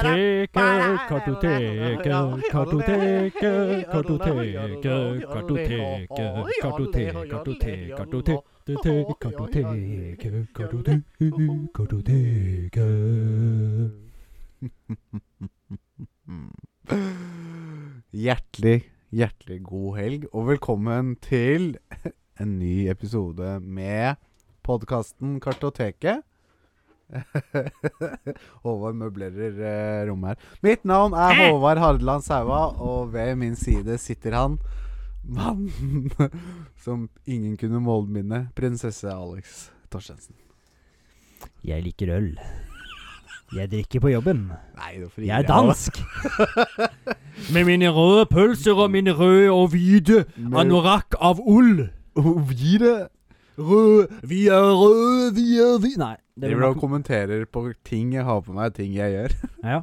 Kartoteket, kartoteket, kartoteket, kartoteket, kartoteket, kartoteket, kartoteket, kartoteket, kartoteket, kartoteket, kartoteket. Mm. Hjertelig, hjertelig god helg, og velkommen til en ny episode med podkasten Kartoteket. Håvard møblerer eh, rommet her. Mitt navn er Håvard Hardeland Saua, og ved min side sitter han. Mannen som ingen kunne målminne, prinsesse Alex Torstensen. Jeg liker øl. Jeg drikker på jobben. Nei, hvorfor Jeg er dansk. Med mine røde pølser og mine røde og hvite anorakk av ull. Gi det! Rød, vi er røde, vi er vi Nei. Det Driver er, og kommenterer på ting jeg har på meg, ting jeg gjør. Ja.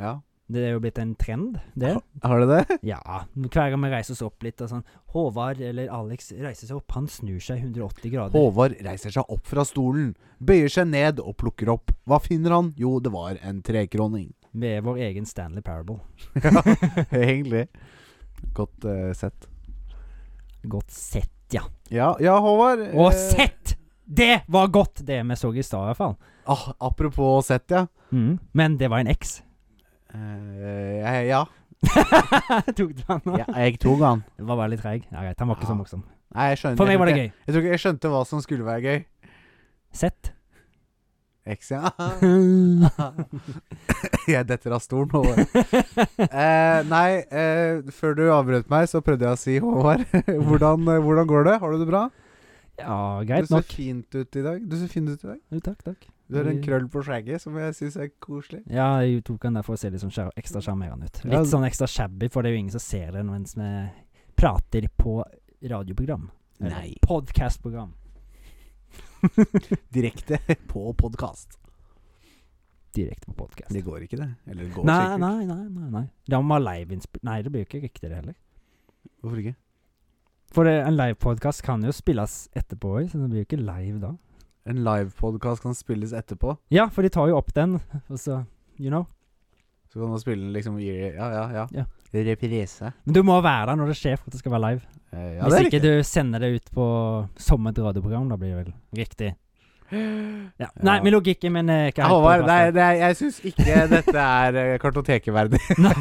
ja. det er jo blitt en trend, det. Har du det? Ja. Hver gang vi reiser oss opp litt og sånn Håvard eller Alex reiser seg opp, han snur seg 180 grader. Håvard reiser seg opp fra stolen, bøyer seg ned og plukker opp. Hva finner han? Jo, det var en trekroning. Med vår egen Stanley Parable. Ja, egentlig. Godt eh, sett. Godt sett, ja. Ja, ja Håvard. Og eh, sett! Det var godt, det vi så i stad i hvert fall. ah, apropos sett, ja. Mm. Men det var en X. Eh, jeg- ja. Tok du han nå? ja. Jeg tok han. Det var bare litt treig. Ja, greit, han var ikke så Ja. morsom. Nei, jeg skjønner For meg var det jeg, tror ikke- gøy. Jeg tror ikke jeg skjønte hva som skulle være gøy. Sett. X, ja. jeg detter av stolen, Håvard. Eh, nei, eh, før du avbrøt meg, så prøvde jeg å si, Håvard, hvordan, eh, hvordan går det? Har du det bra? ja, Du greit ser nok. Mm. fint ut i dag. Du ser fin ut i dag. Jo, takk, takk. Du har en Vi- krøll på skjegget som jeg syns er koselig. Ja, jeg tok han der for å se litt sånn skjer- ekstra sjarmerende ut. Mm. Ja. Litt sånn ekstra shabby, for det er jo ingen som ser det mens vi prater på radioprogram. Eller Nei. Podcastprogram. Direkte på podkast. Direkte på podcast. Det går ikke, det. Eller det går Nei, sikkert. nei, nei, nei, nei. Da må man ha liveinnspill Nei, det blir jo ikke riktig, det heller. Hvorfor ikke? For det, en livepodkast kan jo spilles etterpå òg, så det blir jo ikke live da. En livepodkast kan spilles etterpå. Ja, for de tar jo opp den, og så You know. Så kan man spille den liksom i Ja, ja, ja. Ja. Reprise. Men du må være der når det skjer for at det skal være live. Eh, ja, Hvis det er ikke riktig. du sender det ut på som et radioprogram, da blir det vel riktig. Ja. Nei, Ja. med logikk, men eh, ikke Ja, helt Håvard, på nei, plass der. nei, jeg syns ikke dette er eh, kartotekeverdig. Nei.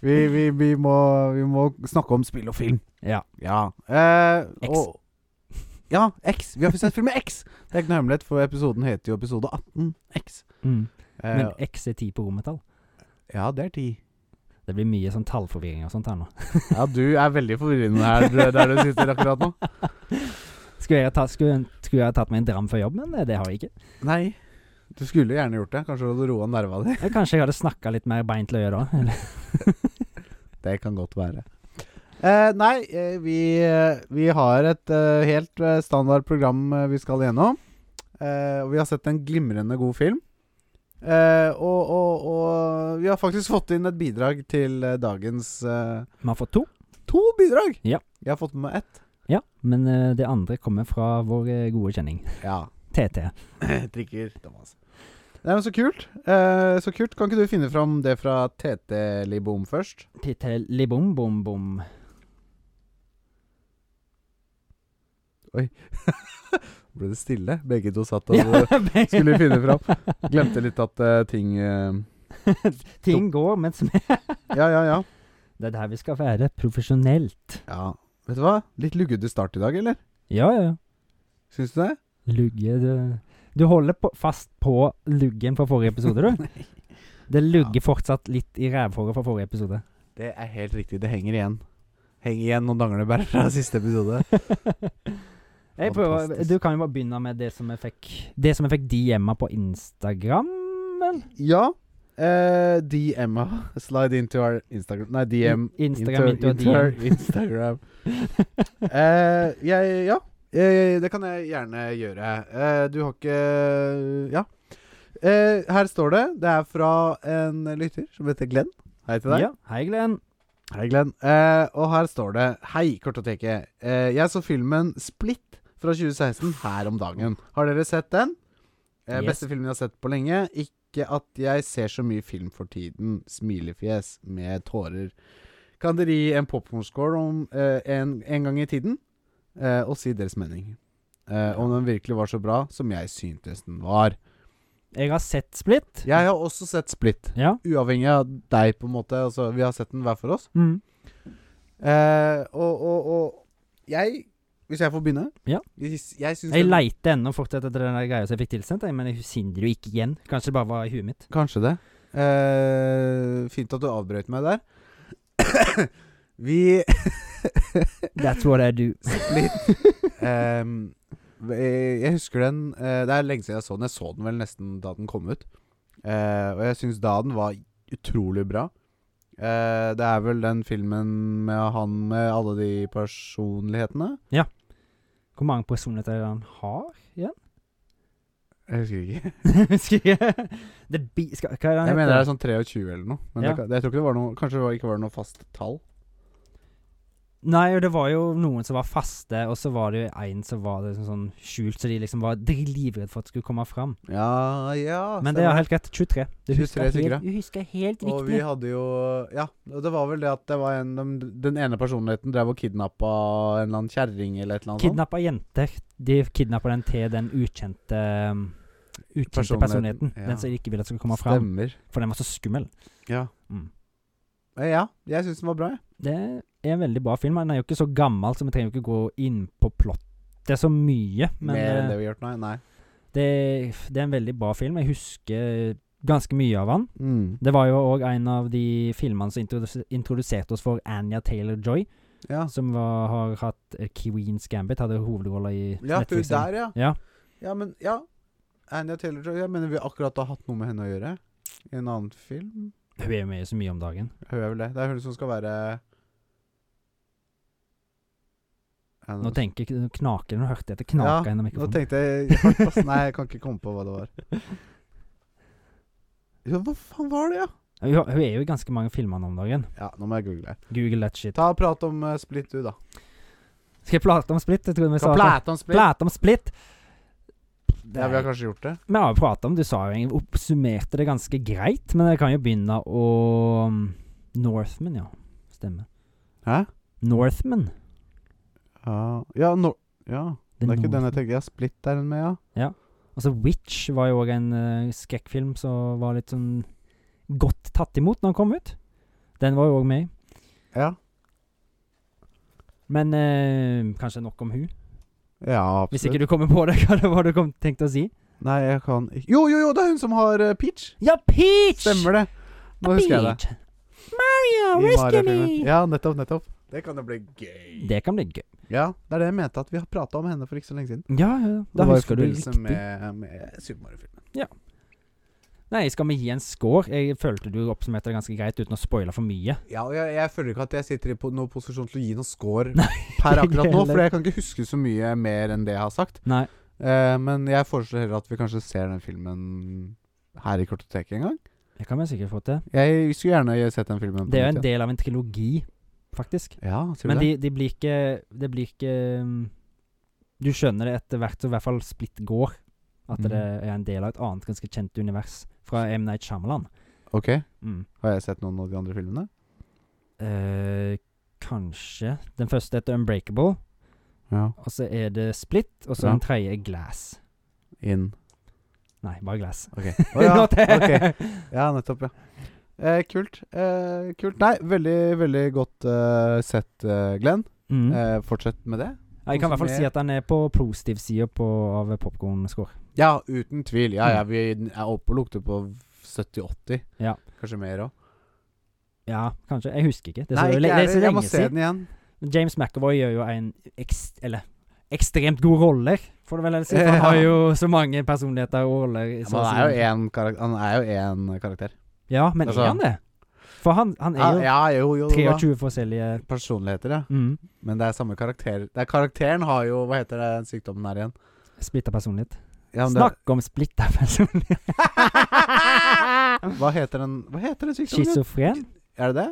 vi, vi, vi, må, vi må snakke om spill og film. Ja. Ja. Eh, X. og- ja, X. Vi har sett filmen X. Det er ikke noe hemmelighet, for episoden heter jo episode 18 X. Mm. Eh, Men X er 10 på romertall. ja, det er ti. Det blir mye sånn tallforvirring og sånt her nå. Ja, du er veldig forvirrende her du- der du sitter akkurat nå. Skulle jeg, ta, skulle, skulle jeg tatt meg en dram før jobb, men eh, det har jeg ikke. Nei. Du skulle gjerne gjort det. Kanskje du hadde roa nerva di. Eh, Kanskje jeg hadde snakka litt mer beint løye da. Eller? Det kan godt være. Eh, nei, eh, vi, eh, vi har et eh, helt eh, standard program eh, vi skal gjennom. Eh, og vi har sett en glimrende god film. Eh, og, og, og vi har faktisk fått inn et bidrag til eh, dagens eh, Man får to. To bidrag! Ja. Jeg har fått med meg ett. Ja, men eh, det andre kommer fra vår eh, gode kjenning, Ja. TT. Drikker, Thomas. Nei, men så kult. Eh, så kult. Kan ikke du finne fram det fra TT Libom først? Tittel libom bom bom. Ble det stille? Begge to satt og Ja, skulle finne fram. Glemte litt at eh, ting eh, Ting går, men som er Ja, ja, ja. Det er der vi skal være profesjonelt. Ja, Vet du hva? Litt luggete start i dag, eller? Ja, ja. ja. Syns du det? Lugge Du, du holder på, fast på luggen fra forrige episode, du. Det lugger fortsatt litt i rævhåret fra forrige episode. Det er helt riktig. Det henger igjen. Henger igjen noen danglebær fra siste episode. Jeg prøver, Fantastisk. du kan jo bare begynne med det som jeg fikk Det som jeg fikk de hjemme på Instagram, vel? Ja. Eh, DM-a. Slide into our Instagram Nei, DM. Instagram into- into a into our Instagram. eh, jeg Ja. Eh, det kan jeg gjerne gjøre. Eh, du har ikke Ja. Eh, her står det. Det er fra en lytter som heter Glenn. Hei til deg. Ja. Hei, Glenn. Hei, Glenn. Eh, og her står det Hei, Kortoteket. Eh, jeg så filmen Split fra 2016 her om dagen. Har dere sett den? Eh, Yes. Beste filmen jeg har sett på lenge. Ikke ikke at jeg ser så mye film for tiden. Smilefjes med tårer. Kan dere gi en popkornskål om eh, en, en gang i tiden? Eh, og si deres mening. Eh, om den virkelig var så bra som jeg syntes den var. Jeg har sett Split. Jeg har også sett Split. Ja. Uavhengig av deg, på en måte. Altså, vi har sett den hver for oss. Mm. Eh, og, og, og jeg Hvis jeg får begynne? Ja. Jeg, jeg syns Jeg den- leiter ennå fortsatt etter den der greia som jeg fikk tilsendt, jeg, men jeg finner det jo ikke igjen. Kanskje det bare var i huet mitt. Kanskje det. Eh, fint at du avbrøt meg der. vi That's what I do. Litt ehm, eh, Jeg husker den eh, Det er lenge siden jeg så den. Jeg så den vel nesten da den kom ut. Eh, og jeg syns da den var utrolig bra. Eh, det er vel den filmen med han med alle de personlighetene? Hvor mange personligheter er det han har igjen? Jeg husker ikke. Husker ikke. Det bi... Skal, hva er det han Jeg mener det er sånn 23 eller noe. Men Ja. det, kan- jeg tror ikke det var noe Kanskje det var, ikke var noe fast tall. sånn- Nei, og det var jo noen som var faste, og så var det jo en som var liksom sånn skjult, så de liksom var livredd for at det skulle komme fram. Ja, ja Men det er helt greit. 23. Du 23 husker, stykker, ja. helt, du husker helt Og vi riktig. hadde jo Ja, og det var vel det at det var en Den, den ene personligheten drev og kidnappa en eller annen kjerring eller et eller annet. sånt. Kidnappa jenter. De kidnappa den til den ukjente um, Ukjente Personligheten, personligheten. ja. Den som de ikke ville at skulle komme fram. Stemmer. For den var så skummel. Ja. Mm. Eh, ja, jeg syns den var bra, jeg. Det er en veldig bra film. men Den er jo ikke så gammel, så vi trenger jo ikke gå inn på plottet så mye. Men Mer enn eh, det vi har gjort, nei. nei. det, det er en veldig bra film. Jeg husker ganske mye av han. Mm. Det var jo òg en av de filmene som introdus- introduserte oss for Anja Taylor-Joy, Ja. som var, har hatt eh, Queen's Gambit, hadde hovedrolla i ja, hun Netflix-serien. der, ja. Ja. Ja, men ja. Anja Taylor-Joy. Jeg mener vi akkurat har hatt noe med henne å gjøre. I en annen film. Hun er jo med i så mye om dagen. Hun er vel det. Det er hun som skal være Ja, Nå tenker jeg knaker Nå hørte jeg at det knaka gjennom Nå mikrofonen. tenkte jeg hardt, ass. Nei, jeg kan ikke komme på hva det var. Ja, hva faen var det, ja? Hun, har- hun er jo i ganske mange filmer nå om dagen. Ja, nå må jeg google. Google that shit. Ta og Prat om eh, Split, du, da. Skal jeg prate om Split? Jeg trodde vi sa Kan at- plate om Split? Prate om Split. Ja, vi har kanskje gjort det. Vi har jo pratet om Du sa jo egentlig oppsummerte det ganske greit, men jeg kan jo begynne å um, Northman, ja. Stemmer. Hæ? Northman. Ja, ja, nå- ja. The Det er ikke den jeg Northman. tenker. Ja, Split er den med, ja. Altså, Witch var jo òg en eh, skrekkfilm som var litt sånn godt tatt imot når den kom ut. Den var jo òg med i. Ja, Men eh, kanskje nok om hun. ja Hvis ikke absolutt. du kommer på det, hva det var du kom, tenkte å si? Nei, jeg kan ikke Jo, jo, jo, det er hun som har eh, Peach! Ja, Peach! Stemmer det. Nå husker jeg det. Peach. Mario, I rescue me! Mario-filmen. Ja, nettopp, nettopp. Det kan jo bli gøy. Det kan bli gøy. Ja, det er det jeg mente, at vi har prata om henne for ikke så lenge siden. Ja, ja. ja. Da det var i husker du forbindelse riktig. med, med Super Mario-filmen. Nei, skal vi gi en score? Jeg følte du oppsummerte det ganske greit uten å spoile for mye. Ja, og jeg, jeg føler ikke at jeg sitter i po- noen posisjon til å gi noen score Nei, per ikke akkurat nå, heller. for jeg kan ikke huske så mye mer enn det jeg har sagt. Nei. Eh, men jeg foreslår heller at vi kanskje ser den filmen her i Kortoteket en gang. Det kan vi sikkert få til. Jeg skulle gjerne sett den filmen. på Det er jo nytt, en del av en trilogi, faktisk. Ja, ja sier Men du det? de, de blir ikke Det blir ikke um, Du skjønner det etter hvert, så i hvert fall Splitt går, at Mhm. det er en del av et annet ganske kjent univers fra M. Night Shyamalan. Ok, Mm. har jeg sett noen av de andre filmene? Eh, kanskje Den første heter Unbreakable, Ja. og så er det Split, og så Ja. den tredje er Glass. Inn. Nei, bare Glass. Ok. Å ja, Nå til- ok. Ja, nettopp, ja. Eh, kult. Eh, kult. Nei, veldig, veldig godt eh, sett, eh, Glenn. Mm. Eh, fortsett med det. Ja, Jeg kan i hvert fall si Konsumer. at han er på positiv side på, av popkornscore. Ja, uten tvil. Ja, ja, vi er oppe og lukter på 70-80. Mm. Ja. Kanskje mer òg. Ja, kanskje. Jeg husker ikke. Det er Nei, så, ikke le- det jeg er så heller. Jeg må lenge se siden. den igjen. James McAvoy gjør jo en ekst, eller, ekstremt god rolle, får du vel heller si. For han Ja. har jo så mange personligheter og roller. Ja, men han er jo én karakter. Han er jo én karakter. Ja, men Altså- er han det? For han, han er Ja, jo ja, jo, jo, jo da. 23 forskjellige Personligheter, ja. mm, Men det er samme karakter. Det er, karakteren har jo Hva heter det, den sykdommen her igjen? splitta personlighet. Ja, men det- Snakk om splitta personlighet! Hva heter den Hva heter den sykdommen? igjen? Schizofren? Er det det?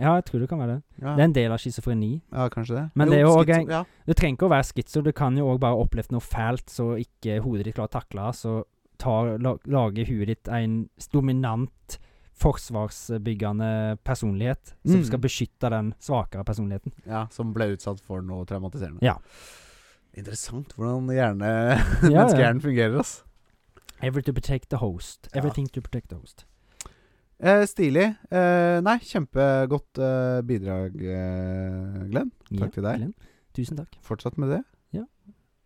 Ja, jeg tror det kan være det. Ja, Det er en del av schizofreni. ja kanskje det. Men det er jo schizo- en- ja. Du trenger ikke å være skitso, du kan jo òg bare oppleve noe fælt så ikke hodet ditt klarer å takle, så tar, la- lager huet ditt en dominant forsvarsbyggende personlighet som Mm. skal beskytte den svakere personligheten. Ja, som ble utsatt for noe traumatiserende. Ja. Interessant hvordan hjerne, Ja, ja. menneskehjernen fungerer. Ass. Every to protect the host. Ja. Everything to protect the host. Eh, stilig. Eh, nei, kjempegodt eh, bidrag, eh, Glenn. Takk til deg. Ellen. Tusen takk. Fortsett med det.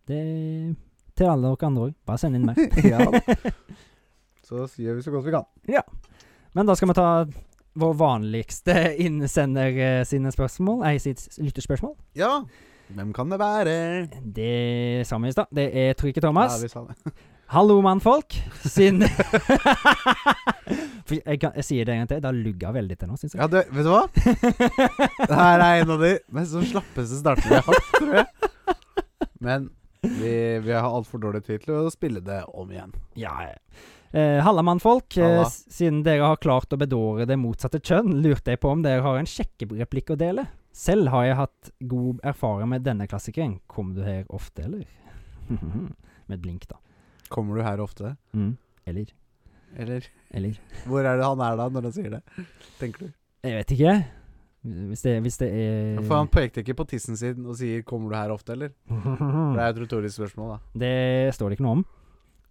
Det til alle dere andre òg. Bare send inn mer. ja da. Så gjør vi så godt vi kan. Men da skal vi ta vår vanligste innsender eh, sine spørsmål, ei sitt lytterspørsmål. Ja. Hvem kan det være? Det sa vi i stad. Det er Trykke Thomas. Ja, vi sa det. Hallo, mannfolk! Sin For jeg, kan, jeg sier det en gang til. Det har lugga veldig til nå, syns jeg. Ja, du, vet du hva? Det her er en av de mest sånn slappeste startene jeg har hatt, tror jeg. Men vi, vi har altfor dårlig tid til å spille det om igjen. Ja. Eh, Halla, mannfolk. Eh, Halla. s- siden dere har klart å bedåre det motsatte kjønn, lurte jeg på om dere har en sjekkereplikk å dele. Selv har jeg hatt god erfaring med denne klassikeren. Kom du her ofte, eller? med et blink, da. Kommer du her ofte? Mm. Eller. Eller Eller. hvor er det han er da, når han sier det? Tenker du? Jeg vet ikke. Hvis det, hvis det er For han pekte ikke på tissen sin og sier 'kommer du her ofte', eller? For det er et retorisk spørsmål, da. Det står det ikke noe om.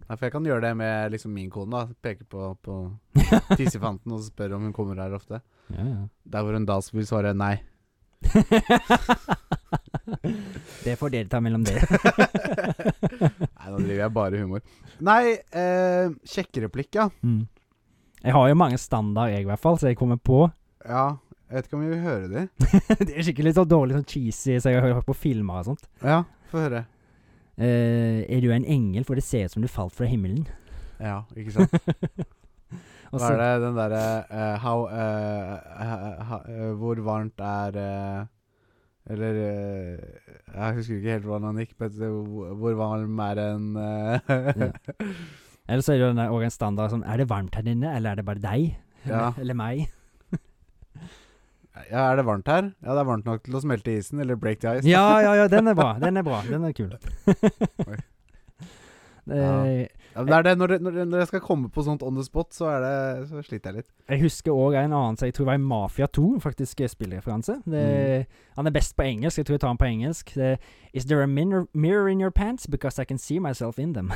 Nei, for jeg kan gjøre det med liksom min kone, da. Peke på, på tissefanten og spørre om hun kommer her ofte. Ja, ja. Der hvor hun da vil svare nei. det får dere ta mellom dere. Nei, nå driver jeg bare humor. Nei, eh, sjekkereplikk, ja. Mm. Jeg har jo mange standard, jeg i hvert fall, så jeg kommer på. Ja, jeg vet ikke om vi vil høre de. det er skikkelig sånn dårlig sånn cheesy, så jeg har hørt på filmer og sånt. Ja, få høre. Eh, er du en engel, for det ser ut som du falt fra himmelen? Ja, ikke sant. Og Hva så- er det den derre eh, how, eh, ha- ha- eh, Hvor varmt er eh, Eller eh, Jeg husker ikke helt hvordan han gikk, men det- hvor hvor varm er en eh, Eller så er det jo den der- og en standard sånn Er det varmt her inne, eller er det bare deg? Ja. Eller meg? ja, Er det varmt her? Ja, det er varmt nok til å smelte isen, eller break the ice. Ja, ja, ja, den er bra. Den er bra. Den er kul. Oi. Eh, Ja, men det er det, når, det, når, det, når jeg skal komme på sånt on the spot, så, er det, så sliter jeg litt. Jeg husker òg en annen som jeg tror var i Mafia 2, faktisk eh, spillreferanse. Det, Mm. Han er best på engelsk, jeg tror jeg tar han på engelsk. Det, Is there a minor, mirror in your pants? Because I can see myself in them.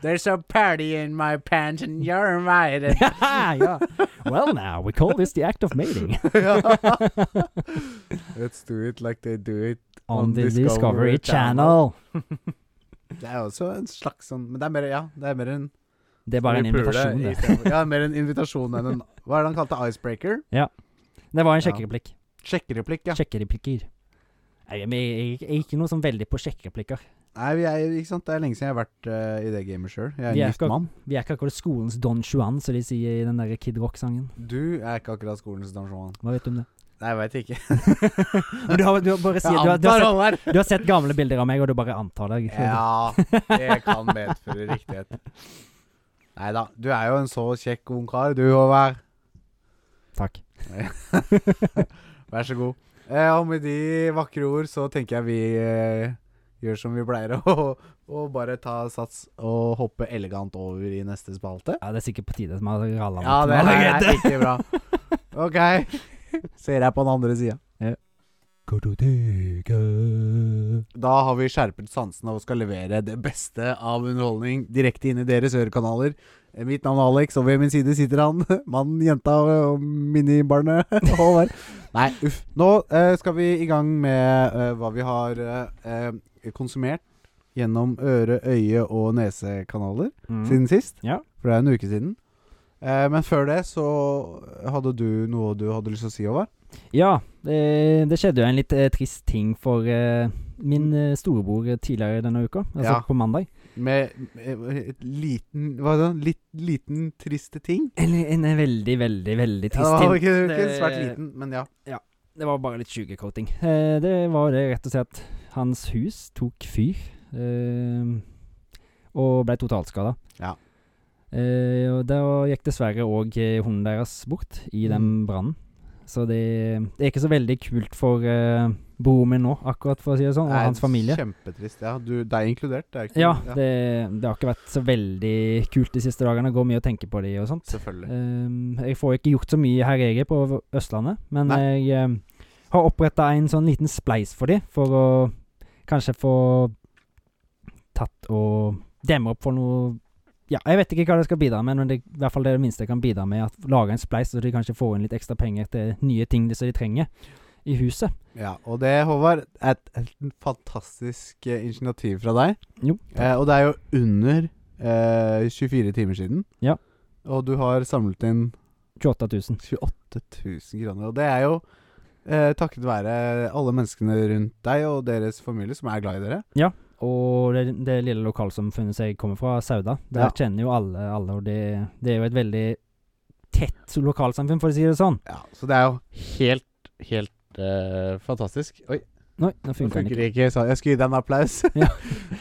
There's a party in my pants and you're invited. ja. Well now, we call this the act of mating. Let's do it like they do it. On the Discovery Channel. Det er også en slags sånn Men det er mer, ja, det er mer en Det er bare en vi puler invitasjon, i det. stedet for- Ja, mer en invitasjon enn en Hva er det han kalte? Icebreaker? Det var en Ja. sjekkereplikk. Sjekkereplikk, ja. Sjekkereplikker. Nei, men jeg, jeg, jeg er ikke noe sånn veldig på sjekkereplikker. Nei, vi er, ikke sant? Det er lenge siden jeg har vært eh, i det gamet sjøl. Jeg er Vi en er gift ikke- mann. Vi er ikke akkurat skolens Don Juan, som de sier i den der Kid Rock-sangen. Du er ikke akkurat skolens dansjoman. Hva vet du om det? Nei, jeg veit ikke. Men du har, du har bare sier, du har, du har sett han er Du har sett gamle bilder av meg, og du bare antar det. Ja, det kan medføre riktighet. Nei da, du er jo en så kjekk ung kar, du, Håvard. Takk. Vær så god. Eh, og med de vakre ord så tenker jeg vi eh, gjør som vi pleier, og, og bare ta sats og hoppe elegant over i neste spalte. Ja, Det er sikkert på tide at vi har ralla Ja, det her allerede. er ikke bra. OK. Ser jeg på den andre sida. Da har vi skjerpet sansene og skal levere det beste av underholdning direkte inn i deres ørekanaler. Eh, Mitt navn er Alex, og ved min side sitter han. Mannen, jenta og minibarnet. Håvard. Nei, uff. Nå eh, skal vi i gang med eh, hva vi har eh, eh, konsumert gjennom øre-, øye- og nesekanaler Mm. siden sist. Ja. For det er en uke siden. Eh, men før det så hadde du noe du hadde lyst til å si, Håvard. ja det, det skjedde jo en litt eh, trist ting for eh, min eh, storebror eh, tidligere denne uka. Altså Ja. på mandag. Med eh, et liten Hva er det? Litt, liten, triste ting? En, en veldig, veldig, veldig Ja, trist det var ting. ikke, ikke Det- svært liten, men ja. Det var bare litt sugarcoating. Eh, det var det rett og slett. Hans hus tok fyr. Eh, og ble totalskada. Ja. Mm. Eh, og da gikk dessverre òg hunden deres bort i den brannen. Så det, det er ikke så veldig kult for eh, broren min nå, akkurat for å si det sånn, og Nei, hans familie. Kjempetrist. Ja, du, det er inkludert. Det er ikke Ja, det, det har ikke vært så veldig kult de siste dagene. Går mye å tenke på de og sånn. sånt. Selvfølgelig. Ehm, jeg får ikke gjort så mye her jeg er på V- Østlandet, men Nei. jeg ehm, har oppretta en sånn liten spleis for de, for å kanskje få tatt og demme opp for noe Ja, jeg vet ikke hva det skal bidra med, men det er i hvert fall det minste jeg kan bidra med, at lage en spleis, så de kanskje får inn litt ekstra penger til nye ting de- som de trenger i huset. Ja, og det, Håvard, er et, et fantastisk eh, initiativ fra deg. Jo. Eh, og det er jo under eh, 24 timer siden. Ja. Og du har samlet inn 28 000. 28 000 kroner. Og det er jo eh, takket være alle menneskene rundt deg og deres familie som er glad i dere. Og det, det lille lokalsamfunnet som jeg kommer fra, Sauda, der Ja. kjenner jo alle alle, og det, det er jo et veldig tett lokalsamfunn, for å si det sånn. Ja, Så det er jo helt, helt eh, fantastisk. Oi, Nei, nå nå funker den ikke. funker det Eh, ikke. Så jeg skulle gi deg en applaus. Ja.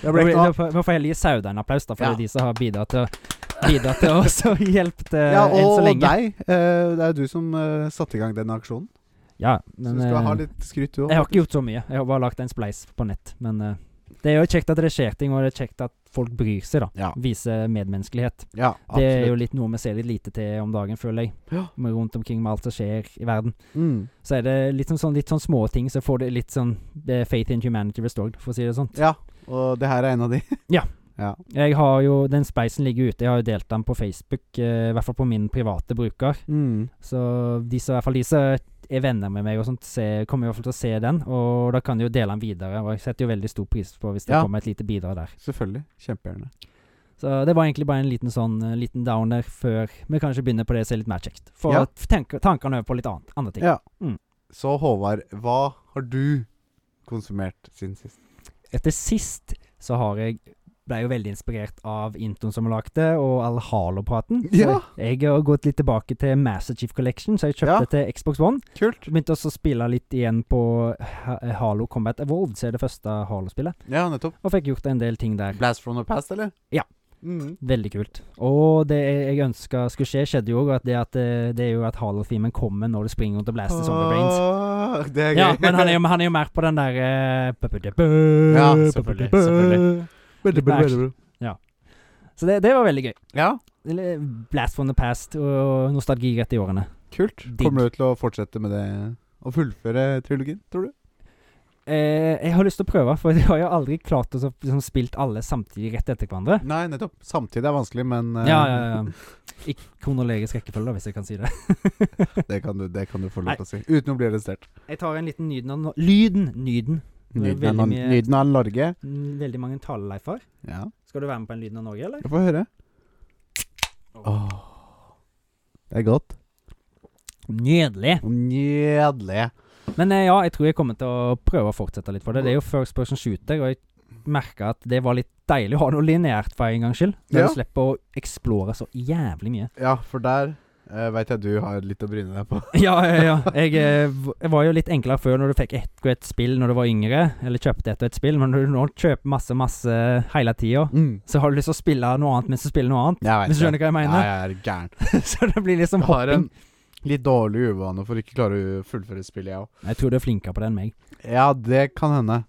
det ble ikke noe av. Vi får heller gi Sauda en applaus, da, for Ja. det er de som har bidratt til, bidratt til oss og hjulpet eh, Ja, enn så og lenge. deg. Eh, det er jo du som eh, satte i gang den aksjonen. Ja, Så men du skal ha eh, litt skryt, du òg. jeg har ikke gjort så mye. Jeg har bare lagt en spleis på nett. Men eh, det er jo kjekt at det skjer ting, og det er kjekt at folk bryr seg, da. Ja. Viser medmenneskelighet. Ja, Det absolutt. er jo litt noe vi ser litt lite til om dagen, føler jeg. Ja. Med rundt omkring med alt som skjer i verden. mm. Så er det litt sånn, sånn, litt sånn små ting, så får det litt sånn eh, Faith in humanity restored, for å si det sånn. ja, og det her er en av de. Ja. ja. Jeg har jo, Den spleisen ligger ute. Jeg har jo delt den på Facebook, eh, i hvert fall på min private bruker. Mm. Så de som, i hvert fall de som er venner med meg, og sånt, se, kommer i hvert fall til å se den. Og da kan de jo dele den videre. Og jeg setter jo veldig stor pris på hvis det Ja. kommer et lite bidrag der. Selvfølgelig. Kjempegjerne. Så det var egentlig bare en liten sånn eh, liten downer før vi kanskje begynner på det som er litt mer kjekt. For Ja. å tenke tankene over på litt annet, andre ting. Ja. Mm. Så Håvard, hva har du konsumert siden sist? Etter sist så har jeg ble jo veldig inspirert av introen som vi lagde, og all Halo-praten. Så Ja. Jeg har gått litt tilbake til Master Chief Collection, så jeg kjøpte Ja. til Xbox One. Kult. Begynte også å spille litt igjen på Ha- Halo Combat Evolved, som er det første Halo-spillet. Ja, nettopp. Og fikk gjort en del ting der. Blast from the past, eller? Ja. Mm. Veldig kult. Og det jeg ønska skulle skje, skjedde jo òg. Det, at det, det er jo at Halo-themen kommer når du springer rundt og blaster Zombie Brains. Åh, det er gøy. Ja, men han er, jo, han er jo mer på den der eh, bu-bu-du-bu, Ja, selvfølgelig. bu-bu-du-bu. selvfølgelig. Veldig, Litt veldig, veldig. Så det, det var veldig gøy. Ja, Eller Blast from the past og nostalgi rett i årene. kult. Digg. Kommer du til å fortsette med det? Og fullføre trilogien, tror du? Eh, jeg har lyst til å prøve, for jeg har jo aldri klart å så- liksom, spilt alle samtidig rett etter hverandre. Nei, nettopp. Samtidig er vanskelig, men eh, Ja, ja, ja. I kronologisk rekkefølge, hvis jeg kan si det. Det, kan du, det kan du få Nei. lov til å si. Uten å bli arrestert. Jeg tar en liten nyden av no- Lyden! Nyden. Det er veldig Nyden av, mye- Nyden av Norge. Mm, Veldig mange taleleifer. Ja. Skal du være med på en Lyden av Norge, eller? Få høre. Åh. Det er godt. Nydelig. Nydelig. Men eh, ja, jeg tror jeg kommer til å prøve å fortsette litt for det. Det er jo first person shooter, og jeg merka at det var litt deilig å ha noe lineært for en gangs skyld. Når Ja. du slipper å eksplore så jævlig mye. Ja, for der uh, veit jeg du har litt å bryne deg på. Ja, ja, ja. Jeg, eh, v- jeg var jo litt enklere før når du fikk ett og ett spill når du var yngre. Eller kjøpte ett og ett spill, men når du nå kjøper masse, masse hele tida, Mm. så har du lyst til å spille noe annet mens du spiller noe annet. Jeg vet Hvis du skjønner hva det. jeg Ja, mener? jeg er gæren. så det blir liksom Jeg har en hopping. litt dårlig uvane for ikke klare å fullføre spillet, jeg òg. Jeg tror du er flinkere på det enn meg. Ja, det kan hende.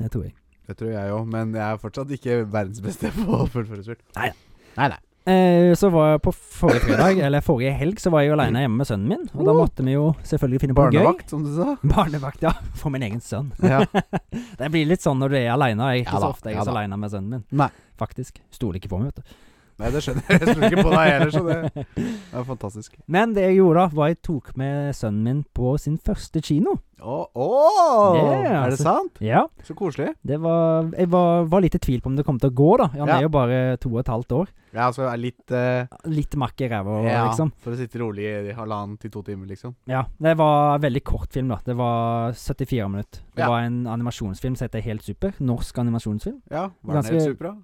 Det tror jeg. Det tror jeg òg, men jeg er fortsatt ikke verdens beste på å fullføre spill. Nei. Nei, nei. Eh, så var jeg på forrige fredag, eller forrige helg, så var jeg jo aleine hjemme med sønnen min. Og da Oh. måtte vi jo selvfølgelig finne på noe gøy. Barnevakt, som du sa. Barnevakt, ja. For min egen sønn. Ja. det blir litt sånn når du er aleine. Jeg er ikke Ja da, så ofte jeg ja er så da. aleine med sønnen min. Nei. Faktisk. Stoler ikke på meg, vet du. Nei, det skjønner jeg. Jeg tror ikke på deg heller, så det det er fantastisk. Men det jeg gjorde da, var jeg tok med sønnen min på sin første kino. Å, å! Ja, er det altså. sant? Ja, Så koselig. det var Jeg var, var litt i tvil på om det kom til å gå, da. Han Ja. er jo bare to og et halvt år. Ja, altså er litt eh, Litt makk i ræva, ja, liksom. For å sitte rolig i halvannen til to timer, liksom. Ja. Det var veldig kort film, da. Det var 74 minutter. Det Ja. var en animasjonsfilm som heter Helt super. Norsk animasjonsfilm. Ja, var den Ganske- helt superbra?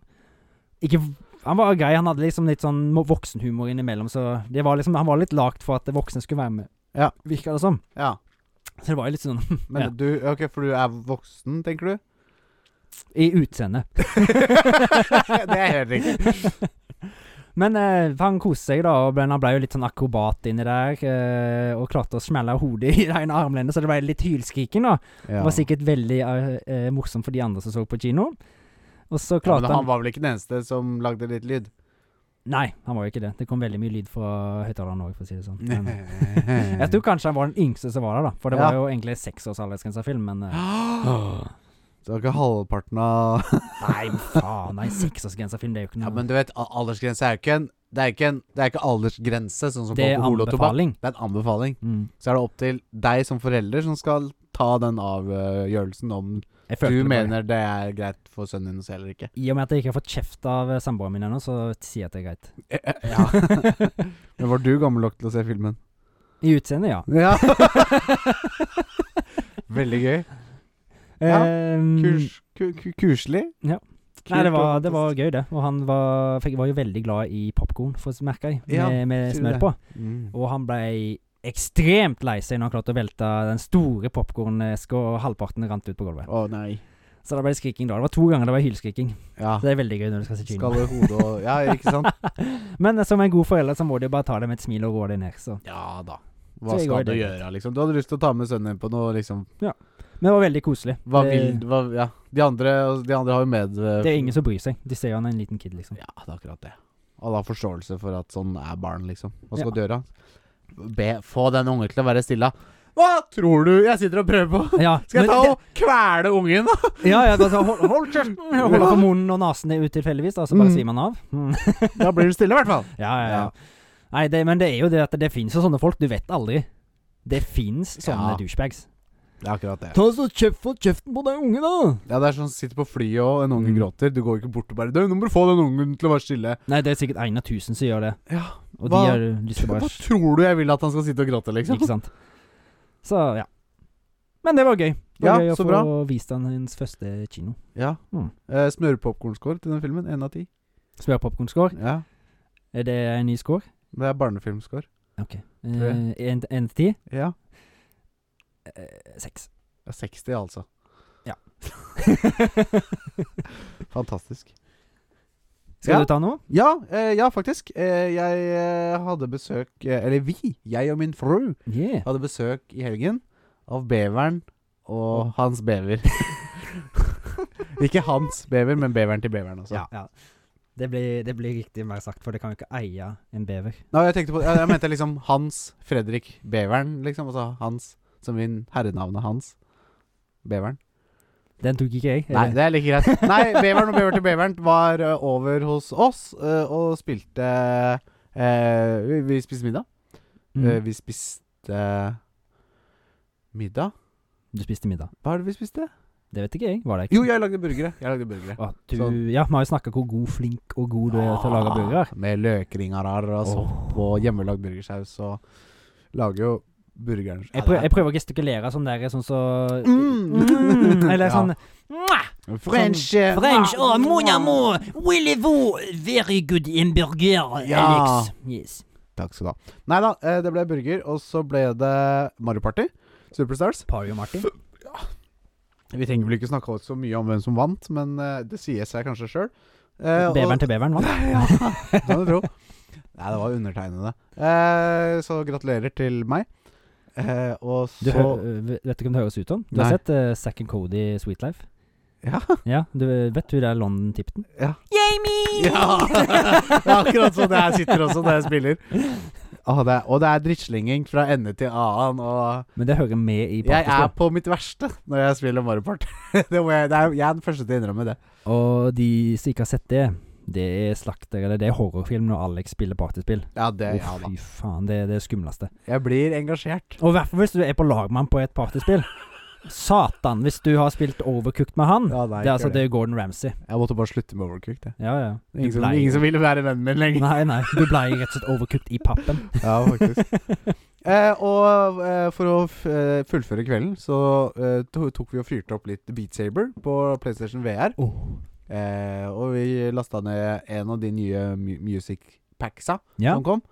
Ikke Han var grei. Han hadde liksom litt sånn mo- voksenhumor innimellom, så det var liksom Han var litt lagt for at voksne skulle være med, Ja. virka det som. Ja. Så det var jo litt sånn Men Ja. du Ok, for du er voksen, tenker du? I utseendet. Det er helt riktig. Men eh, han koste seg, da, og ble, han ble jo litt sånn akrobat inni der. Eh, og klarte å smelle hodet i det ene armlenet, så det ble litt hylskriking, da. Det Ja. var sikkert veldig eh, eh, morsomt for de andre som så på kino. Og så Ja, klarte men han han, var vel ikke den eneste som lagde litt lyd? Nei, han var jo ikke det. Det kom veldig mye lyd fra høyttaleren òg, for å si det sånn. Men, jeg Jeg tror kanskje han var den yngste som var der, da. For det Ja. var jo egentlig seksårsaldersgrensa film, men eh, Det var ikke halvparten av Nei, men faen. Nei, seksårsgrensa film, det er jo ikke Ja, noe Men du vet, a- aldersgrense er jo ikke en Det er ikke, en, det er ikke aldersgrense, sånn som på Det er alkohol og tobakk. anbefaling. Det er en anbefaling. Mm. Så er det opp til deg som forelder som skal ta den avgjørelsen om Jeg følte du det på det. mener det er greit for sønnen din å se eller ikke. I og med at jeg ikke har fått kjeft av eh, samboeren min ennå, så sier jeg at det er greit. Ja. men var du gammel nok til å se filmen? I utseendet, ja. Ja. Veldig gøy. Ja, Ehm, Kurs, ku, ku, kurslig. Ja. Nei, det var, det var gøy, det. Og han var, fikk, var jo veldig glad i popkorn, merka jeg, med, Ja, med sier du smør det. på. Mm. Og han blei ekstremt lei seg når han klarte å velte den store popkorneska, og halvparten rant ut på gulvet. Å nei. Så da ble det skriking da. Det var to ganger det var hylskriking. Ja. Så det er veldig gøy når du skal se kino. Ah. Skal i hodet og Ja, ikke sant? Men eh, som en god forelder så må du jo bare ta det med et smil og rå deg ned, så. Ja da. Så Hva jeg går skal du det gjøre, liksom? Du hadde lyst til å ta med sønnen din på noe, liksom. Men det var veldig koselig. Hva det, vil hva, Ja. De andre, altså, de andre har jo med det er ingen som bryr seg. De ser jo han er en liten kid, liksom. Ja, det er akkurat det. Alle har forståelse for at sånn er barn, liksom. Hva skal Ja. du gjøre? Be, få den ungen til å være stille. Hva tror du jeg sitter og prøver på? Ja, Skal jeg men ta det- og kvele ungen, da? Ja, ja, altså, hold, hold kjeften! Holder på munnen og nesen ut tilfeldigvis, da, så bare Mm. svimer han av. Mm. Da blir du stille, i hvert fall. Ja, ja, ja. Nei, det, men det er jo det at det fins jo sånne folk. Du vet aldri. Det fins sånne Ja. douchebags. Det er akkurat det. Ta så kjeft for kjeften på den ungen, da! Ja, det er sånn sitter på flyet og en unge Mm. gråter. Du går ikke bort og bare Du, nå må du få den ungen til å være stille. Nei, det er sikkert en av tusen som gjør det. Ja, Og Hva- de har lyst til å bare Hva tror du jeg vil at han skal sitte og gråte, liksom? Ikke sant. Så, ja. Men det var gøy. Det Ja, var gøy så å bra. få vist han hans første kino. Ja. Mm. Eh, Smørpopkornscore til den filmen. Én av ti. Spør popkornscore. Ja. Er det en ny score? Det er barnefilmscore. Ok. Tre. Eh, en- en til ti? Ja. Eh, Seks. Det er 60, altså. Ja. Fantastisk. Skal Ja. du ta noe? Ja, eh, ja faktisk. Eh, jeg eh, hadde besøk eh, Eller vi, jeg og min fru, Yeah. hadde besøk i helgen av beveren og hans bever. ikke hans bever, men beveren til beveren, altså. Ja. Det, blir, det blir riktig mer sagt, for det kan jo ikke eie en bever. Nei, jeg, tenkte på, jeg, jeg mente liksom Hans Fredrik Beveren, liksom. Altså Hans som min herrenavnet Hans. Beveren. Den tok ikke jeg. Nei, eller? det er like greit. Nei, Beveren og Bever til Beveren var ø, over hos oss ø, og spilte ø, vi, vi spiste middag. Mm. Ø, Eh, vi spiste middag? Du spiste middag. Hva er det vi spiste? Det vet ikke jeg. Var det ikke? Jo, jeg lagde burgere. Jeg lagde burgere. Å, du, Sånn. Ja, vi har jo snakka hvor god, flink og god du er til å lage burger. Ah, sånn. Med løkringer her, og sopp og hjemmelagd burgersaus. Og lager jo burgeren Jeg prøver, jeg prøver å gestikulere sånn der, sånn så Mm. Mm, Eller Ja. sånn Mwah! French eh, French, oh, mon mwah. amour, voulez-vous very good hamburger, Ja. Alex? Yes. Takk skal du ha. Nei da, eh, det ble burger, og så ble det Mario Party. Superstars. Pario Martin. Vi trenger vel ikke snakke så mye om hvem som vant, men eh, det sier seg kanskje sjøl. Eh, Beveren til beveren, hva? Ja, det kan du tro. Nei, det var undertegnede. Eh, så gratulerer til meg. Eh, og Du så hø- øh, vet ikke om det høres ut som? Du har Nei. sett uh, Zack and Cody Sweet Life? Ja. Ja, du øh, vet du det er London Tipton? Ja. Jamie! Ja! Det er akkurat sånn jeg sitter også når jeg spiller. Åh, det er, og det er drittslinging fra ende til annen. Og Men det hører med i jeg er partyspill. på mitt verste når jeg spiller Mario Party. Det må jeg, det er, jeg er den første til å innrømme det. Og de som ikke har sett det, det er slakter, eller det er horrorfilm når Alex spiller partyspill. Ja, det, Å, ja da. fy faen, det er det skumleste. Jeg blir engasjert. Og i hvert fall hvis du er på lag med han på et partyspill. Satan, hvis du har spilt overcooked med han. Ja, nei, det er ikke altså det. det er Gordon Ramsay. Jeg måtte bare slutte med Overcooked. Jeg. Ja, ja. Du Ingen, som, blei- ingen som ville være vennen min lenger. Nei, nei. Du blei rett og slett overcooked i pappen. Ja, faktisk. eh, og eh, for å f eh, fullføre kvelden, så eh, to tok vi og fyrte opp litt Beat Saber på PlayStation VR. Oh. Eh, og vi lasta ned en av de nye mu music packsa Ja. som kom.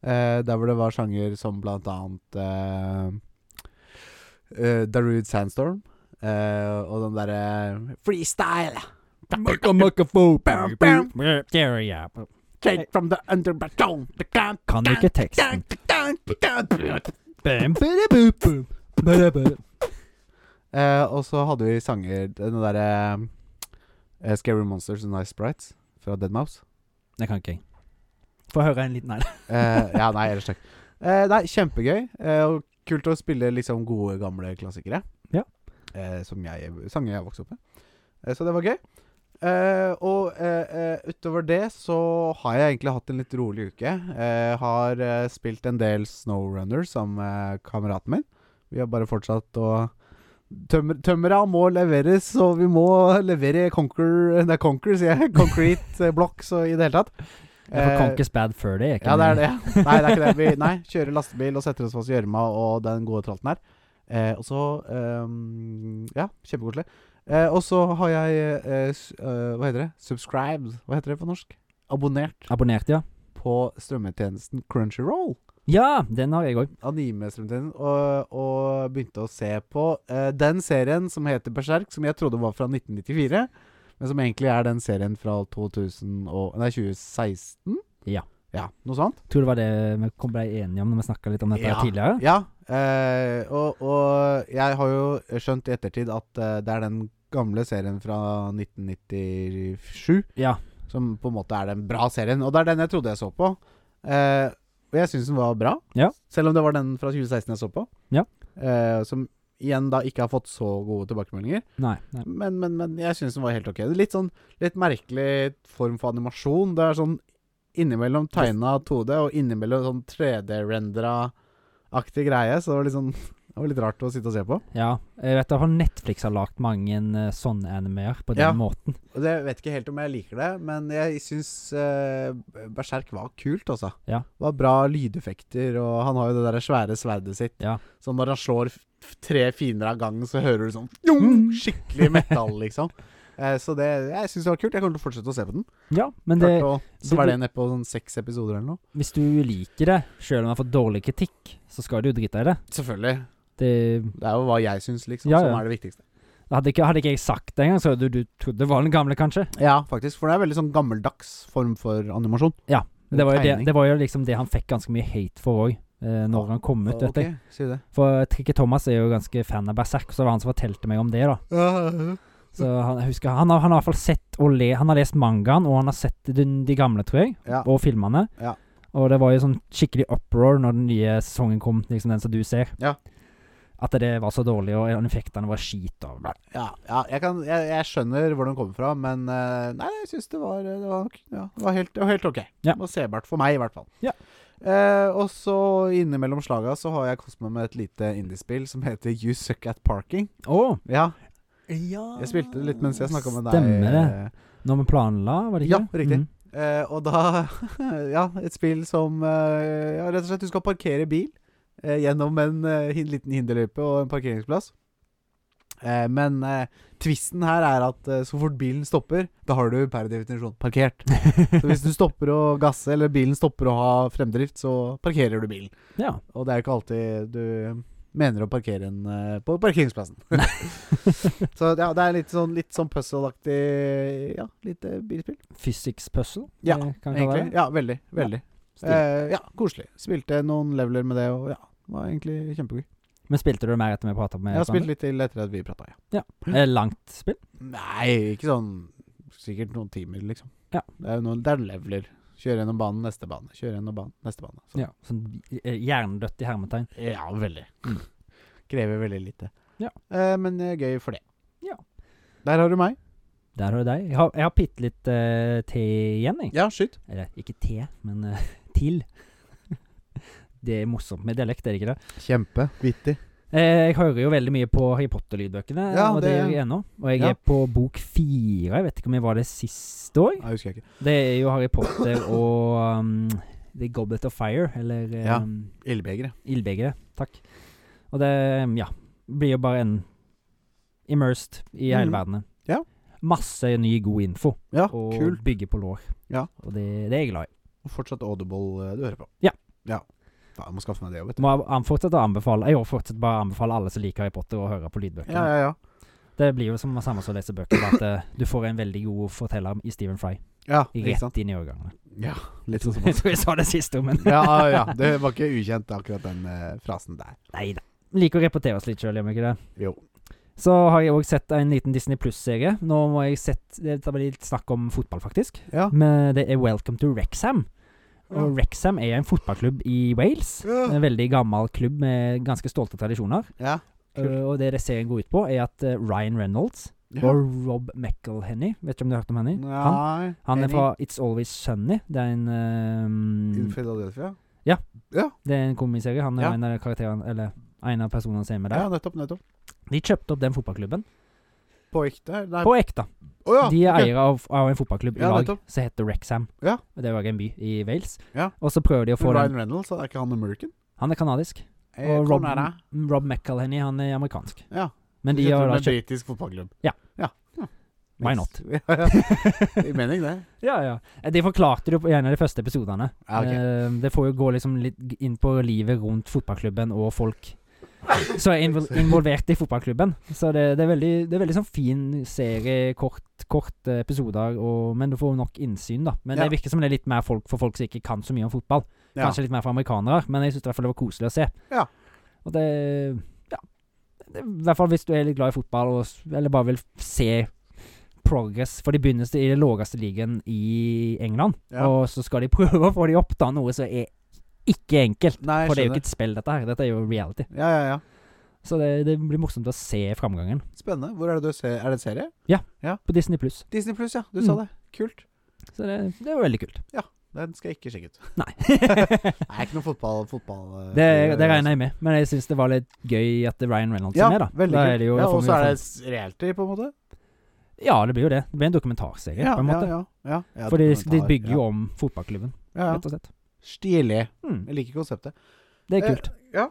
Eh, der hvor det var sjanger som blant annet eh, eh, Darude Sandstorm. Eh, og den derre freestyle. Mukka mukka fo. There we are. straight from the underground. Kan ikke teksten. Bam, bada, boom, boom. Bada, bada. Eh, og så hadde vi sanger Den derre eh, Scary Monsters and Nice Sprites fra Dead Mouse. Det kan ikke jeg. Få høre en liten her. Eh, ja, nei, ellers takk. Eh, nei, kjempegøy. Eh, og kult å spille liksom gode, gamle klassikere. Ja. Eh, som jeg Sanger jeg vokste opp med. Eh, så det var gøy. Eh, og eh, eh, utover det så har jeg egentlig hatt en litt rolig uke. Eh, har eh, spilt en del Snowrunner som eh, kameraten min. Vi har bare fortsatt å tømmer, Tømmera må leveres, og vi må levere Conquer Nei, Conquer, sier jeg. Concrete eh, blocks og i det hele tatt. Eh, Det er for Conquers Bad Fur Day. Ja, det er det. Nei, det er ikke det. Vi nei, kjører lastebil og setter oss fast i gjørma og den gode tralten her. Eh, og så ehm, Ja, kjempekoselig. Eh, og så har jeg eh, s- eh, Hva heter det? Subscribed. Hva heter det på norsk? Abonnert Abonnert, ja. på strømmetjenesten Crunchyroll. Ja, den har jeg òg. Anime-strømmetjenesten. Og, og begynte å se på eh, den serien som heter Berserk, som jeg trodde var fra 1994. Men som egentlig er den serien fra 2000 og, nei, 2016? Ja. ja. Noe sånt? Tror det var det vi kom- ble enige om når vi snakka litt om dette Ja. tidligere. Ja, eh, og, og jeg har jo skjønt i ettertid at eh, det er den gamle serien fra 1997 Ja. som på en måte er den bra serien. Og det er den jeg trodde jeg så på. Eh, og jeg syns den var bra, Ja. selv om det var den fra 2016 jeg så på. Ja. Eh, som igjen da ikke har fått så gode tilbakemeldinger. Nei, nei. Men, men, men jeg syns den var helt ok. Det er Litt sånn litt merkelig form for animasjon. Det er sånn innimellom tegna 2D og innimellom sånn 3D-rendera-aktig greie. Så det var litt sånn det var litt rart å sitte og se på. Ja. Jeg vet at Netflix har lagd mange eh, sånne animer på den Ja. måten. Og det jeg vet ikke helt om jeg liker det, men jeg syns eh, Berserk var kult, altså. Ja. Det var bra lydeffekter, og han har jo det der svære sverdet sitt. Ja. Så når han slår f- f- tre fiender av gangen, så hører du sånn fjong, skikkelig metall, liksom. Eh, så det, jeg syns det var kult. Jeg kommer til å fortsette å se på den. Ja, men det, Klarte å det- svelge nedpå sånn seks episoder eller noe. hvis du liker det, sjøl om du har fått dårlig kritikk, så skal du jo drite i det. Selvfølgelig. Det Det er jo hva jeg syns, liksom, Ja, som ja. er det viktigste. hadde ikke, hadde ikke jeg sagt det engang, så hadde du, du trodde det var den gamle, kanskje. Ja, faktisk. For det er veldig sånn gammeldags form for animasjon. Men det var, jo det, Tegning. det var jo liksom det han fikk ganske mye hate for òg, eh, når han kom ut. vet jeg. Ok, sier du det. For Trikke Thomas er jo ganske fan av Berserk, så det var han som fortalte meg om det, da. Så han, jeg husker, han, har, han har i hvert fall sett og le, Han har lest mangaen, og han har sett de, de gamle, tror jeg, Ja. og filmene. Ja. Og det var jo sånn skikkelig uproar når den nye sesongen kom, liksom den som du ser. Ja. At det var så dårlig, og effektene var skit. Og bla. Ja, ja jeg, kan, jeg, jeg skjønner hvor den kommer fra, men eh, nei, jeg syns det var, det var, ja, det var, helt, det var helt ok. Ja. Det var sebart for meg, i hvert fall. Ja. Eh, og så innimellom slaga så har jeg kost meg med et lite indiespill som heter You Suck At Parking. Å! Ja, ja. jeg spilte det litt mens jeg snakka med deg. Stemmer det. eh, Når vi planla, var det ikke? Ja, riktig. Eh, og da Ja, et spill som eh, ja, Rett og slett, du skal parkere bil eh, gjennom en eh, hin liten hinderløype og en parkeringsplass. Eh, men eh, tvisten her er at eh, så fort bilen stopper, da har du per definisjon parkert. Mhm. Så hvis du stopper å gasse, eller bilen stopper å ha fremdrift, så parkerer du bilen. Ja. Og det er jo ikke alltid du mener å parkere en eh, på parkeringsplassen. så ja, det er litt sånn, litt sånn puzzle-aktig Ja, lite bilspill. Physics puzzle, Ja, eh, kan vi kalle Egentlig. det. Ja, veldig. Veldig. Stil. Eh, ja, koselig. Spilte noen leveler med det, og ja. det Var egentlig kjempegøy. Men spilte du det mer etter vi prata med Jeg har spilt litt til etter at vi prata, ja. Eh, langt spill? Nei, ikke sånn Sikkert noen timer, liksom. Ja. Det er jo noen det er leveler. Kjøre gjennom banen, neste bane. Kjøre gjennom banen, neste bane. Så. Ja. Sånn eh, hjernedødt i hermetegn. Ja, veldig. Krever veldig lite. Mm. Ja. Eh, men eh, gøy for det. Ja. Der har du meg. Der har du deg. Jeg har, jeg har bitte litt eh, te igjen, jeg. Ja, skyt. Eller ikke te, men eh, til. det er morsomt med dialekt, er det ikke det? Kjempe. Vittig. Eh, jeg hører jo veldig mye på Harry Potter-lydbøkene, Ja, og det det- gjør jeg ennå. Og jeg ja. er på bok fire. Jeg vet ikke om jeg var det sist år. Jeg husker jeg ikke. Det er jo Harry Potter og um, The Goblet of Fire, eller um, Ja. Ildbegeret. Ildbegeret. Takk. Og det, um, ja Blir jo bare en immersed i hele Mhm. verdenen. Ja. Masse ny, god info, Ja, og kult. bygge på lår. Ja. Og det, det er jeg glad i. Og fortsatt Audible eh, du hører på. Ja. ja. Da, jeg må skaffe meg det òg, vet du. Må an- fortsette å anbefale Jeg fortsetter bare å anbefale alle som liker Harry Potter, å høre på lydbøkene. Ja, ja, ja. Det blir jo som samme som å lese bøker, bare at eh, du får en veldig god forteller i Stephen Fry Ja, ikke sant? rett inn i årgangene. Ja, litt sånn som Jeg tror jeg sa det sist om en. ja, ah, ja, det var ikke ukjent akkurat den eh, frasen der. Nei da. Liker å repetere oss litt sjøl, gjør vi ikke det? Jo. Så har jeg òg sett en liten Disney Pluss-serie. Nå må jeg sett Det blir litt snakk om fotball, faktisk. Ja. Men det er Welcome to Rexham. Og Rexham er en fotballklubb i Wales. En veldig gammel klubb med ganske stolte tradisjoner. Ja. Kult. Eh, og det det serien går ut på, er at eh, Ryan Reynolds Ja. og Rob McElhenny Vet ikke om du har hørt om henne? Han, Nei han Henning er fra It's Always Sunny. Det er en i eh, Philadelphia? Det er en komiserie. Han er Ja. en av karakterene Eller en av personene som er med Ja, der. nettopp, nettopp. De kjøpte opp den fotballklubben. På ekte? Nei. På ekte. Å ja, De er ok. eiere av, av en fotballklubb i Ja, lag nettopp. som heter Rexham. Ja. Og Det er jo også en by i Wales. Ja. Og så prøver de å få den Ryan Reynolds, er ikke han American? Han er kanadisk. Eh, Og hvor Rob, er det? Rob McElhenny, han er amerikansk. Ja. Men de Sitter har da med kjøpt britisk fotballklubb. Ja. ja. ja. Why not? Ja, ja. I mening, det. Ja, ja. Eh, De forklarte det jo på en av de første episodene. Ja, ok. Eh, det får jo gå liksom litt g- inn på livet rundt fotballklubben og folk som er invol involvert i fotballklubben. Så det, det, er veldig, det er veldig sånn fin serie, kort, korte episoder, og, men du får nok innsyn, da. Men Ja. det virker som det er litt mer folk for folk som ikke kan så mye om fotball. Ja. Kanskje litt mer for amerikanere, men jeg syns i hvert fall det var koselig å se. Ja. Og det Ja. Det, I hvert fall hvis du er litt glad i fotball, og, s- eller bare vil se progress. For de begynner i den laveste ligaen i England, Ja. og så skal de prøve å få de opp, da, noe som er ikke enkelt. Nei, jeg For det er jo skjønner. ikke et spill, dette her. Dette er jo reality. Ja, ja, ja. Så det, det blir morsomt å se framgangen Spennende. Hvor er det du ser Er det en serie? på Disney pluss. Disney Pluss, ja. Du Mm. sa det. Kult. Så det, det er jo veldig kult. Den skal jeg ikke sjekke ut. Nei. Jeg er ikke noe fotball... fotball eh, Det, det regner jeg med, men jeg syns det var litt gøy at Ryan Reynolds Ja, er med, da. veldig da kult. er det jo, ja, da får og vi så i er hvert det s- reality, på en måte. fall- Ja, det blir jo det. Det blir en dokumentarserie, på en måte. Ja, ja, ja. Fordi de, de dokumentar. bygger ja. jo om fotballklubben, ja, ja. rett og slett. Stilig. Mm, Jeg liker konseptet. det er Eh, kult. ja.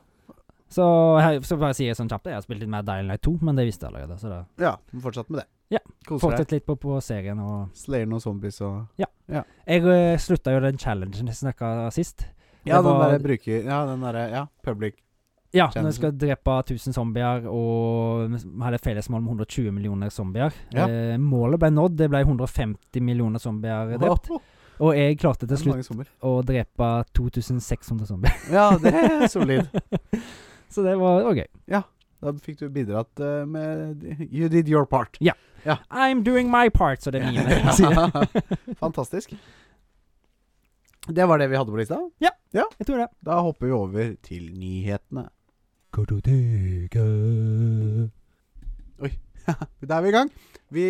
Så, her, så bare sier jeg sånn kjapt Jeg har spilt litt mer Dying Light 2, men det visste jeg allerede. Så da Ja, fortsatt med det. Ja, Koser deg. fortsett litt på, på serien. Og Slayer noen zombies og jeg eh, slutta jo den challengen jeg snakka sist. Ja, Det den var- derre bruker Ja, den derre Ja, public. Ja, Challengen. når du skal drepe 1000 zombier og hadde et felles mål med 120 millioner zombier. Ja. Eh, målet ble nådd. Det ble 150 millioner zombier drept. Wow, Og jeg klarte det til er slutt mange zombier. å drepe 2600 zombier. Ja, det er solid. Så det var, det var gøy. Da fikk du bidratt eh, med You did your part. I'm doing my part, så det er mine. sier jeg. Fantastisk. Det var det vi hadde på lista. Jeg tror det. Da hopper vi over til nyhetene. Oi. Da er vi i gang. Vi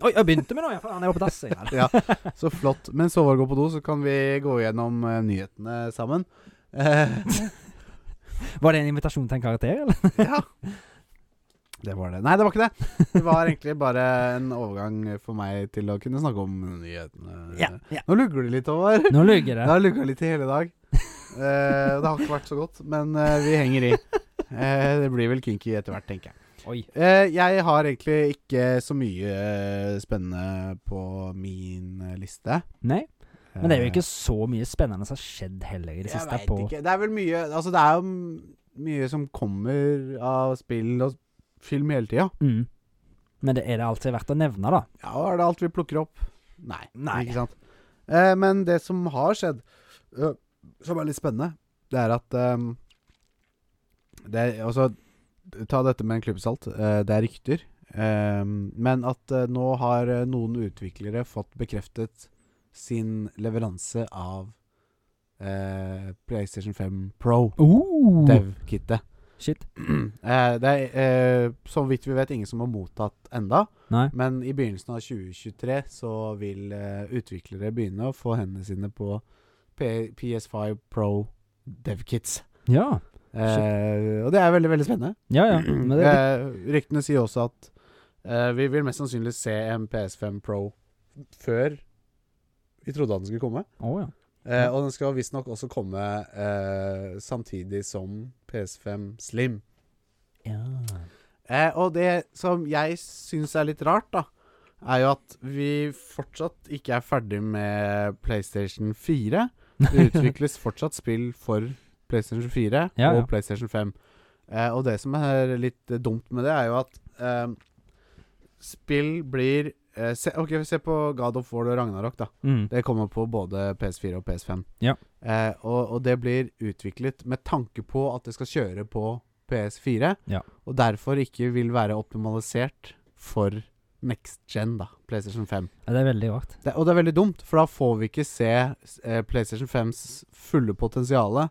Oi, jeg begynte med noe. jeg. Faen, jeg var på dass. jeg. Nei, Ja, så flott. Mens Håvard går på do, så kan vi gå gjennom eh, nyhetene sammen. Eh, da. Var det en invitasjon til en karakter, eller? Ja. Det var det. Nei, det var ikke det. Det var egentlig bare en overgang for meg til å kunne snakke om nyhetene. ja. Nå lugger det litt, Håvard. Nå lugger Det det. har lugga litt i hele dag. Eh, det har ikke vært så godt, men eh, vi henger i. Eh, det blir vel kinky etter hvert, tenker jeg. Oi. Eh, jeg har egentlig ikke så mye eh, spennende på min eh, liste. Eh, Nei, men det er jo ikke så mye spennende som har skjedd heller i det Jeg siste. vet På. ikke. Det er vel mye Altså, det er jo m- mye som kommer av spill og film hele tida. Mm. Men det er det alltid verdt å nevne, da. Ja, og er det alt vi plukker opp? Nei. Nei. Ikke sant? Eh, men det som har skjedd, øh, som er litt spennende, det er at ehm, det er, altså, Ta dette med en klubbsalt. Eh, det er rykter. Ehm, men at eh, nå har eh, noen utviklere fått bekreftet sin leveranse av eh, PlayStation 5 Pro. Oh. Dev-kittet. Shit. Eh, det er eh, så vidt vi vet ingen som har mottatt enda. Nei. Men i begynnelsen av 2023 så vil eh, utviklere begynne å få hendene sine på P PS5 Pro DevKits. Ja. Eh, og det er veldig, veldig spennende. Ja ja. Men det, Eh, ryktene sier også at eh, vi vil mest sannsynlig se en PS5 Pro før vi trodde at den skulle komme. Å, ja. Eh, Ja. og den skal visstnok også komme eh, samtidig som PS5 Slim. ja. Eh, og det som jeg syns er litt rart, da, er jo at vi fortsatt ikke er ferdig med PlayStation 4. Det utvikles fortsatt spill for PlayStation 4 Ja, og ja. PlayStation 5. Eh, og det som er litt eh, dumt med det, er jo at eh, spill blir eh, se, Ok, vi ser på God of War og Ragnarok, da. Mm. Det kommer på både PS4 og PS5. Ja. Eh, og, og det blir utviklet med tanke på at det skal kjøre på PS4, Ja. og derfor ikke vil være optimalisert for next gen, da, PlayStation 5. Ja, det er veldig rart. Det, og det er veldig dumt, for da får vi ikke se eh, PlayStation 5s fulle potensiale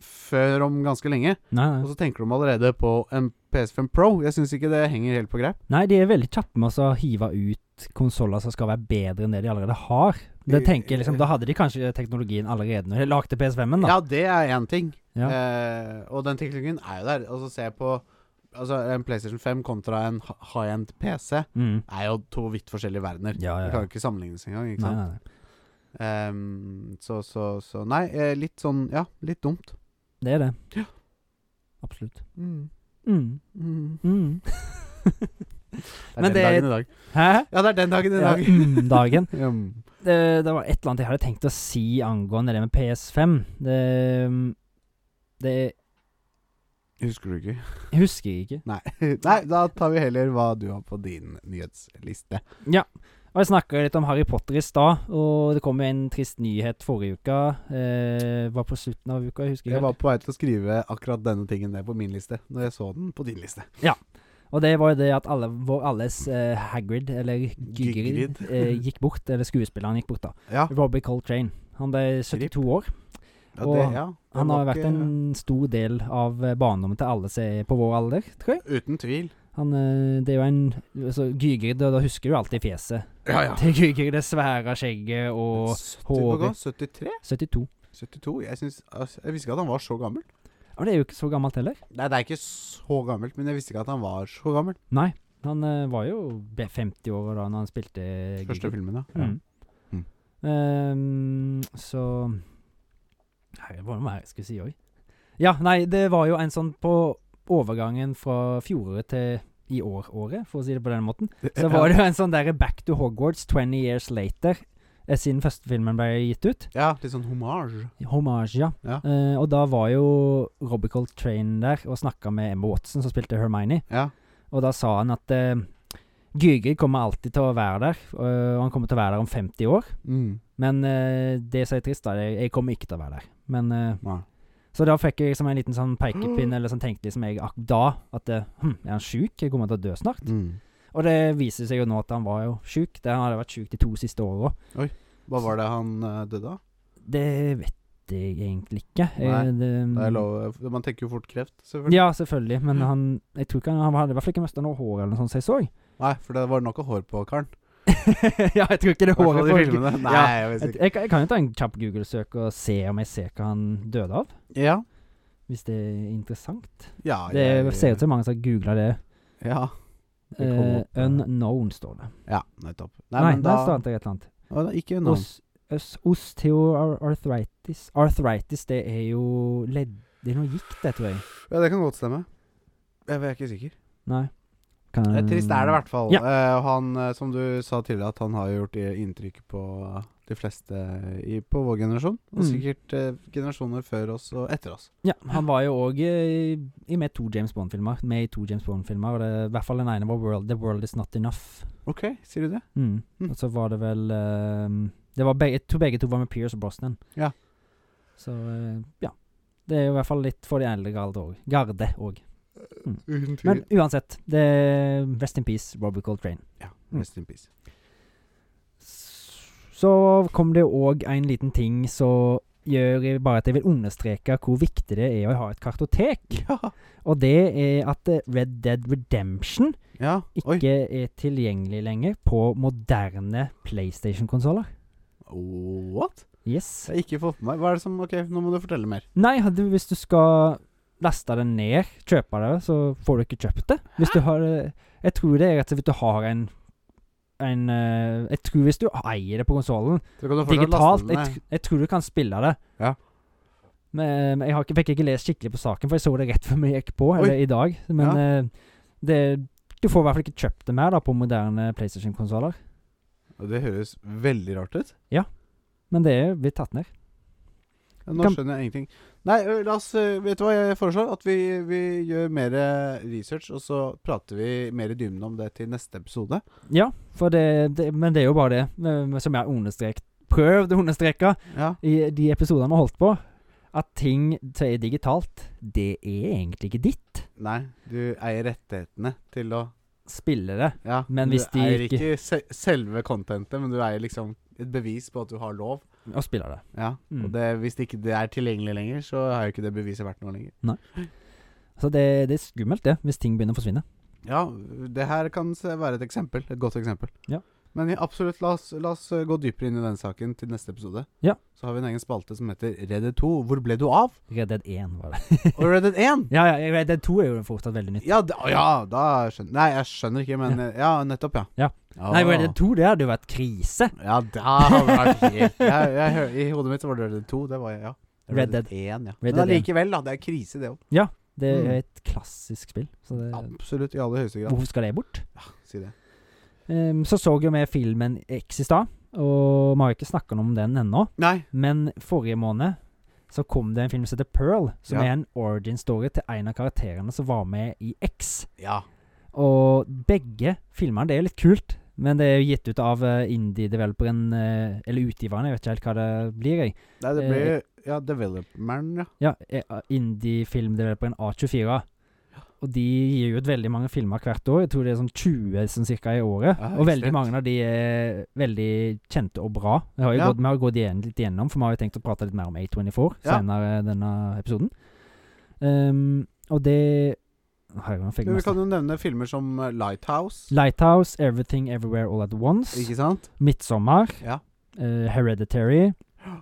før om ganske lenge. Nei, Og nei. så tenker de allerede på en PS5 Pro. Jeg syns ikke det henger helt på greip. nei, de er veldig kjappe med å hive ut konsoller som skal være bedre enn det de allerede har. Det tenker jeg liksom, Da hadde de kanskje teknologien allerede når de lagde PS5-en, da. Ja, det er én ting. Ja. Eh, og den teknologien er jo der. Og så ser jeg på Altså, en PlayStation 5 kontra en ha- high-end PC Mm. er jo to vidt forskjellige verdener. Ja, ja, Vi ja. kan jo ikke sammenlignes engang. ikke Nei, nei, sant? nei. Ehm, så, så, så Nei, eh, litt sånn Ja, litt dumt. Det er det. Ja. Absolutt. Mm. Mm. Mm. Mm. Det er Men den det- dagen i dag. Hæ? Ja, det er den dagen i Ja, dag. mm, dagen. Mm. det, det var et eller annet jeg hadde tenkt å si angående det med PS5. Det, mm, det Husker du ikke? jeg husker jeg ikke. Nei. Nei, da tar vi heller hva du har på din nyhetsliste. Og Jeg snakka litt om Harry Potter i stad, og det kom jo en trist nyhet forrige uke. Eh, var på slutten av uka, jeg husker Jeg ikke. var på vei til å skrive akkurat denne tingen ned på min liste, når jeg så den på din liste. Og det var jo det at alle, vår alles eh, Hagrid, eller Gygrid, Gygrid. eh, gikk bort. Eller skuespilleren gikk bort, da. Ja, Robbie Coltrane. Han ble 72 år. ja, Og det, ja. Det Han har var vært ikke- en stor del av eh, barndommen til alle som er på vår alder, tror jeg. Uten tvil. Han, eh, det er jo en altså, Gygrid, og da husker du alltid fjeset. Ja, ja. Til Gygrid, det svære skjegget og 70, hvor Håvard. gammel? 73? 72. 72? Jeg, syns, altså, jeg visste ikke at han var så gammel. Men det er jo ikke så gammelt heller. Nei, det er ikke så gammelt, men jeg visste ikke at han var så gammel. Nei, han eh, var jo be- 50 år da når han spilte Første Gygrid. filmen, ja. Mm. Mm. Ehm, så Herre, hva var det jeg skulle si òg? Ja, nei, det var jo en sånn på overgangen fra fjoråret til i år-året, for å si det på den måten. Så var det jo en sånn derre Back to Hogwarts 20 years later, eh, siden første filmen ble gitt ut. Ja, litt sånn hommage. Hommage, ja. Ja. Eh, og da var jo Robbie Coltrane der og snakka med Emma Watson, som spilte Hermione. Ja. Og da sa han at uh, Gygrid kommer alltid til å være der, eh, og han kommer til å være der om 50 år. Mm. Men eh, det som er trist, da, jeg, jeg kommer ikke til å være der. Men eh, Nei. Så da fikk jeg liksom en liten sånn pekepinn, eller sånn tenkte liksom jeg ak da at eh, hm, er han sjuk? Jeg kommer til å dø snart. Mm. Og det viser seg jo nå at han var jo sjuk. Det han hadde vært sjuk de to siste åra. Hva var det han eh, døde av? Det vet jeg egentlig ikke. Nei, Jeg, det, mm, Det er lov- Man tenker jo fort kreft, selvfølgelig. Ja, selvfølgelig. Men han Jeg tror ikke han, han hadde i hvert fall ikke mista noe hår eller noe sånt som jeg så. Nei, for det var nok av hår på karen. ja, jeg tror ikke det I hvert fall håret i folk- filmene. Nei, Ja. jeg vet Jeg, ikke. jeg, kan- jeg kan jo ta en kjapp Google-søk og se om jeg ser hva han døde av. Ja. Hvis det er interessant. ja Det jeg- ser ut som mange som har googla det. Ja. Det kom Eh, opp, eh, unknown, står det. Ja, nettopp. Nei, men der da- står det et eller annet. Å, da, Ikke unna. Os, os, osteoarthritis Arthritis, det er jo ledd... Det er noe gikt, det, tror jeg. Ja, det kan godt stemme. Jeg jeg er ikke sikker. Nei. Kan, Eh, Trist er det i hvert fall. Ja. Eh, han, eh, som du sa tidligere, at han har gjort i- inntrykk på de fleste i, på vår generasjon. Og Mm. sikkert eh, generasjoner før oss og etter oss. Ja, han var jo òg med to James Bond-filmer. Med i to James Bond-filmer, og det i hvert fall den ene var World, 'The World Is Not Enough'. Ok, sier du det? Mm. Mm. Og så var det vel eh, Det var begge to, begge to var med Pierce Brosnan. Ja. Så eh, ja. Det er jo i hvert fall litt for de eldre garde òg. Garde òg. Uten Men uansett, det er Rest in peace, Robbie Coltrane. ja, Mm. rest in peace. S- Så kom det òg en liten ting som gjør jeg bare at jeg vil understreke hvor viktig det er å ha et kartotek. Ja. Og det er at eh, Red Dead Redemption ja. Oi. ikke er tilgjengelig lenger på moderne PlayStation-konsoller. What? Yes. Det har jeg ikke fått med meg. Hva er det som Ok, nå må du fortelle mer. Nei, du, hvis du skal laste det ned, kjøpe det, så får du ikke kjøpt det. Hvis du har eh, Jeg tror det er rett og slett hvis du har en en, eh, jeg tror hvis du eier det på konsollen, Så kan du fortsatt digitalt. laste den Jeg, ned. tr- jeg tror du kan spille det. Ja. Men, men jeg har ikke, fikk ikke lest skikkelig på saken, for jeg så det rett før vi gikk på, eller i dag. Men eh, det, du får i hvert fall ikke kjøpt det mer da, på moderne PlayStation-konsoller. Og Det høres veldig rart ut. Men det er blitt tatt ned. Ja, Nå Kan- skjønner jeg ingenting. Nei, ø, la oss ø, Vet du hva jeg foreslår? At vi, vi gjør mer ø, research, og så prater vi mer i dybden om det til neste episode. Ja, for det, det, men det er jo bare det, eh, som jeg har understreket Prøvd å understreke Ja. i de episodene vi har holdt på, at ting som er digitalt, det er egentlig ikke ditt. Nei, du eier rettighetene til å Spille det. Ja. Men hvis de du eier ikke- ikke se selve contentet, men du eier liksom et bevis på at du har lov. Og spille det. Ja. Mm. Og det, hvis det ikke det er tilgjengelig lenger, så har jo ikke det beviset vært noe lenger. Så det, det er skummelt, det, hvis ting begynner å forsvinne. Ja, det her kan se- være et eksempel. Et godt eksempel. Ja. Men ja, absolutt, la oss, la oss eh, gå dypere inn i den saken til neste episode. Ja. Så har vi en egen spalte som heter Reddit 2. Hvor ble du av? Red Dead 1 var det. Og Reddit 1! Ja, ja, Red Dead 2 er jo fortsatt veldig nytt. Ja, da, å ja, da skjønner Nei, jeg skjønner ikke, men eh, Ja, nettopp, ja. Ja. Å. Nei, Red Dead 2 det hadde jo vært krise. Ja, da har vi vært helt jeg, jeg, hø- I hodet mitt så var det Red Dead 2. Det var jeg, ja. Red Dead. 1, ja. Red men Dead 1. allikevel, da. Det er krise, det òg. Det Mm. er et klassisk spill. Så det, Absolutt. I aller høyeste grad. hvorfor skal det bort? Si det. Ehm, så så jo vi filmen X i stad, og vi har ikke snakka om den ennå. Nei. Men forrige måned så kom det en film som heter Pearl, som Ja. er en origin story til en av karakterene som var med i X. Ja. Og begge filmene, det er litt kult, men det er jo gitt ut av eh, indie-developeren, eh, eller utgiveren, jeg vet ikke helt hva det blir, jeg. Nei, det Eh, ble Ja, Developeren, ja. Ja, eh, indie-filmdeveloperen A24. Og de gir ut veldig mange filmer hvert år. Jeg tror det er sånn 20 sånn cirka i året. Ja, og veldig ekstremt. mange av de er veldig kjente og bra. Vi har jo Ja. gått, vi har gått igjen, litt igjennom, for vi har jo tenkt å prate litt mer om A24 Ja. senere i denne episoden. Ehm, og det Herregud, nå fikk jeg Men vi masse. kan jo nevne filmer som eh, Lighthouse. Lighthouse, Everything Everywhere All At Once, Ikke sant? Midtsommer, Ja. eh, Hereditary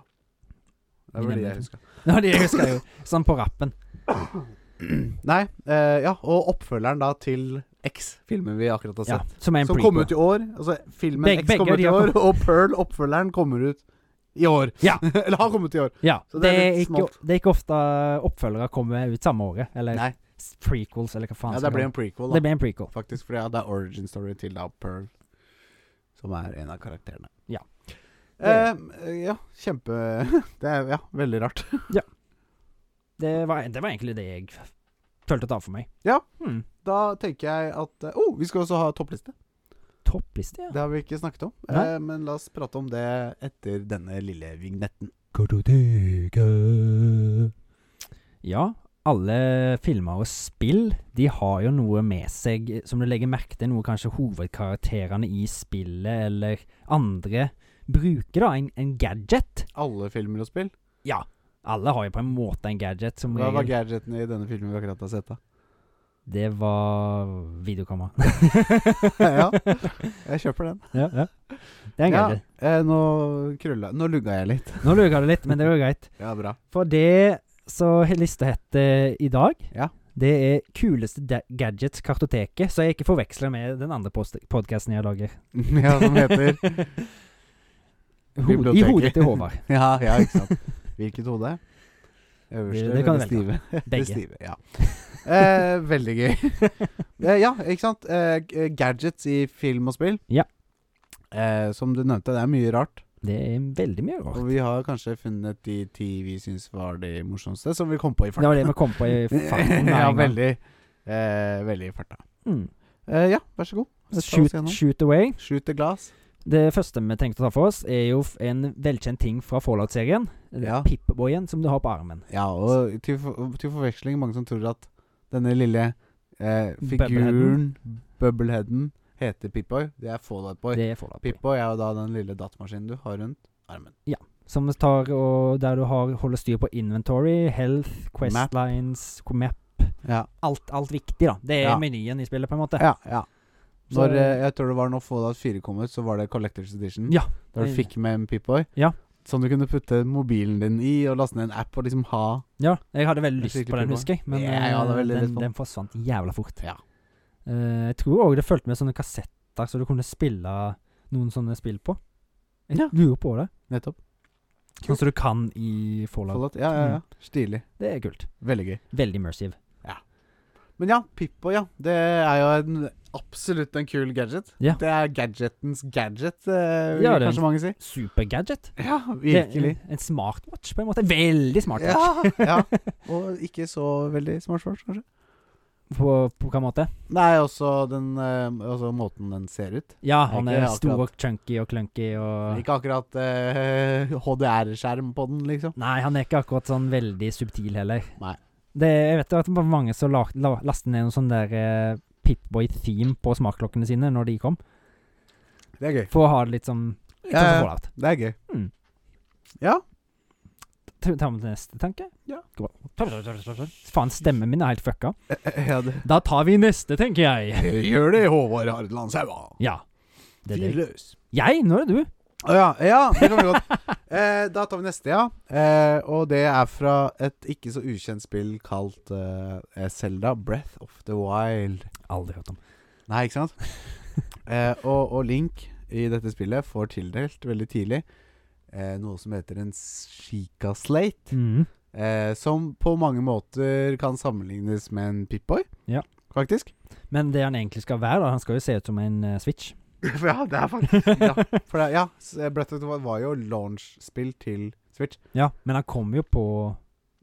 Det var Vi de nevner jeg huska. Ja, de husker jeg jo. Sånn på rappen. Nei, eh, ja, og oppfølgeren da til X-filmen vi akkurat har Ja, sett. som er en som kom prequel. ut i år. Altså, filmen Beg- X begge kommer de ut i har år, og Pearl, oppfølgeren, kommer ut i år. Ja. Eller har kommet i år. Ja, Så det, det er er litt ikke, smalt. det er ikke ofte oppfølgere kommer ut samme året. Eller Nei. s- prequels, eller hva faen. Ja, skal det ble det- en prequel, det da. ble en prequel. Faktisk, for ja, det er origin story til da Pearl, som er en av karakterene. Ja. Eh, ja, kjempe Det er ja, veldig rart. Det var, det var egentlig det jeg f- følte å ta for meg. Ja. Hmm. Da tenker jeg at eh, Oh, vi skal også ha toppliste. Toppliste, ja. Det har vi ikke snakket om. Nei. Eh, men la oss prate om det etter denne lille vignetten. Ja, alle filmer og spill De har jo noe med seg eh, som du legger merke til, noe kanskje hovedkarakterene i spillet eller andre bruker, da. En, en gadget. Alle filmer og spill. Alle har jo på en måte en gadget. Som Hva var regel. gadgeten i denne filmen vi akkurat har sett? da? Det var videokamera. Ja. Jeg kjøper den. ja, ja. Det er en gadget. eh, nå krølla Nå lugga jeg litt. Nå luka det litt, men det går greit. Ja, bra. For det så he- lista heter i dag, Ja. det er kuleste da- gadgets kartoteket, så jeg ikke forveksler med den andre podkasten jeg lager. ja, som heter Hode, I Biblioteket. hodet til Håvard. Ja, ja, ikke sant. Hvilket hode? Øverste Det- det kan eller du velge. stive? Det Begge. stive, ja. Eh, veldig gøy. Eh, ja, ikke sant. Eh, g- gadgets i film og spill. Ja. Eh, som du nevnte, det er mye rart. Det er veldig mye rart. Og vi har kanskje funnet de ti vi syns var de morsomste, som vi kom på i Det var farta. det vi kom på i farten. med ja, en gang. veldig. Eh, veldig i farta. Mm. Eh, ja, vær så god. Så Ta oss Shoot, gjennom. shoot away. Shoot the glass. Det første vi tenkte å ta for oss, er jo f- en velkjent ting fra Fallout-serien. Ja. Pip-boyen som du har på armen. Ja, og til, for, til forveksling mange som tror at denne lille eh, figuren, Bubbleheaden. bubbleheaden, heter Pip-Boy. Det er Fallout Boy. Det er Fallout-boy. Pip-Boy er jo da den lille datamaskinen du har rundt armen. Som tar og Der du har, holder styr på inventory, health, Map. questlines, map. Ja, Alt, alt viktig, da. Det er Ja. menyen i spillet, på en måte. ja. ja. Så- Når, eh, jeg tror det var når Fallout 4 kom ut, så var det Collectors Edition. Ja, der du det- fikk med en Pip-Boy. Ja. Som du kunne putte mobilen din i og laste ned en app og liksom ha. Ja, jeg hadde veldig En lyst på skikkelig den, playboy. husker jeg. Men Ja, jeg hadde eh, veldig lyst den, på den. den forsvant jævla fort. Ja. Eh, jeg tror òg det fulgte med sånne kassetter, så du kunne spille noen sånne spill på. Jeg Ja. lurer på det. Nettopp. Sånn som du kan i Fallout. Mm. Fallout. Ja, ja, ja. Stilig. Det er kult. Veldig gøy. Veldig immersive. Men ja, Pippo, ja. Det er jo en, absolutt en kul gadget. Ja. Det er gadgetens gadget, eh, vil Ja, det er kanskje mange si. Supergadget. Ja, Det- virkelig. En, en smartwatch, på en måte. Veldig smartwatch. Ja, ja. Og ikke så veldig smart svart, kanskje. På, på hvilken måte? Nei, også den eh, også måten den ser ut. Ja, Nei, han ikke er akkurat. stor og chunky og klunky og Ikke akkurat eh, HDR-skjerm på den, liksom. Nei, han er ikke akkurat sånn veldig subtil heller. Nei. Det, jeg vet jo at det var mange som la, la, lastet ned noe sånn der eh, Pipboy-theme på smartklokkene sine når de kom, Det er gøy. for å ha det litt sånn sånn som Fallout. det er gøy. Mm. Ja. Ta ta med til neste tanke. Ja. Faen, stemmen min er helt fucka. ja det. Da tar vi neste, tenker jeg. Gjør det, Håvard Hardeland Saua. Ja. Det er Fyr det. løs. Jeg? Nå er det du. Å ja, ja, det kan vi godt. Eh, da tar vi neste, ja. Eh, og det er fra et ikke så ukjent spill kalt Selda Breath of the Wild. Aldri hørt om. Nei, ikke sant? Eh, og, og Link i dette spillet får tildelt veldig tidlig eh, noe som heter en Chica Slate. Mhm. Eh, som på mange måter kan sammenlignes med en Pip-Boy, Ja. faktisk. Men det han egentlig skal være, da Han skal jo se ut som en eh, Switch. ja, det er faktisk Ja, for det, ja s- Breath of the Wild var jo launch-spill til Switch. Ja, men han kom jo på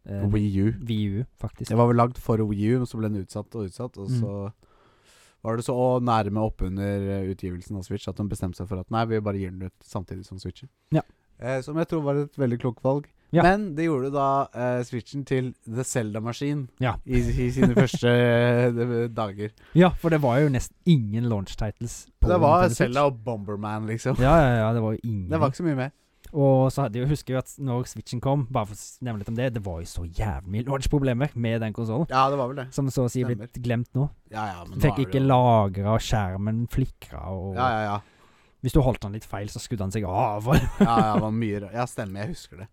eh, Wii U. VU, faktisk. Det var vel lagd for Wii U, men så ble den utsatt og utsatt. Og Mm. så var det så nærme oppunder eh, utgivelsen av Switch at de bestemte seg for at nei, vi bare gir den ut samtidig som Switchen. Ja. Eh, som jeg tror var et veldig klokt valg. Ja. Men det gjorde da eh, Switchen til The Zelda-maskin Ja. i, i sine første eh, de- dager. Ja, for det var jo nesten ingen launch titles. på det var Nintendo Switch. Zelda og Bomberman, liksom. Ja, ja, ja, det var jo ingen. Det var ikke så mye mer. Og så hadde jeg, husker jeg jo at når Switchen kom, bare for å nevne litt om det, det var jo så jævlig mye launch-problemer med den konsollen. Ja, det var vel det. Som så å si er blitt glemt nå. Ja, ja, men nå Fikk er det ikke jo- lagra, og skjermen flikra, og Ja, ja, ja. hvis du holdt den litt feil, så skudde han seg av. Ja, ja, det var mye rart. Ja, stemmer, jeg husker det.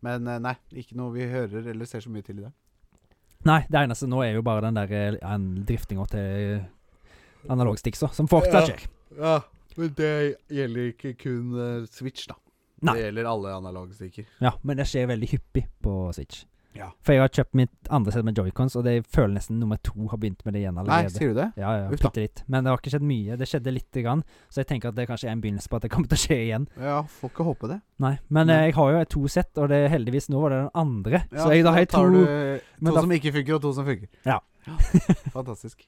Men eh, nei, ikke noe vi hører eller ser så mye til i dag. Nei, det eneste nå er jo bare den der eh, an- driftinga til analogstiksa, som fortsatt Ja. skjer. Ja, men det gjelder ikke kun eh, Switch, da. Nei. Det gjelder alle analoge stikker. Ja, men det skjer veldig hyppig på Switch. Ja. For jeg har kjøpt mitt andre sett med joycons, og det føler nesten nummer to har begynt med det igjen Nei, allerede. sier du det? Ja, ja, Uff da. bitte litt. Men det har ikke skjedd mye. Det skjedde lite grann, så jeg tenker at det kanskje er en begynnelse på at det kommer til å skje igjen. Ja, får ikke håpe det. Nei, Men Nei. eh, jeg har jo to sett, og det heldigvis nå var det den andre. Ja, så jeg da har jeg tar to du men to da- som ikke funker, og to som funker. Ja. Fantastisk.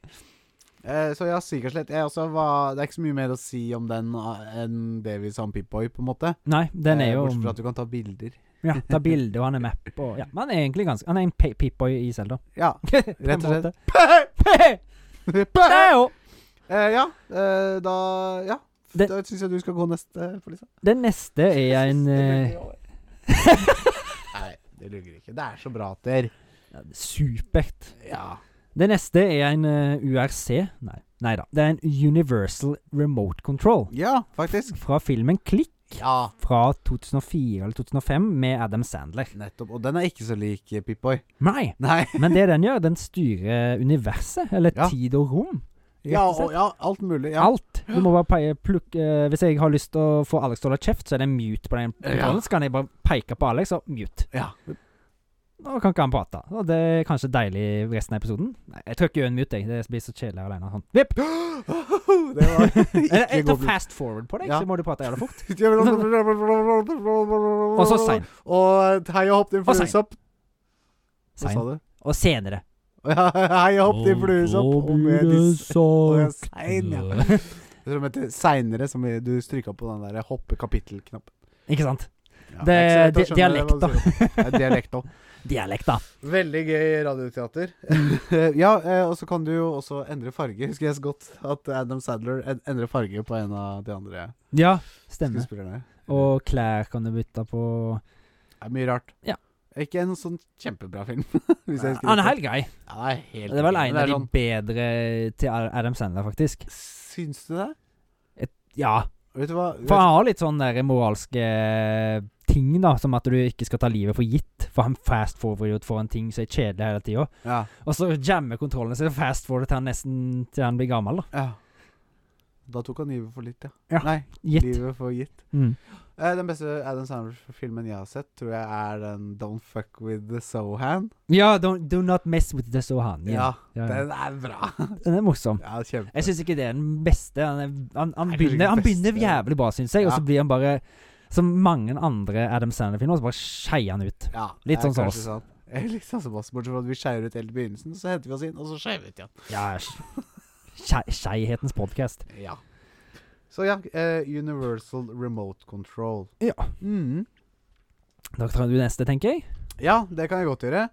Eh, så ja, Sigerslett jeg også var, Det er ikke så mye mer å si om den ah, enn det vi sa om Pip-Boy, på en måte. Nei, den Eh, er jo Bortsett fra at du kan ta bilder. Ja, ta bilde, og han er map, og Ja, men han er egentlig ganske Han er en pe- Pip-boy i Zelda. Ja, rett og slett. Det er jo Eh, ja, eh, da Ja. Det- Da syns jeg du skal gå neste, eh, Felisa. Den neste er en eh, Nei, det lugger ikke. Det er så bra, Ter. ja, Supert. Ja. Det neste er en eh, URC Nei, nei da. Det er en Universal Remote Control ja, faktisk. fra filmen Klikk Ja, fra 2004 eller 2005 med Adam Sandler. nettopp. Og den er ikke så lik eh, Pip-Boy. Nei, Nei. men det den gjør, den styrer eh, universet, eller Ja. tid og rom. Rett Ja, og slett. og, ja, alt mulig. Ja. Alt. Du må bare peie, plukke eh, Hvis jeg har lyst til å få Alex til å holde kjeft, så er det mute på den kontrollen. Ja. Så kan jeg bare peke på Alex og mute. ja. Nå kan ikke han prate. Og det er kanskje deilig resten av episoden. Nei, jeg trykker jo en mute, jeg. Det blir så kjedelig alene. Sånn. Vipp! Det var Jeg, jeg ikke tar god fast forward på deg, Ja. så må du prate jævla fort. Og Og så sein. altså, Og eh, hei og hopp din Og sein. fluesopp. Hva sa sein. du? Og senere. Ja, hei og hopp din fluesopp. Og med disse Og jeg er sagt sein, ja. Jeg tror de heter seinere, som i- du strykka på den der hoppe-kapittel-knappen. Ikke sant? Ja, Det- er ikke så lett di- å skjønne hva du dialekter. sier. Ja, dialekter. Dialekt, da. Veldig gøy radioteater. ja, eh, og så kan du jo også endre farge. Husker jeg så godt at Adam Sadler en- endrer farge på en av de andre Ja, stemmer. skuespillerne. Og klær kan du bytte på. Det er mye rart. Ja. Ikke en sånn kjempebra film. hvis jeg husker Han er helt riktig. grei. Ja, det er helt Det er vel riktig, en men av det de er sånn- bedre til Adam Sandler, faktisk. Syns du det? Ja. Vet du hva? For han har litt sånn der moralske eh, ting, da. Som at du ikke skal ta livet for gitt. For han fast forward for en ting som er kjedelig hele tida. Ja. Og så jammer kontrollen, så er det fast forward til han nesten til han blir gammel, da. ja. Da tok han livet for litt, ja. Ja, Nei, Gitt. livet for gitt. Mm. Eh, den beste Adam Sandler-filmen jeg har sett, tror jeg er den Don't Fuck With The Sohan. Ja, don't, do not mess with the Sohan. Ja, Ja. Ja, ja. den er bra. Den er morsom. Ja, kjempe. Jeg syns ikke det er den beste. Han, er, han, han, Nei, kanskje ikke begynner, han den begynner beste. jævlig bra, syns jeg, og Ja. så blir han bare som mange andre Adam Sandler-filmer, så bare skeier han ut. ja, litt det er sånn som kanskje oss. sant. Eh, Litt sånn som oss, bortsett fra at vi skeier ut helt i begynnelsen, så henter vi oss inn, og så skeier vi ut igjen. Ja, skei- Skeihetens podkast. Ja. Så ja, eh, Universal Remote Control. Ja. Mhm. Da tar du neste, tenker jeg. Ja, det kan jeg godt gjøre.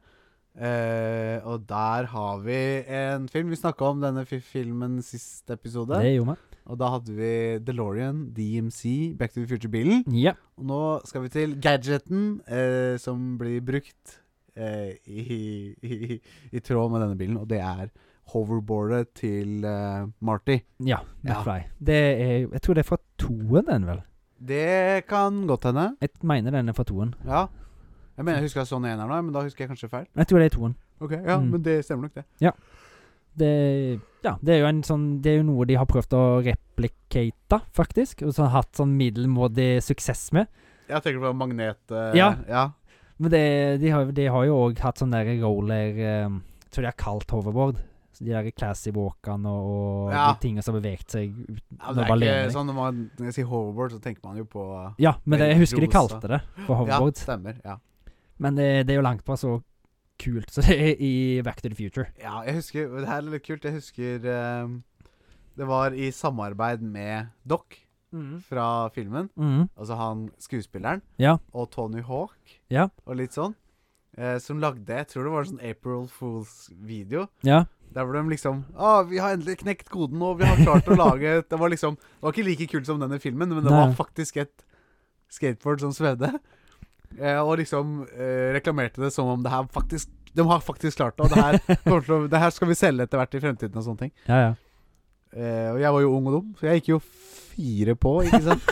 Eh, og der har vi en film. Vi snakka om denne fi filmen sist episode. Det gjorde vi. Og da hadde vi DeLorean, DMC, Back to the Future-bilen. Ja. Og nå skal vi til gadgeten eh, som blir brukt eh, i, i, i tråd med denne bilen, og det er hoverboardet til eh, Marty. ja Ja. McFly. Det er, jeg tror det er fra toen, den vel. Det kan godt hende. Jeg mener den er fra toen. Ja. Jeg mener, jeg husker jeg så den ene her nå, men da husker jeg kanskje feil. Jeg tror det er toen. Ok, ja, Mm. men det stemmer nok, det. det, ja, det er jo en sånn Det er jo noe de har prøvd å replicate, faktisk. Og så har hatt sånn middelmådig suksess med. Jeg tenker på magnet... eh, Ja. ja. Men det, de, har, de har jo òg hatt sånn der roller eh, Jeg tror de har kalt hoverboard. Så de der classy walkene og, og Ja. de tingene som har beveget seg ut. Ja, Nå det er bare lener ikke jeg. sånn når man når jeg sier hoverboard, så tenker man jo på eh, Ja, men det, jeg husker de Rosa. kalte det for hoverboard. Ja, stemmer. Ja. Men det, det er jo langt fra så kult som det er i Back to the Future. Ja, jeg husker Det her er litt kult. Jeg husker ehm, Det var i samarbeid med Doc Mm. fra filmen. Mhm. Altså han skuespilleren. Ja. Og Tony Hawk. Ja. Og litt sånn. eh, som lagde Jeg tror det var en sånn April Fools-video. Ja. Der hvor de liksom Å, vi har endelig knekt koden, og vi har klart å lage et-» Det var liksom Det var ikke like kult som denne filmen, men det Nei. var faktisk et skateboard som svevde. Eh, og liksom eh, reklamerte det som om det her faktisk De har faktisk klart det, og det her Kommer til å, det her skal vi selge etter hvert i fremtiden og sånne ting. ja, ja. Eh, og jeg var jo ung og dum, så jeg gikk jo fire på, ikke sant.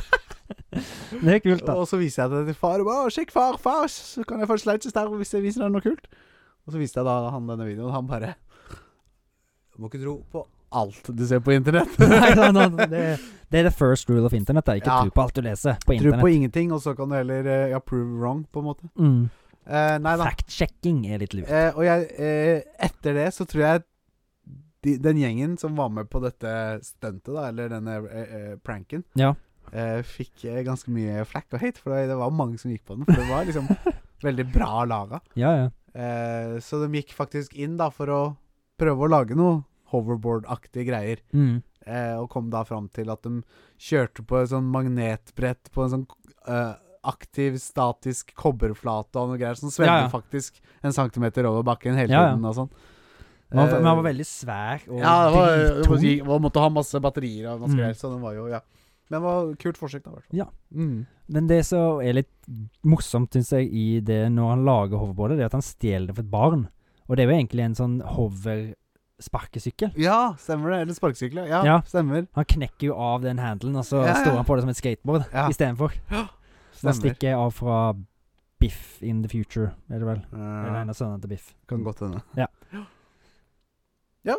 Det er kult, da. og så viste jeg det til far. Og bare, «Å, 'Sjekk, far, far, så kan jeg få en slices der hvis jeg viser deg noe kult.' Og så viste jeg da han denne videoen, og han bare Du må ikke tro på alt du ser på internett. Nei, nei, nei, det, det er the first rule of internett. da. Ikke Ja. tro på alt du leser på Tro internett. på ingenting, og så kan du heller eh, ja, prove wrong, på en måte. Mm. Eh, nei da. Fact-checking er litt lurt. Eh, og jeg, eh, etter det så tror jeg de, den gjengen som var med på dette stuntet, da, eller denne eh, eh, pranken, Ja. eh, fikk eh, ganske mye flack og hate, for det, det var mange som gikk på den. For det var liksom veldig bra laga. Ja, ja. Eh, så de gikk faktisk inn da for å prøve å lage noe hoverboard-aktige greier. Mm. Eh, og kom da fram til at de kjørte på et sånn magnetbrett på en sånn eh, aktiv, statisk kobberflate og noe greier som svevde Ja, ja. faktisk en centimeter over bakken hele Ja, ja. tiden og sånn. Men han, Eh, men han var veldig svær og ja, det var, det var, drittung. det var- måtte ha masse batterier og masse Mm. greier, så den var jo Ja. Men det var et kult forsøk, da, i hvert fall. Ja. Mm. Men det som er litt morsomt, syns jeg, i det når han lager hoverboardet, det er at han stjeler det fra et barn. Og det er jo egentlig en sånn hover-sparkesykkel. ja stemmer det. Eller sparkesykler. Ja, Ja. stemmer. Han knekker jo av den handelen, og så Ja, ja. står han på det som et skateboard Ja. istedenfor. Så han stemmer. stikker av fra Biff in the future, er det vel. Eller Eh, en av sønnene til Biff. kan godt hende. Ja. Ja.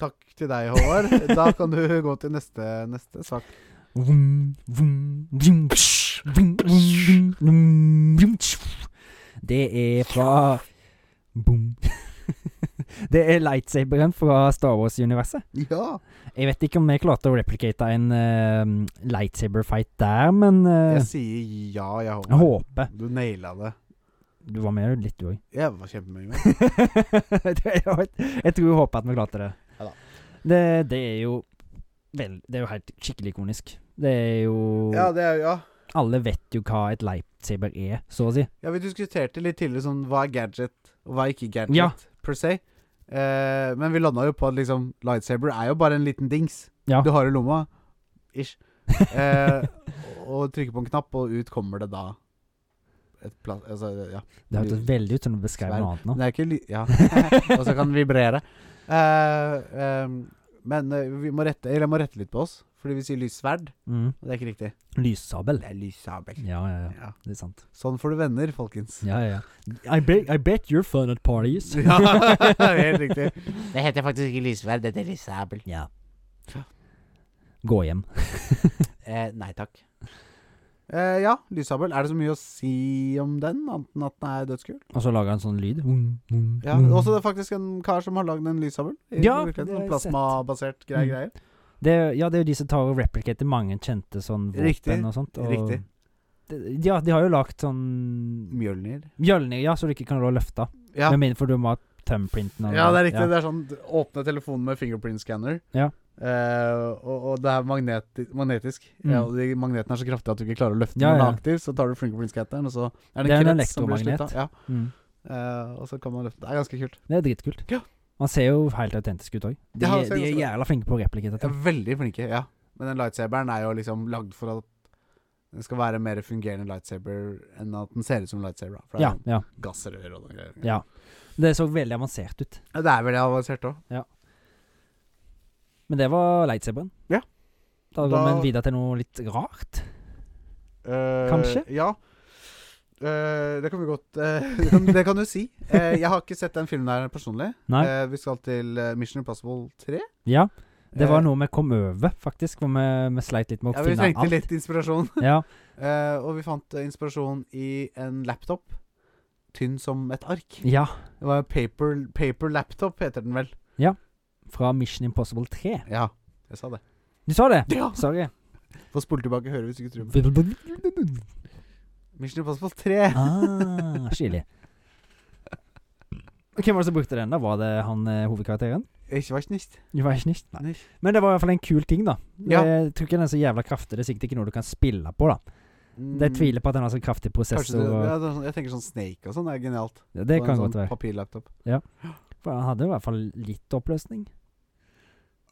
Takk til deg, Håvard. Da kan du gå til neste, neste sak. Vum, vum, vum, psh, vum, vum, vum, vum, tsh. Det er fra Boom. Det er lightsaberen fra Star Wars-universet. Ja. Jeg vet ikke om jeg klarte å replicate en eh, lightsaber-fight der, men eh, Jeg sier ja, jeg jeg håper. håper Du naila det. Du var med litt, du òg. Jeg var kjempemye med. jeg tror jeg håper at vi klarte det. Ja da. Det, det er jo vel, Det er jo helt skikkelig ikonisk. Det er jo Ja, det er jo ja. Alle vet jo hva et lightsaber er, så å si. ja, vi diskuterte litt tidligere sånn hva er gadget, og hva er ikke gadget, Ja. per se. Eh, men vi landa jo på at liksom lightsaber er jo bare en liten dings Ja. du har i lomma. Ish. Eh, og trykker på en knapp, og ut kommer det da et plass Altså, ja. Det hørtes veldig ut som du beskrev noe annet nå. Men det er ikke ly... Ja. og så kan den vibrere. Eh, ehm, men eh, vi må rette Eller jeg må rette litt på oss, fordi vi sier lyssverd, Mm. og det er ikke riktig. Lyssabel. Det er lyssabel. Ja, ja, ja. Ja. Det er sant. Sånn får du venner, folkens. Ja, ja. I bet, I bet you're fun at parties. Ja, helt riktig. Det heter faktisk ikke lysverd, det heter lysabel. Ja. Gå hjem. Eh, nei takk. Eh, ja, Lysabel. Er det så mye å si om den, annet enn at den er dødskul? Og så lager han sånn lyd. Ja, Også det er faktisk en kar som har lagd en Lysabel. i Ja, virkeligheten, det har jeg en sett. Plasmabasert greie Mm. greier. Det, er- ja, det er jo de som tar og replicater mange kjente sånn våpen Riktig, og sånt. Og riktig. De, ja, de har jo lagd sånn Mjølner. Mjølner, ja, så du ikke kan rå løfta. Ja. Med mindre for du må ha thumbprinten. og- ja, det er ja. riktig. Det er sånn d- åpne telefonen med fingerprint scanner. Ja. Eh, og, og det er magneti magnetisk. Mm. Ja, og de magneten er så kraftig at du ikke klarer å løfte Ja, den ja. ja. aktiv. Så tar du fingerprint scanneren, og så er Det det er en en krets som blir elektromagnet. slutta. Ja. Mm. Eh, og så kan man løfte den. Det er ganske kult. Det er dritkult. Ja. Han ser jo helt autentisk ut òg. De, Ja, han ser de er ganske bra. jævla flinke på å replikere De dette. er veldig flinke, ja. Men den lightsaberen er jo liksom lagd for at den skal være mer fungerende lightsaber enn at den ser ut som en lightsaber. da. For det Ja, er ja, sånn gassrør og noen greier. ja. Det så veldig avansert ut. Ja, Det er veldig avansert òg. Men det var lightsaberen. Ja. Da går Da- vi videre til noe litt rart. Kanskje? Ja. Eh, det kan vi godt eh, det, kan, det kan du si. Eh, jeg har ikke sett den filmen der personlig. Nei. Eh, vi skal til eh, Mission Impossible 3. Ja, det var Eh, noe vi kom over, faktisk. Hvor vi, vi sleit litt med å ja, Vi finne trengte alt. litt inspirasjon. Ja, Eh, og vi fant eh, inspirasjon i en laptop. Tynn som et ark. ja, Det var paper, paper laptop, heter den vel. fra Mission Impossible 3. Ja, jeg sa det. Du sa det? Ja. Sorry. Få spole tilbake og høre hvis du ikke tror meg. Ah, Mission Impossible 3. Chili. Ah, Hvem var det som brukte den? da? Var det han eh, hovedkarakteren? Ikke vær snist. Jeg vet ikke. Nei. Nicht. Men det var i hvert fall en kul ting, da. Eh, Ja. Jeg tror ikke den er så jævla kraftig. Det er sikkert ikke noe du kan spille på, da. Det jeg tviler på at den har så kraftig Mm. Kanskje prosessor. det, og- ja, det er sånn- jeg tenker sånn Snake og sånn er genialt. Ja, det På en kan sånn godt være. Papirlaptop. For han hadde i hvert fall litt oppløsning.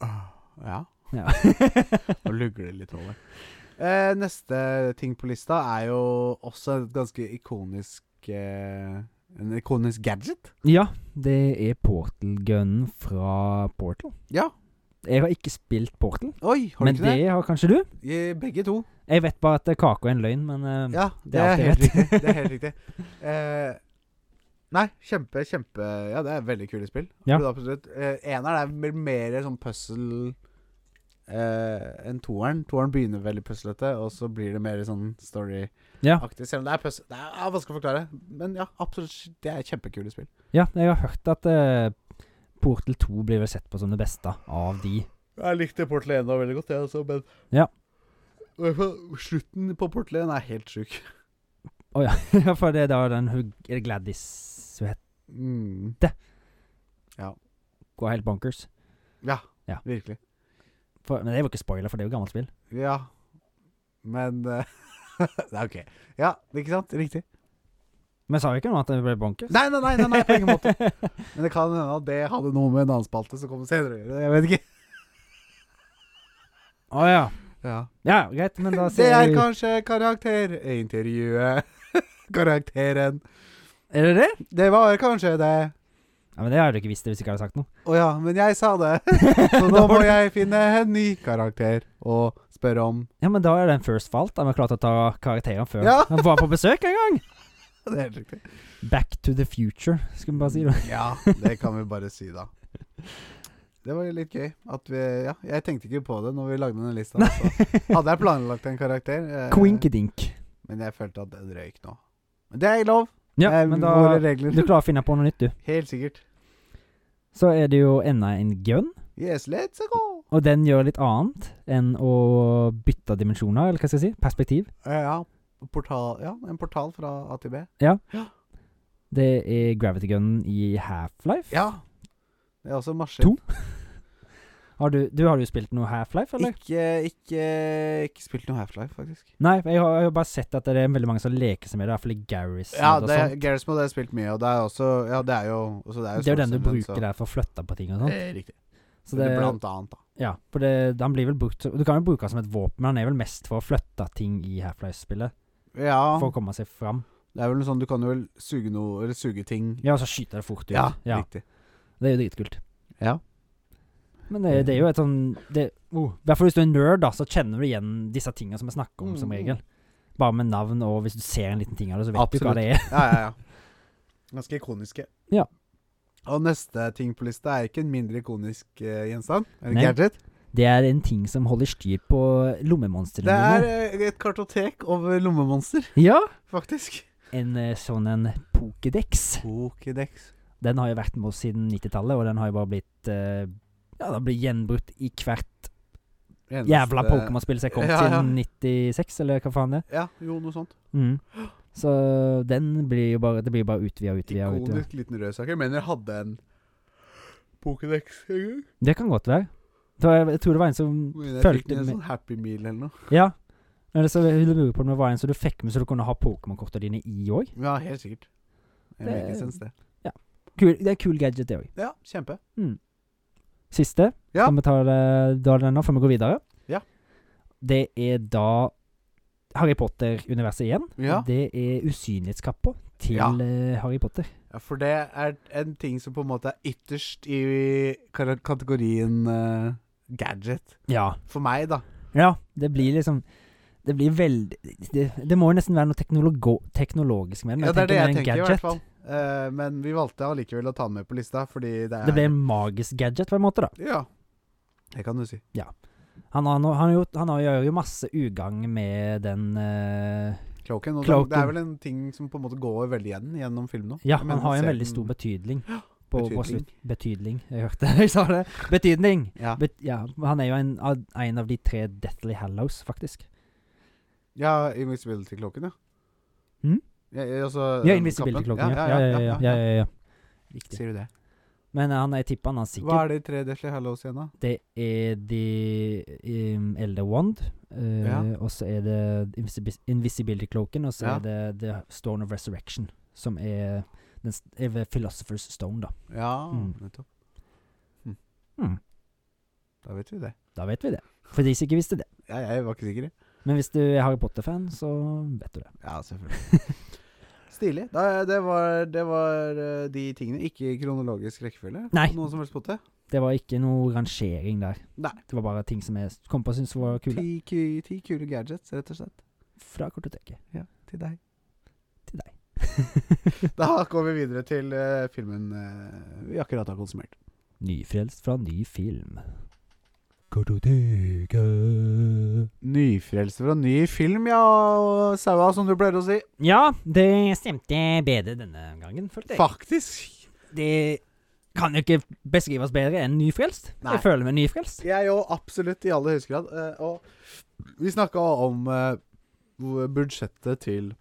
Ah. Ja. Ja. Nå lugger det litt over. Eh, neste ting på lista er jo også et ganske ikonisk eh, En ikonisk gadget. ja, det er portal-gunnen fra Portal. Ja. Jeg har ikke spilt Portal, Oi, har men du ikke det? det har kanskje du? I- Begge to. Jeg vet bare at eh, kake er en løgn, men eh, Ja, det, det er er, alt jeg helt vet. riktig. Det er helt riktig. Eh, nei, kjempe, kjempe Ja, det er veldig kule spill. Ja. Absolutt. Eh, eneren er mer, mer sånn puzzle eh, enn toeren. Toeren begynner veldig puslete, og så blir det mer sånn Ja. story-aktig. Selv om det er puzzle Det er ja, vanskelig å forklare, men ja, absolutt. Det er kjempekule spill. ja, jeg har hørt at eh, Portal 2 blir vel sett på som det beste av de. Jeg likte Portal 1 veldig godt, jeg også, men Ja. Slutten på Portal 1 er helt sjuk. Ja, For det er da den hun er det Gladys hun heter, Mm. går helt bonkers. Ja, Ja. virkelig. For, men det er jo ikke spoiler, for det er jo gammelt spill. Ja. Men eh, Det er ok. Ja, ikke sant? Riktig. Men sa jo ikke noe at det ble bonkers. Nei, nei, nei, nei, nei på ingen måte. Men det kan hende at det hadde noe med en annen spalte som kommer senere å gjøre. Jeg vet ikke. Å ja. Ja. Ja, greit, men da Det ser er vi kanskje karakterintervjuet. Karakteren. Er det det? Det var kanskje det. Ja, men Det hadde du ikke visst det hvis jeg ikke hadde sagt noe. Å ja, men jeg sa det. Så nå må jeg finne en ny karakter å spørre om. Ja, men da er den first fault. Da vi klarte å ta karakteren før. Ja. Han var på besøk en gang! Det er helt riktig. Back to the future, skal vi bare si. det Ja, det kan vi bare si, da. Det var jo litt gøy. At vi, ja, jeg tenkte ikke på det når vi lagde denne lista. Så hadde jeg planlagt en karakter, eh, Quinkydink. men jeg følte at den røyk nå. Men det er lov. Ja, Eh, men Våre da regler. Du klarer å finne på noe nytt, du. Helt sikkert. Så er det jo enda en gun, Yes, let's go. og den gjør litt annet enn å bytte dimensjoner, eller hva skal jeg si, perspektiv. Eh, Ja, portal, ja, en portal fra A til B. Det er gravity gunnen i Half-Life. Ja. Det er også marsjer. To, Har du, du har jo spilt noe Half-Life, eller? Ikke, ikke, ikke spilt noe Half-Life, faktisk. Nei, jeg har, jeg har bare sett at det er veldig mange som leker seg med det, i hvert fall i Garrison Ja, og det, sånn. Gareth Mod har jeg spilt mye, og det er også Ja, det er jo også, Det er jo den du bruker der. der for å flytte på ting og sånn. Riktig. Så det, Blant annet, da. ja, for det, han blir vel brukt Du kan jo bruke han som et våpen, men han er vel mest for å flytte ting i Half-Life-spillet. Ja. For å komme seg fram. Det er vel noe sånn du kan jo vel suge noe Eller suge ting Ja, og så skyter det fort ut. Ja, riktig. Det er jo dritkult. Ja. Men det, det er jo et sånn det, oh, I hvert fall hvis du er nerd, da, så kjenner du igjen disse tingene som vi snakker om, som Mm. regel. Bare med navn, og hvis du ser en liten ting av det, så vet du Absolutt. hva det er. Ja, ja, ja. Ganske ikoniske. Ja. Og neste ting på lista er ikke en mindre ikonisk eh, gjenstand. Eller Nei. gadget. Det er en ting som holder styr på lommemonstrene Det er dine. eh, et kartotek over lommemonster, Ja! faktisk. En eh, sånn en Pokédex. Pokédex. Den har jo vært med oss siden 90-tallet, og den har jo bare blitt eh, Ja, den blir gjenbrutt i hvert jævla Pokémon-spill som kom Ja, ja. siden 96, eller hva faen det er. Ja, jo, noe sånt. Mm. Så den blir jo bare Det blir bare utvida og utvida. og utvida. Ikonisk liten rødsak. Jeg mener jeg hadde en Pokédex en gang. Det kan godt være. Det var- Jeg tror det var en som Hvor Jeg Følte fikk en med- sånn Happy Meal eller noe. Ja. Eller så jeg lurer på om det var en som du fikk med så du kunne ha Pokémon-kortene dine i òg. Ja, helt sikkert. Det- Jeg liker sens det. Kul- Det er kul gadget, det òg. Ja, kjempe. Siste. Ja. Kan vi ta det da denne før vi går videre? Ja. Det er da Harry Potter-universet igjen. Ja. Det er usynlighetskappa til Ja. eh, Harry Potter. Ja, for det er en ting som på en måte er ytterst i kar- kategorien eh, gadget. Ja. For meg, da. Ja, det blir liksom det blir veldig det, det må jo nesten være noe teknologo, teknologisk med den. Ja, det er det jeg mer en tenker, i gadget. hvert fall. Eh, men vi valgte allikevel å ta den med på lista, fordi det er Det blir en magisk gadget, på en måte. da Ja. Det kan du si. Han, har no- han, har gjort, han har- gjør jo masse ugagn med den eh, Cloaken. Og Cloaken. Det er vel en ting som på en måte går veldig igjen gjennom filmen òg. Ja, han har jo en veldig stor betydning. På, På betydning. slutt. Betydning. Jeg hørte jeg sa det. Betydning! Ja. Bet, ja, han er jo en, av- en av de tre Deathly Hallows, faktisk. ja, Invisibility-klokken, ja. Mm? Ja, ja, altså, Ja, eh, Invisibility-klokken. kappen. Ja, ja, ja. ja, ja, ja, ja. Riktig. Sier du det. Men eh, han er tippa han er Hva sikker. er de tre Deathly Hallows igjen, da? Det er The um, Elder Wand, eh, Ja. og så er det Invisibi- Invisibility-kloken, og så Ja. er det The Stone of Resurrection, som er, den, s- er ved Philosopher's Stone, da. Ja, Mm. nettopp. Hmm, Da vet vi det. da vet vi det. For de som ikke visste det. Ja, jeg var ikke sikker. jeg. Men hvis du er Harry Potter-fan, så vet du det. Ja, selvfølgelig. Stilig. Da, det var, det var eh, de tingene. Ikke i kronologisk rekkefølge. Nei. På Noen som helst måte. Det var ikke noe rangering der. Nei. Det var bare ting som jeg kom på og syntes var kule. Ti, ku- ti kule gadgets, rett og slett. Fra kortoteket Ja, til deg. til deg. Da går vi videre til eh, filmen eh, vi akkurat har konsumert. Nyfrelst fra ny film. Nyfrelser og ny film, ja, og saua, som du pleier å si. Ja, det stemte bedre denne gangen, følte jeg. Faktisk. Det kan jo ikke beskrives bedre enn nyfrelst. Nei. Jeg føler meg nyfrelst. Jeg òg, absolutt, i aller høyeste grad. Eh, og vi snakka om eh, hvor budsjettet til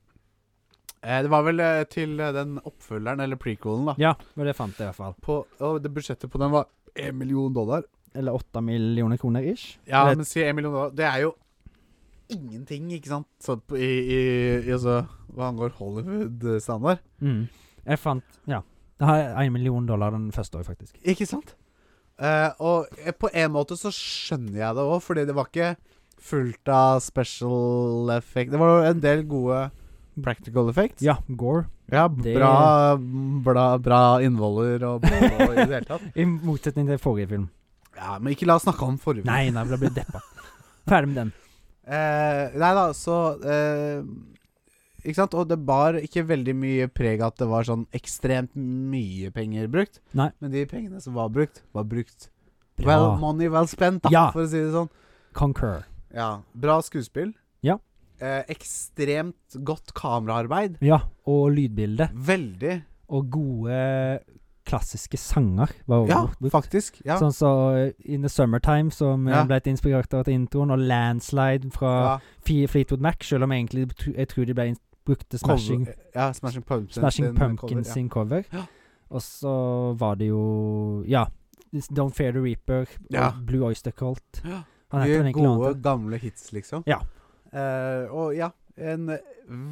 eh, Det var vel eh, til eh, den oppfølgeren, eller prequelen, da. Ja, men det fant jeg i hvert fall. På, og det budsjettet på den var én million dollar. Eller åtte millioner kroner ish. Ja, Eller- men si én million dollar. Det er jo ingenting, ikke sant? Så på- i, i, i altså, hva angår Hollywood-standard. Mm. Jeg fant Ja. Det har én million dollar den første år, faktisk. Ikke sant? Eh, og eh, på en måte så skjønner jeg det òg, fordi det var ikke fullt av special effect. Det var jo en del gode practical effects. Ja, Gore. Ja, det- bra, bra, bra innvoller og bra i det hele tatt. I motsetning til forrige film. Ja, men ikke la oss snakke om forrige film. Nei, nei, jeg ble deppa. Ferdig med den. Eh, nei da, så eh, Ikke sant? Og det bar ikke veldig mye preg at det var sånn ekstremt mye penger brukt. Nei. Men de pengene som var brukt, var brukt. Bra. Well, money well spent, da, Ja. for å si det sånn. Concur. Ja, Bra skuespill. Ja. Eh, ekstremt godt kameraarbeid. Ja, og lydbilde. Veldig. Og gode klassiske sanger var også Ja, brukt. faktisk. Ja. Sånn som In The Summertime, som eh, Ja. ble inspirert av introen, og Landslide fra ja. Fi- Fleetwood Mac, selv om egentlig tr- jeg tror de ble ins- brukte Smashing, Cover, eh, ja, smashing Pumpkins. smashing sin cover, Pumpkins ja. sin cover. Ja. Og så var det jo Ja. This Don't Fear the Reaper, og Ja. Blue Oyster Cult. Ja. Han heter Mye egentlig noe gode, annet. gamle hits, liksom. Ja. Eh, og ja, en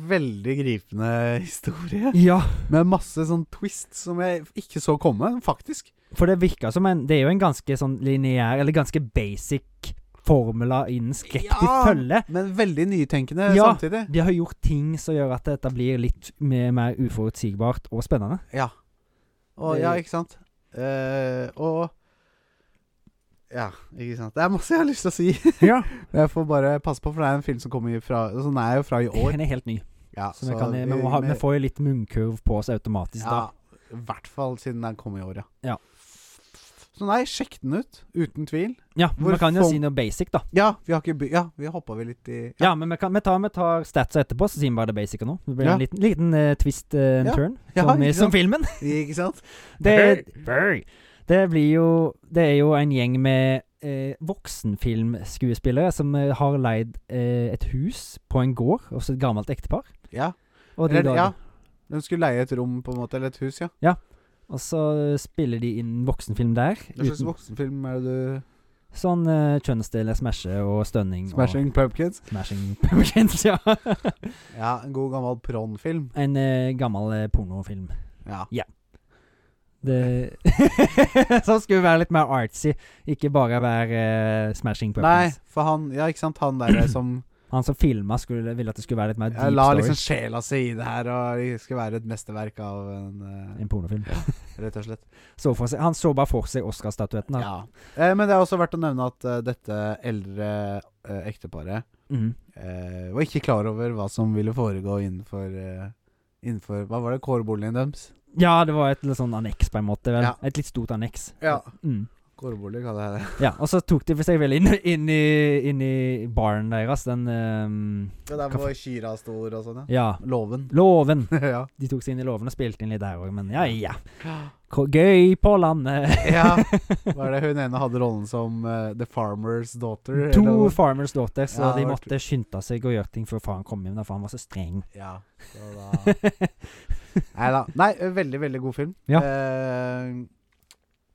veldig gripende historie. Ja, Med masse sånn twist som jeg ikke så komme, faktisk. for det virker som en Det er jo en ganske sånn lineær, eller ganske basic formula innen skrekk de Ja. følger. Men veldig nytenkende Ja. samtidig. De har gjort ting som gjør at dette blir litt mer, mer uforutsigbart og spennende. Ja. Og, Det- ja, ikke sant? Eh, og Ja, ikke sant. Det er masse jeg har lyst til å si. Ja. Men jeg får bare passe på, for det er en film som kommer fra altså, Den er jo fra i år. Den er helt ny. Ja, Så vi, kan, vi, må ha, vi får jo litt munnkurv på oss automatisk ja, da. I hvert fall siden den kom i år, ja. Ja. Så nei, sjekk den ut. Uten tvil. Ja, Hvor vi kan jo folk- si noe basic, da. Ja, vi har ikke by... Ja, vi hoppa vel litt i Ja, men vi, kan, vi, tar, vi tar statsa etterpå, så sier vi bare det basic nå. Det blir Ja. en liten, liten eh, twist eh, and Ja. turn, Ja, som, i- ikke som sant? filmen. Ikke sant? Det, det blir jo Det er jo en gjeng med eh, voksenfilmskuespillere som eh, har leid eh, et hus på en gård hos et gammelt ektepar. Ja. Og, de Eller, ja. lager, De skulle leie et rom, på en måte, eller et hus, ja. og så spiller de inn voksenfilm der. Hva slags uten- voksenfilm er det du sånn eh, kjønnsdel, smashe og stønning. Smashing Pumpkins? Og smashing pumpkins, ja. Ja, en god gammel pronfilm. En eh, gammel eh, pornofilm. Ja. Det Som skulle være litt mer artsy, ikke bare være eh, smashing Nei, pumpkins. for han Ja, ikke sant, han derre som Han som filma, skulle- ville at det skulle være litt mer deep jeg la story. liksom sjela si i det her, og det skulle være et mesterverk av en eh, En pornofilm. Rett og slett. Så for seg, han så bare for seg Oscar-statuetten. da. Ja. Eh, men det er også verdt å nevne at eh, dette eldre eh, ekteparet Mhm. eh, var ikke klar over hva som ville foregå innenfor eh, Innenfor Hva var det? Kårboligen deres? ja, det var et litt sånn anneks, på en måte. vel Ja. Et litt stort anneks. Ja. Mm. Kårbolig kaller jeg det. Ja, Og så tok de for seg vel inn, inn, i, inn i baren deres, den ehm, Ja, der hvor kyra står og sånn, ja. Ja. Låven. Låven. ja. De tok seg inn i låven og spilte inn litt der òg, men ja ja. Ko- Gøy på landet. ja. Hva er det hun ene hadde rollen som eh, The Farmer's Daughter? eller To noe? farmers daughter, så Ja, de det var måtte skynde seg å gjøre ting før faren kom hjem, da, for han var så streng. Ja. Så da Nei da. Nei, ø, veldig, veldig god film. Ja. Eh,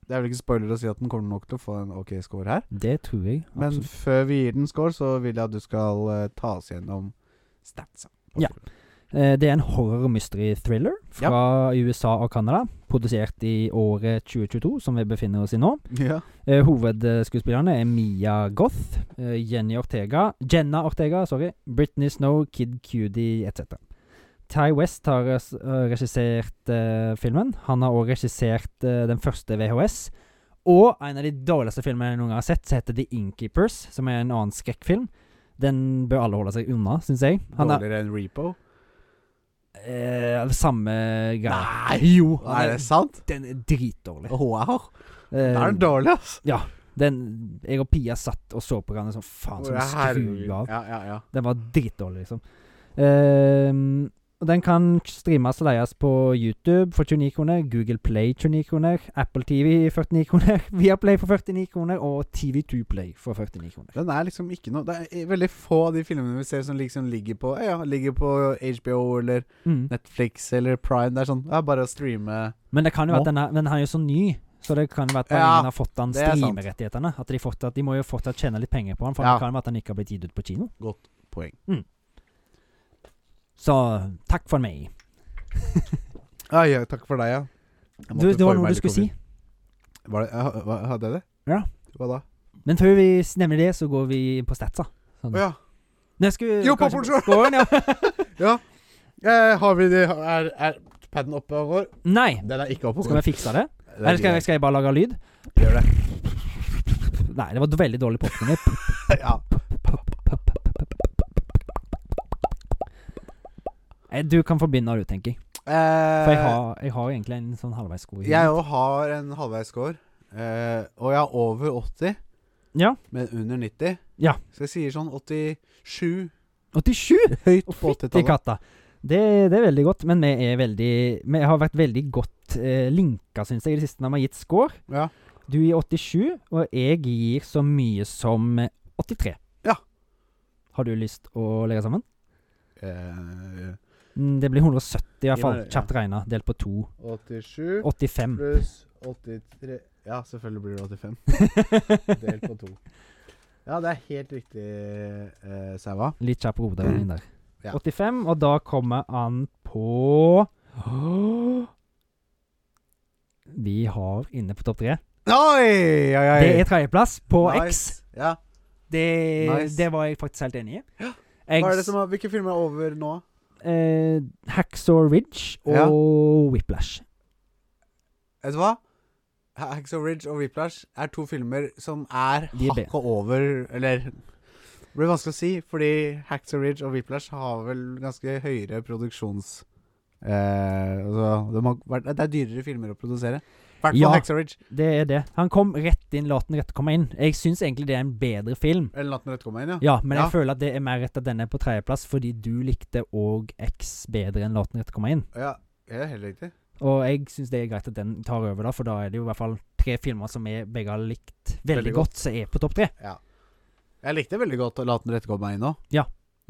det er vel ikke spoiler å si at den kommer nok til å få en ok score her. det tror jeg. Men absolutt. før vi gir den score, så vil jeg at du skal eh, ta oss gjennom statsa. på Ja. filmen. Eh, Det er en horror mystery thriller fra USA og Canada. Produsert i året 2022, som vi befinner oss i nå. ja. Eh, hovedskuespillerne er Mia Goth, eh, Jenny Ortega Jenna Ortega, sorry. Britney Snow, Kid Cudi etc. Ty West har eh, s- eh, regissert eh, filmen. Han har også regissert eh, den første VHS. Og en av de dårligste filmene jeg noen gang har sett, som heter The Innkeepers, som er en annen skrekkfilm. Den bør alle holde seg unna, syns jeg. Han er, Dårligere enn Repo? Eh, samme greia. Nei! Jo, han Er det sant? den er dritdårlig. Wow! Eh, Da er den dårlig, ass. den, jeg og Pia satt og så på hverandre sånn faen som skru av. Ja, ja, ja. Den var dritdårlig, liksom. Eh, og den kan streames og leies på YouTube for 29 kroner, Google Play 29 kroner, Apple TV 49 kroner, Viaplay for 49 kroner og TV2 Play for 49 kroner. Den er liksom ikke noe Det er veldig få av de filmene vi ser som liksom ligger på Ja, ligger på HBO eller Mm. Netflix eller Prime. Det er sånn ja, bare å streame Men det kan jo Nå? være at den er, den er jo så ny, så det kan jo være at Ja, ingen har fått den det er sant. streamerettighetene. At de, fortsatt, de må jo fortsatt tjene litt penger på den, for Ja. det kan jo være at den ikke har blitt gitt ut på kino. Mm. Godt poeng. Så takk for meg. Ja, Ah, ja, takk for deg, ja. Jeg Du, måtte det var forme noe du meg litt skulle si. over. Var det, ja, hva- hadde jeg det? Ja. Hva da? Men før vi s- nevner det, så går vi på statsa. Å ja. Nei, skal vi Jo, kanskje- popcorn, skåren, ja. ja. Eh, har vi det Er, er paden oppe og går? Nei. Den er ikke oppe og Skal går. vi fikse det? Det er Eller skal jeg, greit. skal jeg bare lage lyd? Gjør det. Nei, det var et veldig dårlig popkorn. Ja. Du kan få begynne du, tenker jeg. Eh, For jeg har, jeg har egentlig en sånn halvveissko. i Jeg hodet. òg har en halvveisscore. Eh, og jeg er over 80, Ja. men under 90. Ja. Så jeg sier sånn 87 87! høyt Å, på Fytti 80-tallet. katta. Det, det er veldig godt, men vi er veldig Vi har vært veldig godt eh, linka, syns jeg, i det siste når vi har gitt score. Ja. Du gir 87, og jeg gir så mye som eh, 83. Ja. Har du lyst å legge sammen? Eh, Mm, Det blir 170 i Gi hvert fall. meg det, ja. Kjapt regna, delt på to. 87 85. pluss 83 Ja, selvfølgelig blir det 85. Delt på to. Ja, det er helt riktig, eh, Saua. Litt kjapp hoderegning der. Mm. Ja. 85, og da kommer han på Vi har inne på topp tre. Oi, oi, oi. Det er tredjeplass på X. Ja. Det, Nice. det var jeg faktisk helt enig i. Ja. Jeg, Hva er det som er, hvilke filmer er over nå? eh, Hacksaw Ridge og Ja. Whiplash. Vet du hva? Hacksaw Ridge og Whiplash er to filmer som er De er be- hakket over Eller det blir vanskelig å si, fordi Hacksaw Ridge og Whiplash har vel ganske høyere produksjons... Eh, altså, det, må, vært- det er dyrere filmer å produsere. I hvert fall Ja. Hexoridge. Det er det. Han kom rett inn, la den rette komme inn. Jeg syns egentlig det er en bedre film. Eller Natten rett kommer inn, ja. Ja, men Ja. jeg føler at det er mer rett at den er på tredjeplass, fordi du likte òg X bedre enn Låten rett komme inn. Ja, det er helt riktig. Og jeg syns det er greit at den tar over, da, for da er det jo i hvert fall tre filmer som vi begge har likt veldig, Veldig godt, som er på topp tre. Ja. Jeg likte veldig godt å La den rette komme inn òg.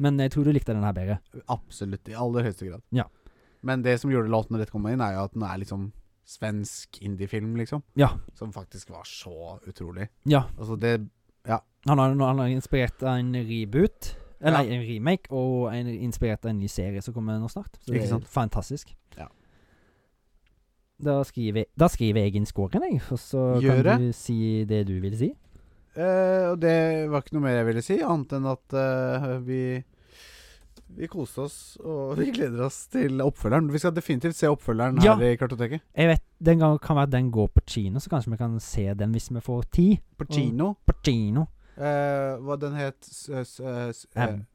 Men jeg tror du likte den her bedre. Absolutt. I aller høyeste grad. Ja. Men det som gjorde La den rette komme inn, er jo at den er liksom svensk indiefilm, liksom. Ja. Som faktisk var så utrolig. Ja. Altså, det Han har, han har inspirert av en reboot, Ja. eller en remake, og en, inspirert av en ny serie som kommer nå snart. Så det Ikke er sant? fantastisk. Ja. Da skriver, da skriver jeg inn scoren, jeg, og så Gjør det. kan du si det du vil si. Eh, og det var ikke noe mer jeg ville si, annet enn at eh, vi vi koste oss, og vi gleder oss til oppfølgeren. Vi skal definitivt se oppfølgeren Ja. her i kartoteket. Jeg vet, Den gang kan være den går på kino, så kanskje vi kan se den hvis vi får tid. På kino. På kino. Eh, hva den het s s s eh, Mm.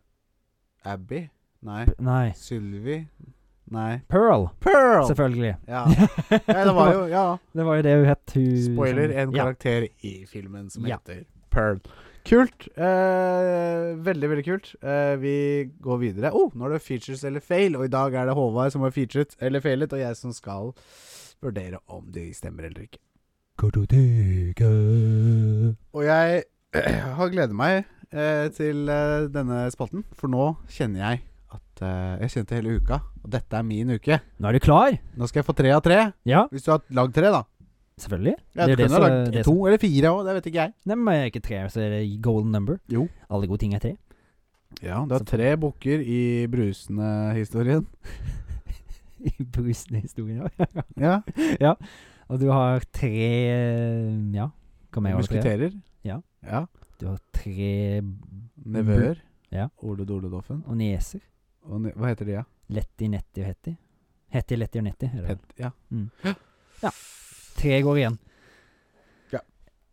Ab- Abby? Nei. P- Nei. Sylvi? Nei. Pearl, Pearl! selvfølgelig. Ja. ja, det var jo Ja. Det var jo det hun het. Hun, Spoiler, en ja. karakter i filmen som Ja. heter Pearl. Kult. Eh, veldig, veldig kult. Eh, vi går videre. Oh, nå er det features eller fail, og i dag er det Håvard som har featuret eller failet, og jeg som skal vurdere om de stemmer eller ikke. Og jeg har gledet meg eh, til eh, denne spalten, for nå kjenner jeg at eh, Jeg kjente hele uka, og dette er min uke. Nå er du klar? Nå skal jeg få tre av tre. Ja, Hvis du har lagd tre, da. selvfølgelig. Jeg Det er det kunne ha som- lagd det to eller fire òg, det vet ikke jeg. Nei, men er ikke tre, så er det golden number. Jo. Alle gode ting er tre. Ja, det er tre bukker i brusende-historien. I brusende historien ja. Ja, Og du har tre eh, Ja, hva mer har du? Tre? musketerer. Ja. ja. Du har tre Nevøer. Ja. Ole Doledoffen. og nieser. Og ne hva heter de, ja? Letty, Netty og Hetty. Hetty, Letty og Netty. er det. Pet ja. Mm. Ja. Tre går igjen. Ja.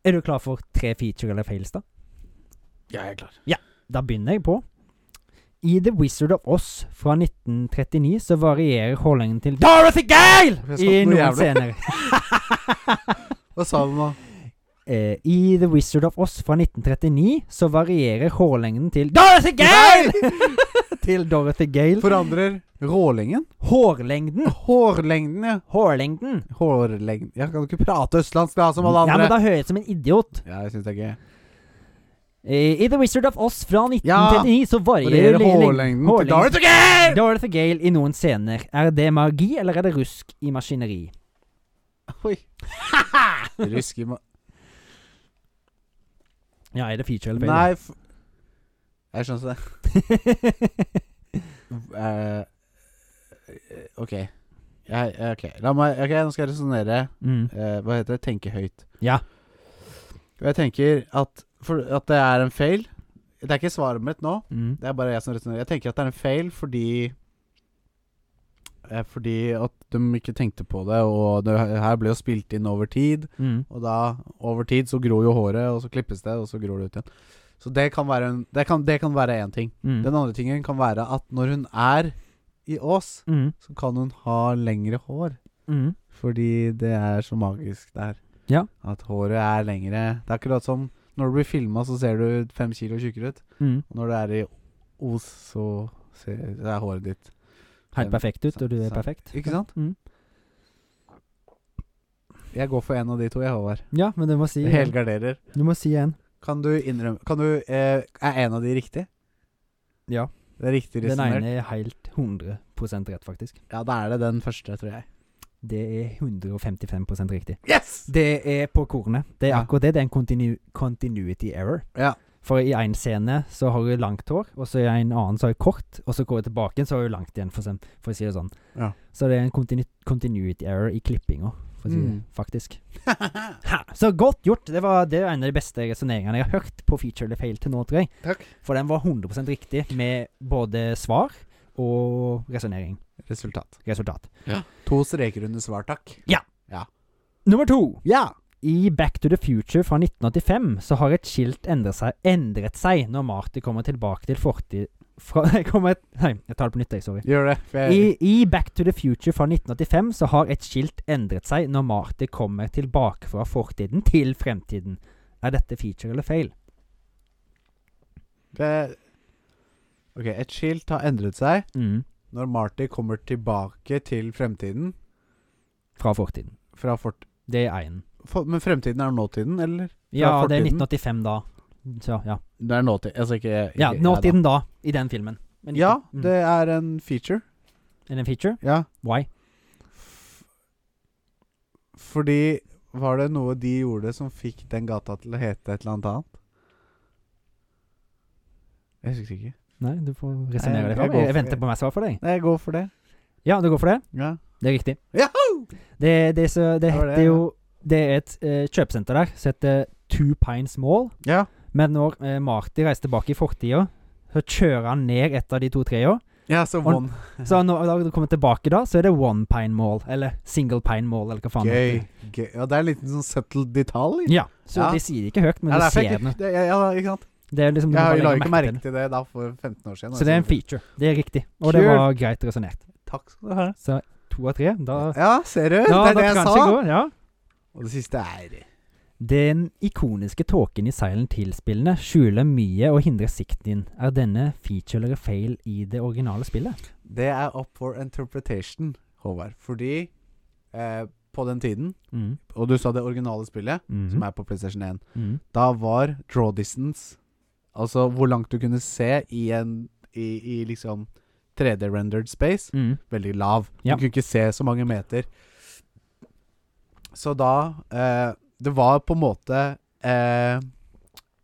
Er du klar for tre feature eller fails, da? Jeg er klar. Da begynner jeg på. I The Wizard of Oz fra 1939 så varierer holdningen til Dorothy Gale Jeg i satt noe noen jævlig. scener. Hva sa du nå? Eh, I The Wizard of Oz fra 1939 så varierer hårlengden til Dorothy Gale! til Dorothy Gale. Forandrer rålengden? Hårlengden. Hårlengden, ja. Hårlengden. Hårlengden Ja, kan du ikke prate østlandsk da, som alle Ja, men andre? da høres jeg ut som en idiot. Ja, jeg syns det er gøy. Eh, I The Wizard of Oz fra 1939 så varierer Varierer le- hårlengden til hårlengden. Dorothy Gale! Dorothy Gale i noen scener. Er det magi, eller er det rusk i maskineri? Oi. Rusk i ma... Ja, er det feature eller fail? Nei f Jeg skjønner det. Eh, ok. Jeg, eh, ok, La meg, ok, nå skal jeg resonnere. mm. eh, hva heter det? Tenke høyt. Ja. Og jeg tenker at, for, at det er en feil. Det er ikke svaret mitt nå. Mm. Det er bare jeg som resonnerer. Jeg tenker at det er en feil fordi eh, Fordi at de ikke tenkte på det, og det her ble jo spilt inn over tid. Mm. Og da, over tid, så gror jo håret, og så klippes det, og så gror det ut igjen. Så det kan være en, det kan, det kan være én ting. Mm. Den andre tingen kan være at når hun er i Ås, mm. så kan hun ha lengre hår. Mm. Fordi det er så magisk der. Ja. At håret er lengre. Det er akkurat som når du blir filma, så ser du fem kilo tjukkere ut. Mm. Og når du er i Os, så ser det er håret ditt. Helt perfekt ut, og du er Sant. perfekt. Ikke sant? Mm. Jeg går for en av de to, jeg, Håvard. Ja, men du må si Helgarderer. Du må si en. Kan du innrømme Kan du eh, Er en av de riktig? Ja. Det er riktig Den resonnert? ene er helt 100 rett, faktisk. Ja, da er det den første, tror jeg. Det er 155 riktig. Yes! Det er på kornet. Det er Ja. akkurat det. Det er en continu continuity error. Ja. For i én scene så har hun langt hår, og så i en annen så har hun kort, og så går hun tilbake, så har hun langt igjen, for, eksem- for å si det sånn. Ja. Så det er en continu continuity error i klippinga, for å si det Mm. faktisk. Ha! Så godt gjort! Det var det er en av de beste resonneringene jeg har hørt på Feature eller Fail til nå, tror jeg. Takk. For den var 100 riktig med både svar og resonnering. Resultat. Resultat. To streker under svar, takk. Nummer to. Ja! I Back to the Future fra 1985 så har et skilt endret seg, endret seg når Marty kommer tilbake til forti- fra, jeg kommer et, Nei, jeg tar det på nytt, jeg. Sorry. Gjør det. For jeg, I, I Back to the Future fra 1985 så har et skilt endret seg når Marty kommer tilbake fra fortiden til fremtiden. Er dette feature eller fail? det Ok, et skilt har endret seg når Marty kommer tilbake til fremtiden Fra fortiden. fra fort... Det er én. for- Men fremtiden er nåtiden, eller? Ja, det er 1985 fortiden? da. Så, ja. Det er nåtid. Altså ikke, ikke ja, nåtiden da, i den filmen. Men Ja, ikke- mm. det er en feature. Er det en feature? Ja. Why? F- Fordi Var det noe de gjorde som fikk den gata til å hete et eller annet annet? Jeg husker ikke. Nei, du får resonnere Nei, det fram. jeg går Jeg, jeg for- venter på meg svar for deg. Nei, jeg går for det. Ja, du går for det? Ja. Det er riktig. Yahoo! Det, det, så, det Det var heter det, ja. jo Det er et eh, kjøpesenter der som heter Two Pines Mall. Ja. Men når eh, Marty reiser tilbake i fortida, så kjører han ned et av de to trærne. ja, så Og- one. Så når han kommer tilbake da, så er det One Pine Mall. Eller Single Pine Mall, eller hva faen. det Gøy. heter. Gøy. Ja, det er en liten sånn subtle detalj. Ja, så Ja. de sier det ikke høyt, men ja, du derfor ser jeg det. ikke, det, ja, ja, ikke sant? Det er liksom, du må Jeg har bare jeg la ikke legge merke til merke til det da for 15 år siden. det. Så det er en Altså, feature. Det er riktig. Og det Kult. var greit resonnert. Takk skal du ha. Så to av tre, da Ja, ser du? Ja, det da er det jeg kan sa. det gå, ja. Og det siste er Den ikoniske tåken i Silent Hill-spillene skjuler mye og hindrer sikten din. Er denne feature eller fail i det originale spillet? Det er up for interpretation, Håvard. Fordi eh, på den tiden, Mm. og du sa det originale spillet, Mhm. som er på PlayStation 1, Mm. da var draw distance Altså hvor langt du kunne se i en I, i liksom 3D-rendered space, Mm. veldig lav. Ja. Du kunne ikke se så mange meter. Så da eh, Det var på en måte eh,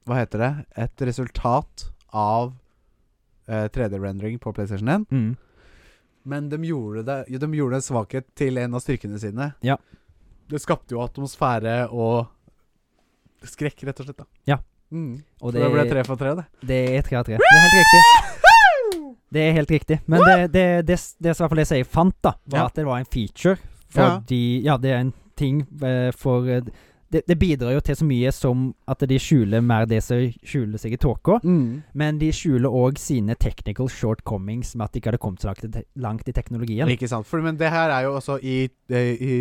Hva heter det? Et resultat av eh, 3D-rendering på PlayStation 1. Mm. Men de gjorde, det, jo, de gjorde en svakhet til en av styrkene sine. Ja. Det skapte jo atmosfære og skrekk, rett og slett. da Ja. Mm. Og Så det, ble tre for tre, det. Det er tre av tre. Det er helt riktig. Det er helt riktig. Men det, det, det, det som i hvert fall jeg sier fant, da, var Ja. at det var en feature. Ja. Fordi Ja, det er en ting eh, for eh, det, det bidrar jo til så mye som at de skjuler mer det som skjuler seg i tåka. Men de skjuler òg sine technical shortcomings med at de ikke hadde kommet så langt i, te langt i teknologien. Ikke sant. For, men det her er jo også i, eh, i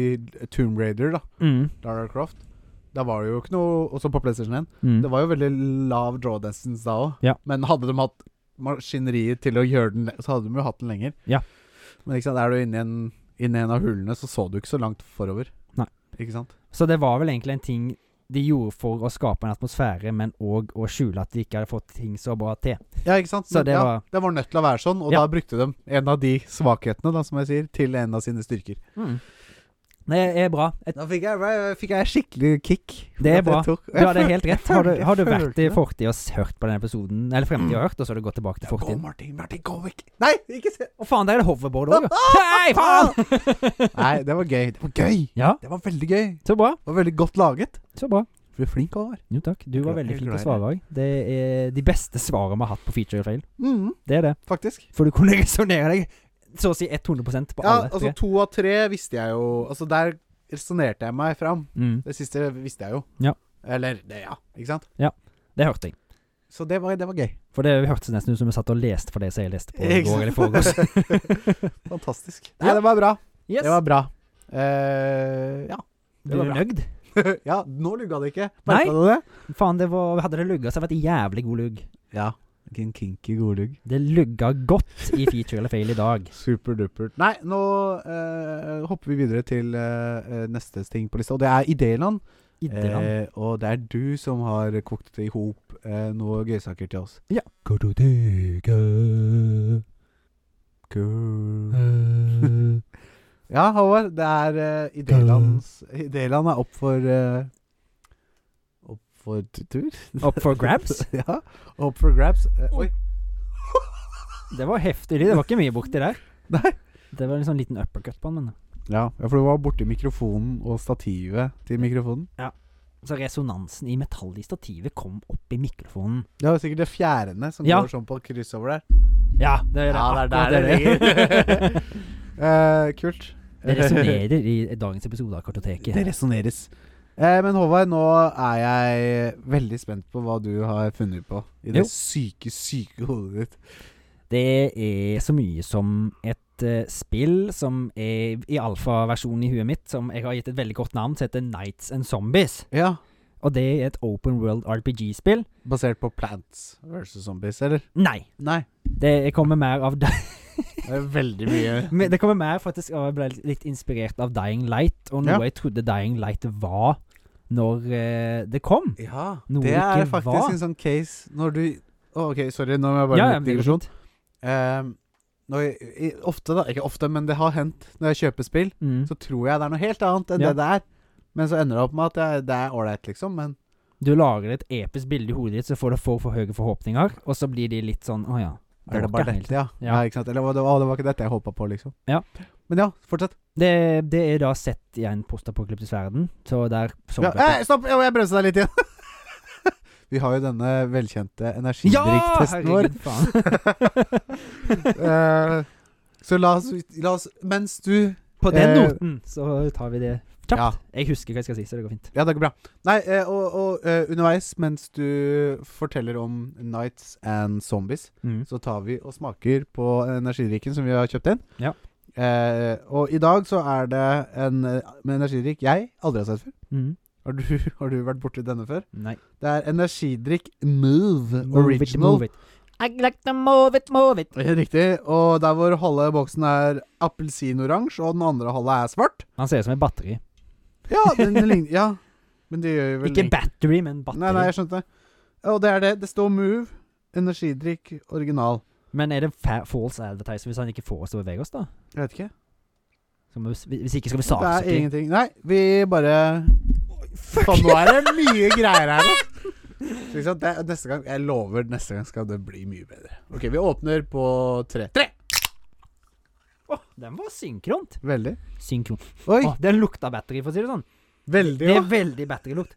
Tomb Raider, da. Mm. Lara Croft. Da var det jo ikke noe Også på PlayStation 1. Mm. Det var jo veldig lav draw distance da òg. Ja. Men hadde de hatt maskineriet til å gjøre den, le- så hadde de jo hatt den lenger. Ja. Men ikke sant, er du inni en, inni en av hullene, så så du ikke så langt forover. Nei. Ikke sant? Så det var vel egentlig en ting de gjorde for å skape en atmosfære, men òg å skjule at de ikke hadde fått ting så bra til. Ja, ikke sant? Så Men det ja, var- det var nødt til å være sånn, og Ja. da brukte de en av de svakhetene da, som jeg sier, til en av sine styrker. Det er bra. Et, Da fikk jeg, jeg- fikk jeg skikkelig kick. for Det er at jeg bra. tok- du hadde helt rett. Har du, følte- har du jeg vært i følte fortid og s- hørt på den episoden, eller fremtid og hørt, og så har du gått tilbake til det. Gå, fortiden? Martin, Martin, gå vekk! Nei, ikke se! Å faen, der er det hoverboard òg, jo. Hei, faen! Nei, det var gøy. Det var gøy! Ja, Det var veldig gøy. så bra. Det var veldig godt laget. Så bra. Du er flink, Håvard. Jo takk. Du var Jeg er veldig flink til å glad i svare òg. Det er de beste svarene vi har hatt på feature fail. Mm, Det er det. faktisk. For du kunne resonnere deg så å si 100 på Ja, alle altså tre. to av tre visste jeg jo Altså der resonnerte jeg meg fram. Mm, Det siste visste jeg jo. Ja. Eller det, ja. Ikke sant? det hørte jeg. Så det var, det var gøy. For det hørtes nesten ut som vi satt og leste for det som jeg leste på i Ikke går eller i sant? forgårs. Fantastisk. Ja. Nei, det var bra. Yes. Det var bra. Eh, ja. Du var er bra. nøyd? ja, nå lugga det ikke. Nei. Merka du det? Faen, det var, hadde det lugga, så hadde det vært jævlig god lugg. Ja. Ikke en kinky godlugg. Det lugga godt i feature eller fail i dag. Superdupert. Nei, nå eh, hopper vi videre til eh, eh, neste ting på lista, og det er Idéland. Idreland. Eh, og det er du som har kokt i hop eh, noe gøysaker til oss. Ja. Cool. Mm. Ja, Håvard. Det er eh, Idélands Idéland er opp for eh, Opp for t- tur. Up for grabs? ja. Opp for grabs. Eh, oi. Det var heftig lyd. Det var ikke mye borti der. Nei. Det var en sånn liten uppercut på den, men Ja, ja, for du var borti mikrofonen og stativet til mikrofonen. Så resonansen i metallet i stativet kom opp i mikrofonen. Det var sikkert det fjærene som Ja. går sånn på kryss over der. Ja, det er Ja, det er akkurat der det det. ligger. Eh, kult. Det resonnerer i dagens episode av Kartoteket. Det resonneres. Eh, men Håvard, nå er jeg veldig spent på hva du har funnet på i det Jo. syke, syke hodet ditt. Det er så mye som et eh, spill som er i alfaversjonen i huet mitt, som jeg har gitt et veldig godt navn, som heter Nights and Zombies. Ja. Og det er et open world RPG-spill. Basert på Plants versus Zombies, eller? Nei, Nei. det kommer mer av det. Det er veldig mye Men det kommer mer faktisk av at jeg ble litt inspirert av Dying Light, og noe Ja. jeg trodde Dying Light var når eh, det kom. Ja. Noe det ikke er faktisk var. en sånn case når du Å, OK, sorry, nå må jeg bare Ja, ja, ja, men det går litt digresjon. fint. Ehm, når jeg, i- ofte, da. Ikke ofte, men det har hendt når jeg kjøper spill, Mm. så tror jeg det er noe helt annet enn Ja. det det er. Men så ender det opp med at det er- det er ålreit, liksom. Men Du lager et episk bilde i hodet ditt, så får du for, for høye forhåpninger, og så blir de litt sånn Å ja. er det bare ikke helt- dette, ja? Ja. ja. ikke sant? Eller å, det var, å, det var ikke dette jeg håpa på, liksom. Ja. Men ja, fortsett. Det, det er da sett i en postapokalyptisk verden, så der som Ja, eh, stopp! Jeg, jeg bremset deg litt igjen. Vi har jo denne velkjente energidrikktesten vår. herregud, faen. Eh, så la oss, la oss Mens du På den Eh, noten så tar vi det kjapt. Ja. Jeg husker hva jeg skal si, så det går fint. Ja, det går bra. Nei, eh, og, og eh, underveis, mens du forteller om Nights and Zombies, Mm. så tar vi og smaker på energidrikken som vi har kjøpt inn. Ja. Eh, og i dag så er det en, eh, en energidrikk jeg aldri har sett før. Mm. Har du, har du vært borti denne før? Nei. Det er energidrikk Move, Move it, Original. move it. I like to move it, move it. Helt Riktig. Og der hvor halve boksen er appelsinoransje, og den andre halve er svart. Han ser ut som et batteri. Ja, men det ligner Ja. Men det gjør jo vel Ikke battery, men batteri. Nei, nei, jeg skjønte. Og det er det. Det står Move, energidrikk, original. Men er det fa false advertiser hvis han ikke får oss til å bevege oss, da? Jeg vet ikke. Så må vi, hvis ikke skal vi Det er saksøke. ingenting. Nei, vi bare Faen, nå er det mye greier her. da. Så Ikke sant? Det, neste gang, jeg lover, neste gang skal det bli mye bedre. Ok, vi åpner på tre. Tre! Å, den var synkront. Veldig. Synkron. Oi, Å, den lukta battery, for å si det sånn. veldig, Det ja. er veldig batterylukt.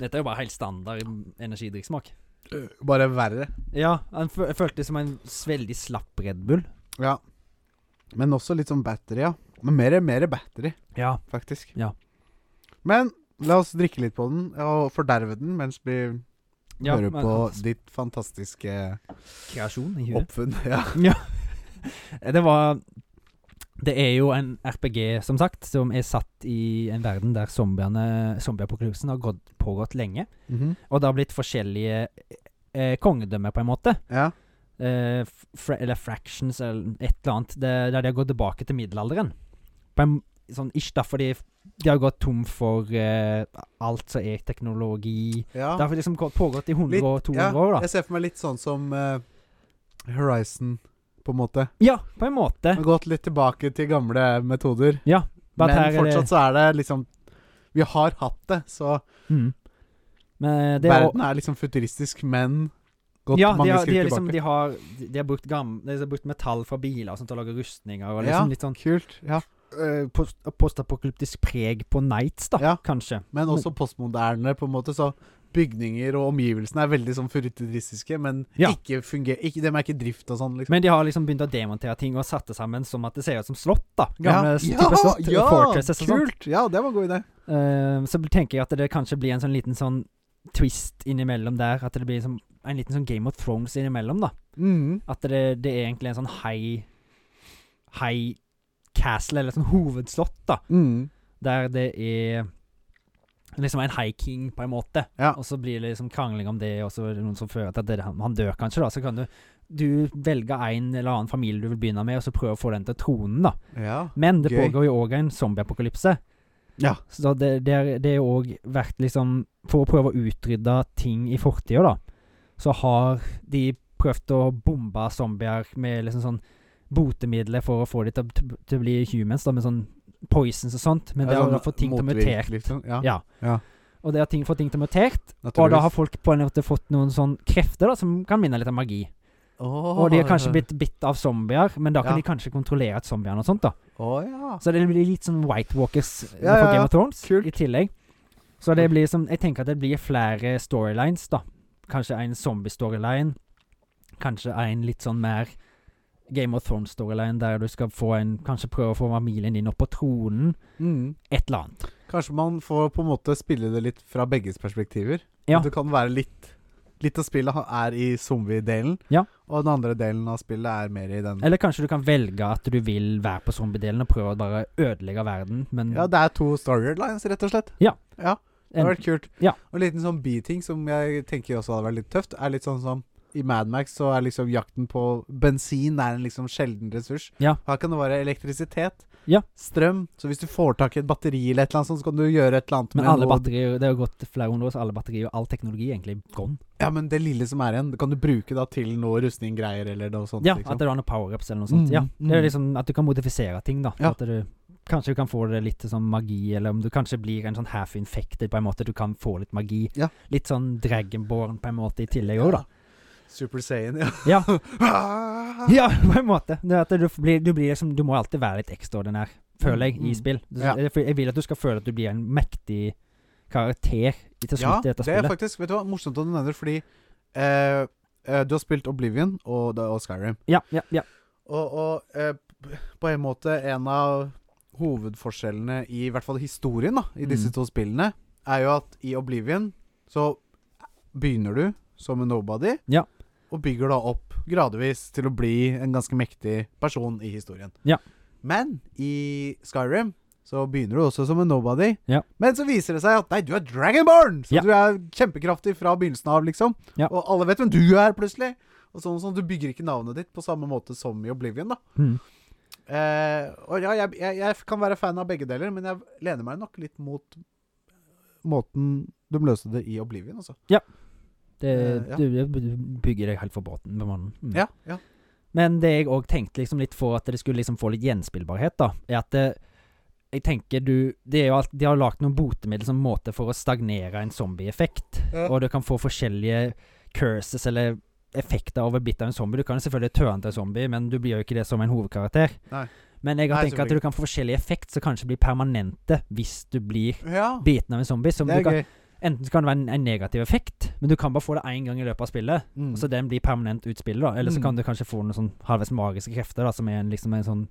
Dette er jo bare helt standard energidrikksmak. Bare verre. Ja, han fø- føltes som en s- veldig slapp Red Bull. Ja. Men også litt sånn battery, ja. Men mer, mer battery, Ja. faktisk. Ja. Men la oss drikke litt på den, og forderve den mens vi hører men altså. på hans ditt fantastiske kreasjon i huet. oppfunn. Ja. Det var Det er jo en RPG, som sagt, som er satt i en verden der zombiene zombieapokalypsen har gått, pågått lenge. Og det har blitt forskjellige eh, kongedømmer, på en måte. ja. eh, fra, eller fractions eller et eller annet, det, der de har gått tilbake til middelalderen. På en sånn ish, da, fordi de har gått tom for eh, alt som er teknologi. ja. Det har liksom gått- pågått i 100 Litt, og 200 ja, år, da. Jeg ser for meg litt sånn som eh, Horizon, på en måte. Ja, på en måte. Har gått litt tilbake til gamle metoder. Bare Men at her er fortsatt så er det liksom Vi har hatt det, så det, mm. Men eh, det er jo- verden er liksom futuristisk, men gått ja, de mange har, de, skritt er liksom, tilbake. de, har, de har brukt gam, de har brukt metall fra biler og sånt til å lage rustninger. Og Ja. liksom litt sånn Kult. Ja. eh, post, postapokalyptisk preg på Nights, da, Ja. kanskje. Men også postmoderne, på en måte. Så bygninger og omgivelsene er veldig sånn futuristiske, men Ja. ikke fungerer ikke, De er ikke i drift og sånn, liksom. Men de har liksom begynt å demontere ting og satt det sammen som at det ser ut som slott, da. Gamle Ja. s- Ja, type slott. ja, fortresses og sånt. kult! Ja, det var en god idé. Eh, så tenker jeg at det kanskje blir en sånn liten sånn twist innimellom der. At det blir som en liten sånn Game of Thrones innimellom, da. Mhm. At det, det er egentlig en sånn high High castle, eller sånn hovedslott, da. Mhm. Der det er liksom en high king, på en måte. Ja. Og så blir det liksom krangling om det, og så er det noen som føler at det, han, han dør kanskje, da. Så kan du du velge en eller annen familie du vil begynne med, og så prøve å få den til tronen, da. ja. Men det Gøy. pågår jo òg en zombieapokalypse. Ja. Så det, det, er- det er jo òg vært liksom For å prøve å utrydde ting i fortida, da, så har de prøvd å bombe zombier med liksom sånn botemidler for å få de til, å- til, til å bli humans, da, med sånn poisons og sånt. Men det har sånn fått ting til å motvirk, mutere. Liksom. Ja, Ja. Ja. Og det har ting, fått ting til å mutere, og naturligvis. da har folk på en måte fått noen sånn krefter da, som kan minne litt om magi. Åh. Og de har kanskje blitt bitt av zombier, men da kan de Ja. kanskje kontrollere et zombierne og sånt, da. Å, ja. Så det blir litt sånn White Walkers eh, Ja, ja, for ja. Game of Thrones Kult. i tillegg. Så det blir som Jeg tenker at det blir flere storylines, da. Kanskje en zombie-storyline. Kanskje en litt sånn mer Game of Thrones-storyline, der du skal få en Kanskje prøve å få familien din opp på tronen. Mm. Et eller annet. Kanskje man får på en måte spille det litt fra begges perspektiver. Ja. Du kan være litt Litt av spillet ha- er i zombie-delen, Ja. Eh, og den andre delen av spillet er mer i den Eller kanskje du kan velge at du vil være på zombiedelen og prøve å bare ødelegge verden, men Ja, det er to story lines, rett og slett. Ja. ja det en- hadde vært kult. Ja. Og en liten sånn beating som jeg tenker også hadde vært litt tøft, er litt sånn som i Mad Max så er liksom jakten på bensin er en liksom sjelden ressurs. Ja. Her kan det være elektrisitet, Ja. strøm. Så hvis du får tak i et batteri eller et eller annet sånt, så kan du gjøre et eller annet men med alle noe- batterier Det har gått flere hundre år, så alle batterier og all teknologi er egentlig gone. Ja, men det lille som er igjen, det kan du bruke da til noe rustninggreier eller noe sånt. Ja, liksom. at det er noen powerups eller noe sånt. Mm, ja, det er mm. liksom At du kan modifisere ting, da. Ja. At du Kanskje du kan få det litt som magi, eller om du kanskje blir en sånn half infected på en måte. Du kan få litt magi. Ja. Litt sånn dragonborn på en måte i tillegg òg, da. Super Saiyan, ja. Ja. Ja, på en måte. Det er at du, blir, du, blir liksom, du må alltid være litt ekstraordinær, føler jeg, Mm. i spill. Du, Ja. jeg, jeg vil at du skal føle at du blir en mektig karakter i til Ja, slutt i det dette er spillet. faktisk Vet du hva, morsomt at du nevner fordi eh, eh, du har spilt Oblivion og, og Skyrim. Ja, ja, ja. Og, og eh, p- på en måte en av hovedforskjellene i, i hvert fall historien da, i disse Mm. to spillene, er jo at i Oblivion så begynner du som en nobody, Ja. og bygger da opp gradvis til å bli en ganske mektig person i historien. Ja. Men i Skyrim så begynner du også som en nobody, Ja. men så viser det seg at nei, du er Dragonborn! Så Ja. du er kjempekraftig fra begynnelsen av, liksom. Ja. Og alle vet hvem du er, plutselig. Og sånn, sånn, Du bygger ikke navnet ditt på samme måte som i Oblivion. da Mm. Eh, og ja, jeg, jeg, jeg kan være fan av begge deler, men jeg lener meg nok litt mot måten de løste det i Oblivion, altså. Det, Eh, ja. du, du bygger deg helt for båten med mannen. Mm. Ja, ja. Men det jeg òg tenkte liksom litt for at det skulle liksom få litt gjenspillbarhet, da, er at det, jeg tenker du det er jo alt, De har lagd noen botemidler som måte for å stagnere en zombieeffekt. Ja. Og du kan få forskjellige curses eller effekter over bitt av en zombie. Du kan jo selvfølgelig tørne til en zombie, men du blir jo ikke det som en hovedkarakter. Nei. Men jeg har Nei, tenkt at selvfølgelig. du kan få forskjellig effekt som kanskje blir permanente hvis du blir Ja, biten av en zombie. Som det du er kan, gøy. enten så kan det være en, en negativ effekt, men du kan bare få det én gang i løpet av spillet. Mm. Så den blir permanent utspillet, da. Eller så Mm. kan du kanskje få noen sånn halvveis magiske krefter, da, som er en, liksom en sånn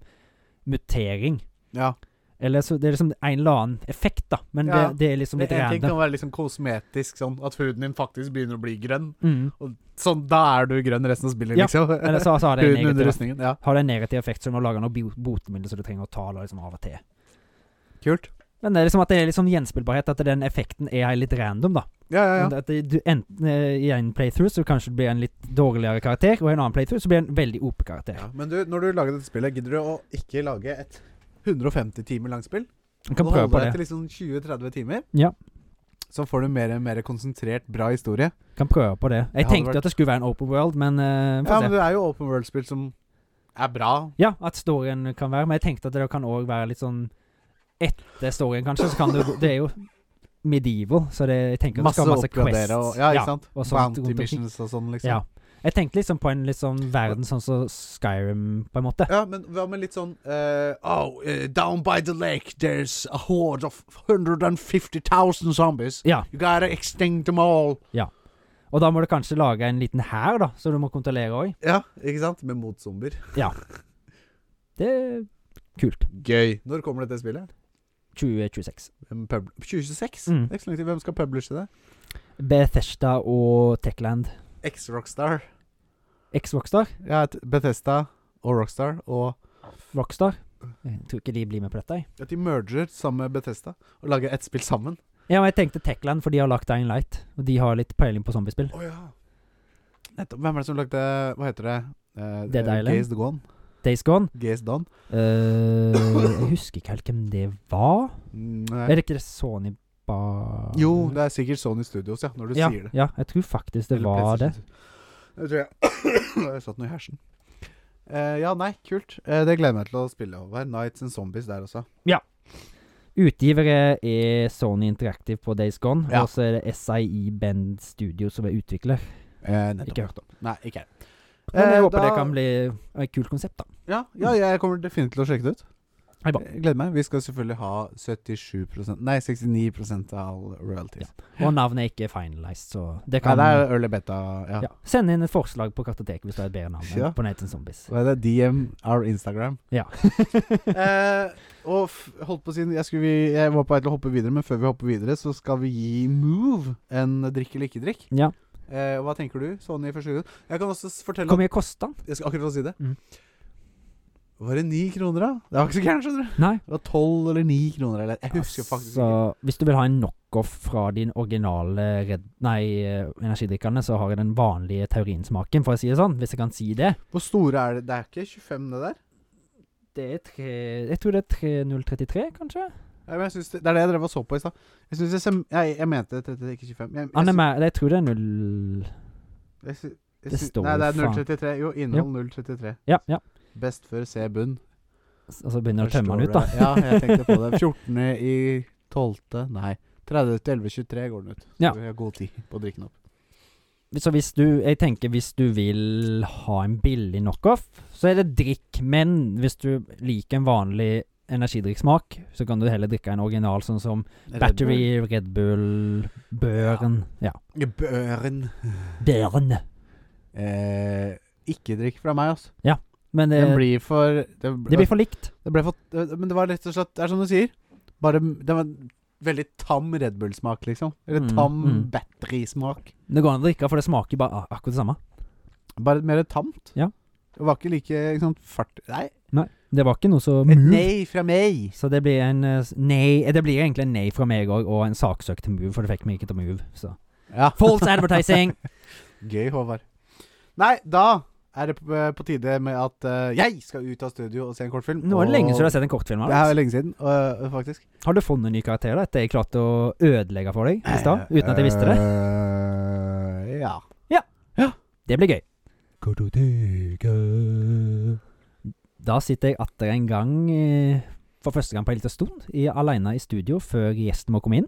mutering. ja. Eller så det er liksom en eller annen effekt, da. Men Ja. det, det er liksom Det litt en ting kan random. være liksom kosmetisk, sånn at huden din faktisk begynner å bli grønn. Mm. Sånn, da er du grønn resten av spillet, Ja, liksom. Eller så, så har det en Huden under negativ, rustningen. Ja, har det en negativ effekt, så du må lage noen bo- botemidler som du trenger å ta da, liksom, av og til. kult. Men det er liksom at det er litt sånn gjenspillbarhet, at den effekten er litt random, da. Ja, ja, ja. At du enten eh, i en playthrough så kanskje du blir en litt dårligere karakter, og i en annen playthrough så blir du en veldig OP-karakter. ja. Men du, når du lager dette spillet, gidder du å ikke lage et 150 timer langt spill? Du kan Må prøve holde på deg det. til liksom 20-30 timer. Ja. Så får du mer, mer konsentrert, bra historie. Kan prøve på det. Jeg hadde tenkte vært- at det skulle være en open world, men eh, Ja, få men se. det er jo open world-spill som er bra. Ja, at storyen kan være Men jeg tenkte at det kan òg være litt sånn Etter storyen, kanskje, så kan du gå- Det er jo medieval, så det, jeg tenker at det Masse skal å være masse quests. oppgradere og Ja, ikke sant? og sånt rundt Bounty omkring. missions og sånn, liksom. Ja. Jeg tenkte liksom på en litt sånn verden sånn som Skyrim, på en måte. Ja, men hva med litt sånn eh, Oh, eh, down by the lake there's a horde of 150,000 zombies. Ja. You gotta extinct them all. Og da må du kanskje lage en liten hær, da, så du må kontrollere òg. Ja, ikke sant? Med motzombier. Det er kult. Gøy. Når kommer dette spillet? 2026. Hvem pub- 2026? Mm. Det er ikke så lang tid. Hvem skal publishe det? Bethesda og Techland. X-Rockstar. X-Rockstar. Ja, et Bethesda og Rockstar og Rockstar. Jeg tror ikke de blir med på dette. jeg. At de merger sammen med Bethesda og lager ett spill sammen. Ja, men jeg tenkte Techland, for de har lagt Dying Light. Og de har litt peiling på zombiespill. Oh, ja. Nettopp. Hvem er det som lagde Hva heter det? Eh, Dead eh, Island? Gaze Gone. Days Gone. Gaze Dawn. Eh, jeg husker ikke helt hvem det var. Mm, nei. Er det ikke det Sony ba... Jo, det er sikkert Sony Studios, ja, når du ja, sier det. ja, jeg tror faktisk det var det. Det tror jeg. jeg satt noe i hersen. Eh, ja, nei, kult. Eh, det gleder jeg meg til å spille over. Nights and Zombies der også. Utgivere er Sony Interactive på Days Gone, Ja. og så er det SIE Bend Studio som er utvikler. Eh, Ikke hørt om. Nei, ikke jeg. Men jeg Eh, håper da- det kan bli et kult konsept, da. ja, ja, jeg kommer definitivt til å sjekke det ut. Hei, bra. Jeg gleder meg. Vi skal selvfølgelig ha 77 Nei, 69 av all royalties. Og navnet er ikke finalized, så det Eh. Nei, kan det er early beta. Ja. ja. Send inn et forslag på kartoteket hvis du har et bedre navn enn Ja. på Nathan Zombies. Hva er det? DM our Instagram. Ja. eh, og f holdt på å si jeg, skulle, vi- jeg var på vei til å hoppe videre, men før vi hopper videre, så skal vi gi Move en drikk eller ikke drikk. Ja. Eh, og hva tenker du? Sånn i første gang. Jeg kan også s- fortelle Hvor om mye kosta den? Jeg skal akkurat få si det. Mm. Var det ni kroner, da? Det var ikke så gærent, skjønner du. Nei. Det var tolv eller ni kroner, eller Jeg husker faktisk Så ikke. hvis du vil ha en knockoff fra din originale red, nei, eh, energidrikkene, så har jeg den vanlige taurinsmaken, for å si det sånn. Hvis jeg kan si det. Hvor store er det? Det er ikke 25, det der? Det er tre Jeg tror det er 3033, kanskje? Ja, men jeg synes det, det er det jeg drev og så på i stad. Jeg, synes jeg, sem- jeg, jeg mente 33, ikke 25. Jeg, Han jeg, er mer Ah, Jeg tror det er null jeg, sy- jeg, det sy- står Nei, det er faen. 033. Jo, innhold 033. Ja, ja. Best før se bunn. S- Og så begynner du å Der tømme står den ut, da. det- Ja, jeg tenkte på det. 14. i 12. Nei. 30 til 11.23 går den ut. Så Ja. vi har god tid på å drikke den opp. Så hvis du Jeg tenker hvis du vil ha en billig knockoff, så er det drikk. Men hvis du liker en vanlig energidrikksmak, så kan du heller drikke en original, sånn som Battery, Red Bull, Børen Ja. Børen. Børen. Eh, ikke drikk fra meg, altså. Men det, Den blir for Det, Eh, det blir for likt. det ble for det- Men det var rett og slett Det er som du sier. Bare Det var en veldig tam Red Bull-smak, liksom. Eller Mm, tam mm. battery-smak. Det går an å drikke, for det smaker bare ah, akkurat det samme. Bare mer tamt. Ja. Det var ikke like ikke sant, fart Nei. Det var ikke noe så Et move. nei fra meg! Så det blir en eh, s- nei eh, Det blir egentlig en nei fra meg òg, og en saksøkt move, for det fikk meg ikke til move. Så. Ja. False advertising! Gøy, Håvard. Nei, da er det på, på tide med at eh, jeg skal ut av studio og se en kortfilm. Nå er det lenge siden du og- har sett en kortfilm. Det er Alex. lenge siden, øh, faktisk. Har du funnet en ny karakter da, etter jeg klarte å ødelegge for deg i stad? Uten at jeg visste det? Eh, ja. Det blir gøy. Da sitter jeg atter en gang, eh, for første gang på en liten stund, i- alene i studio før gjesten må komme inn.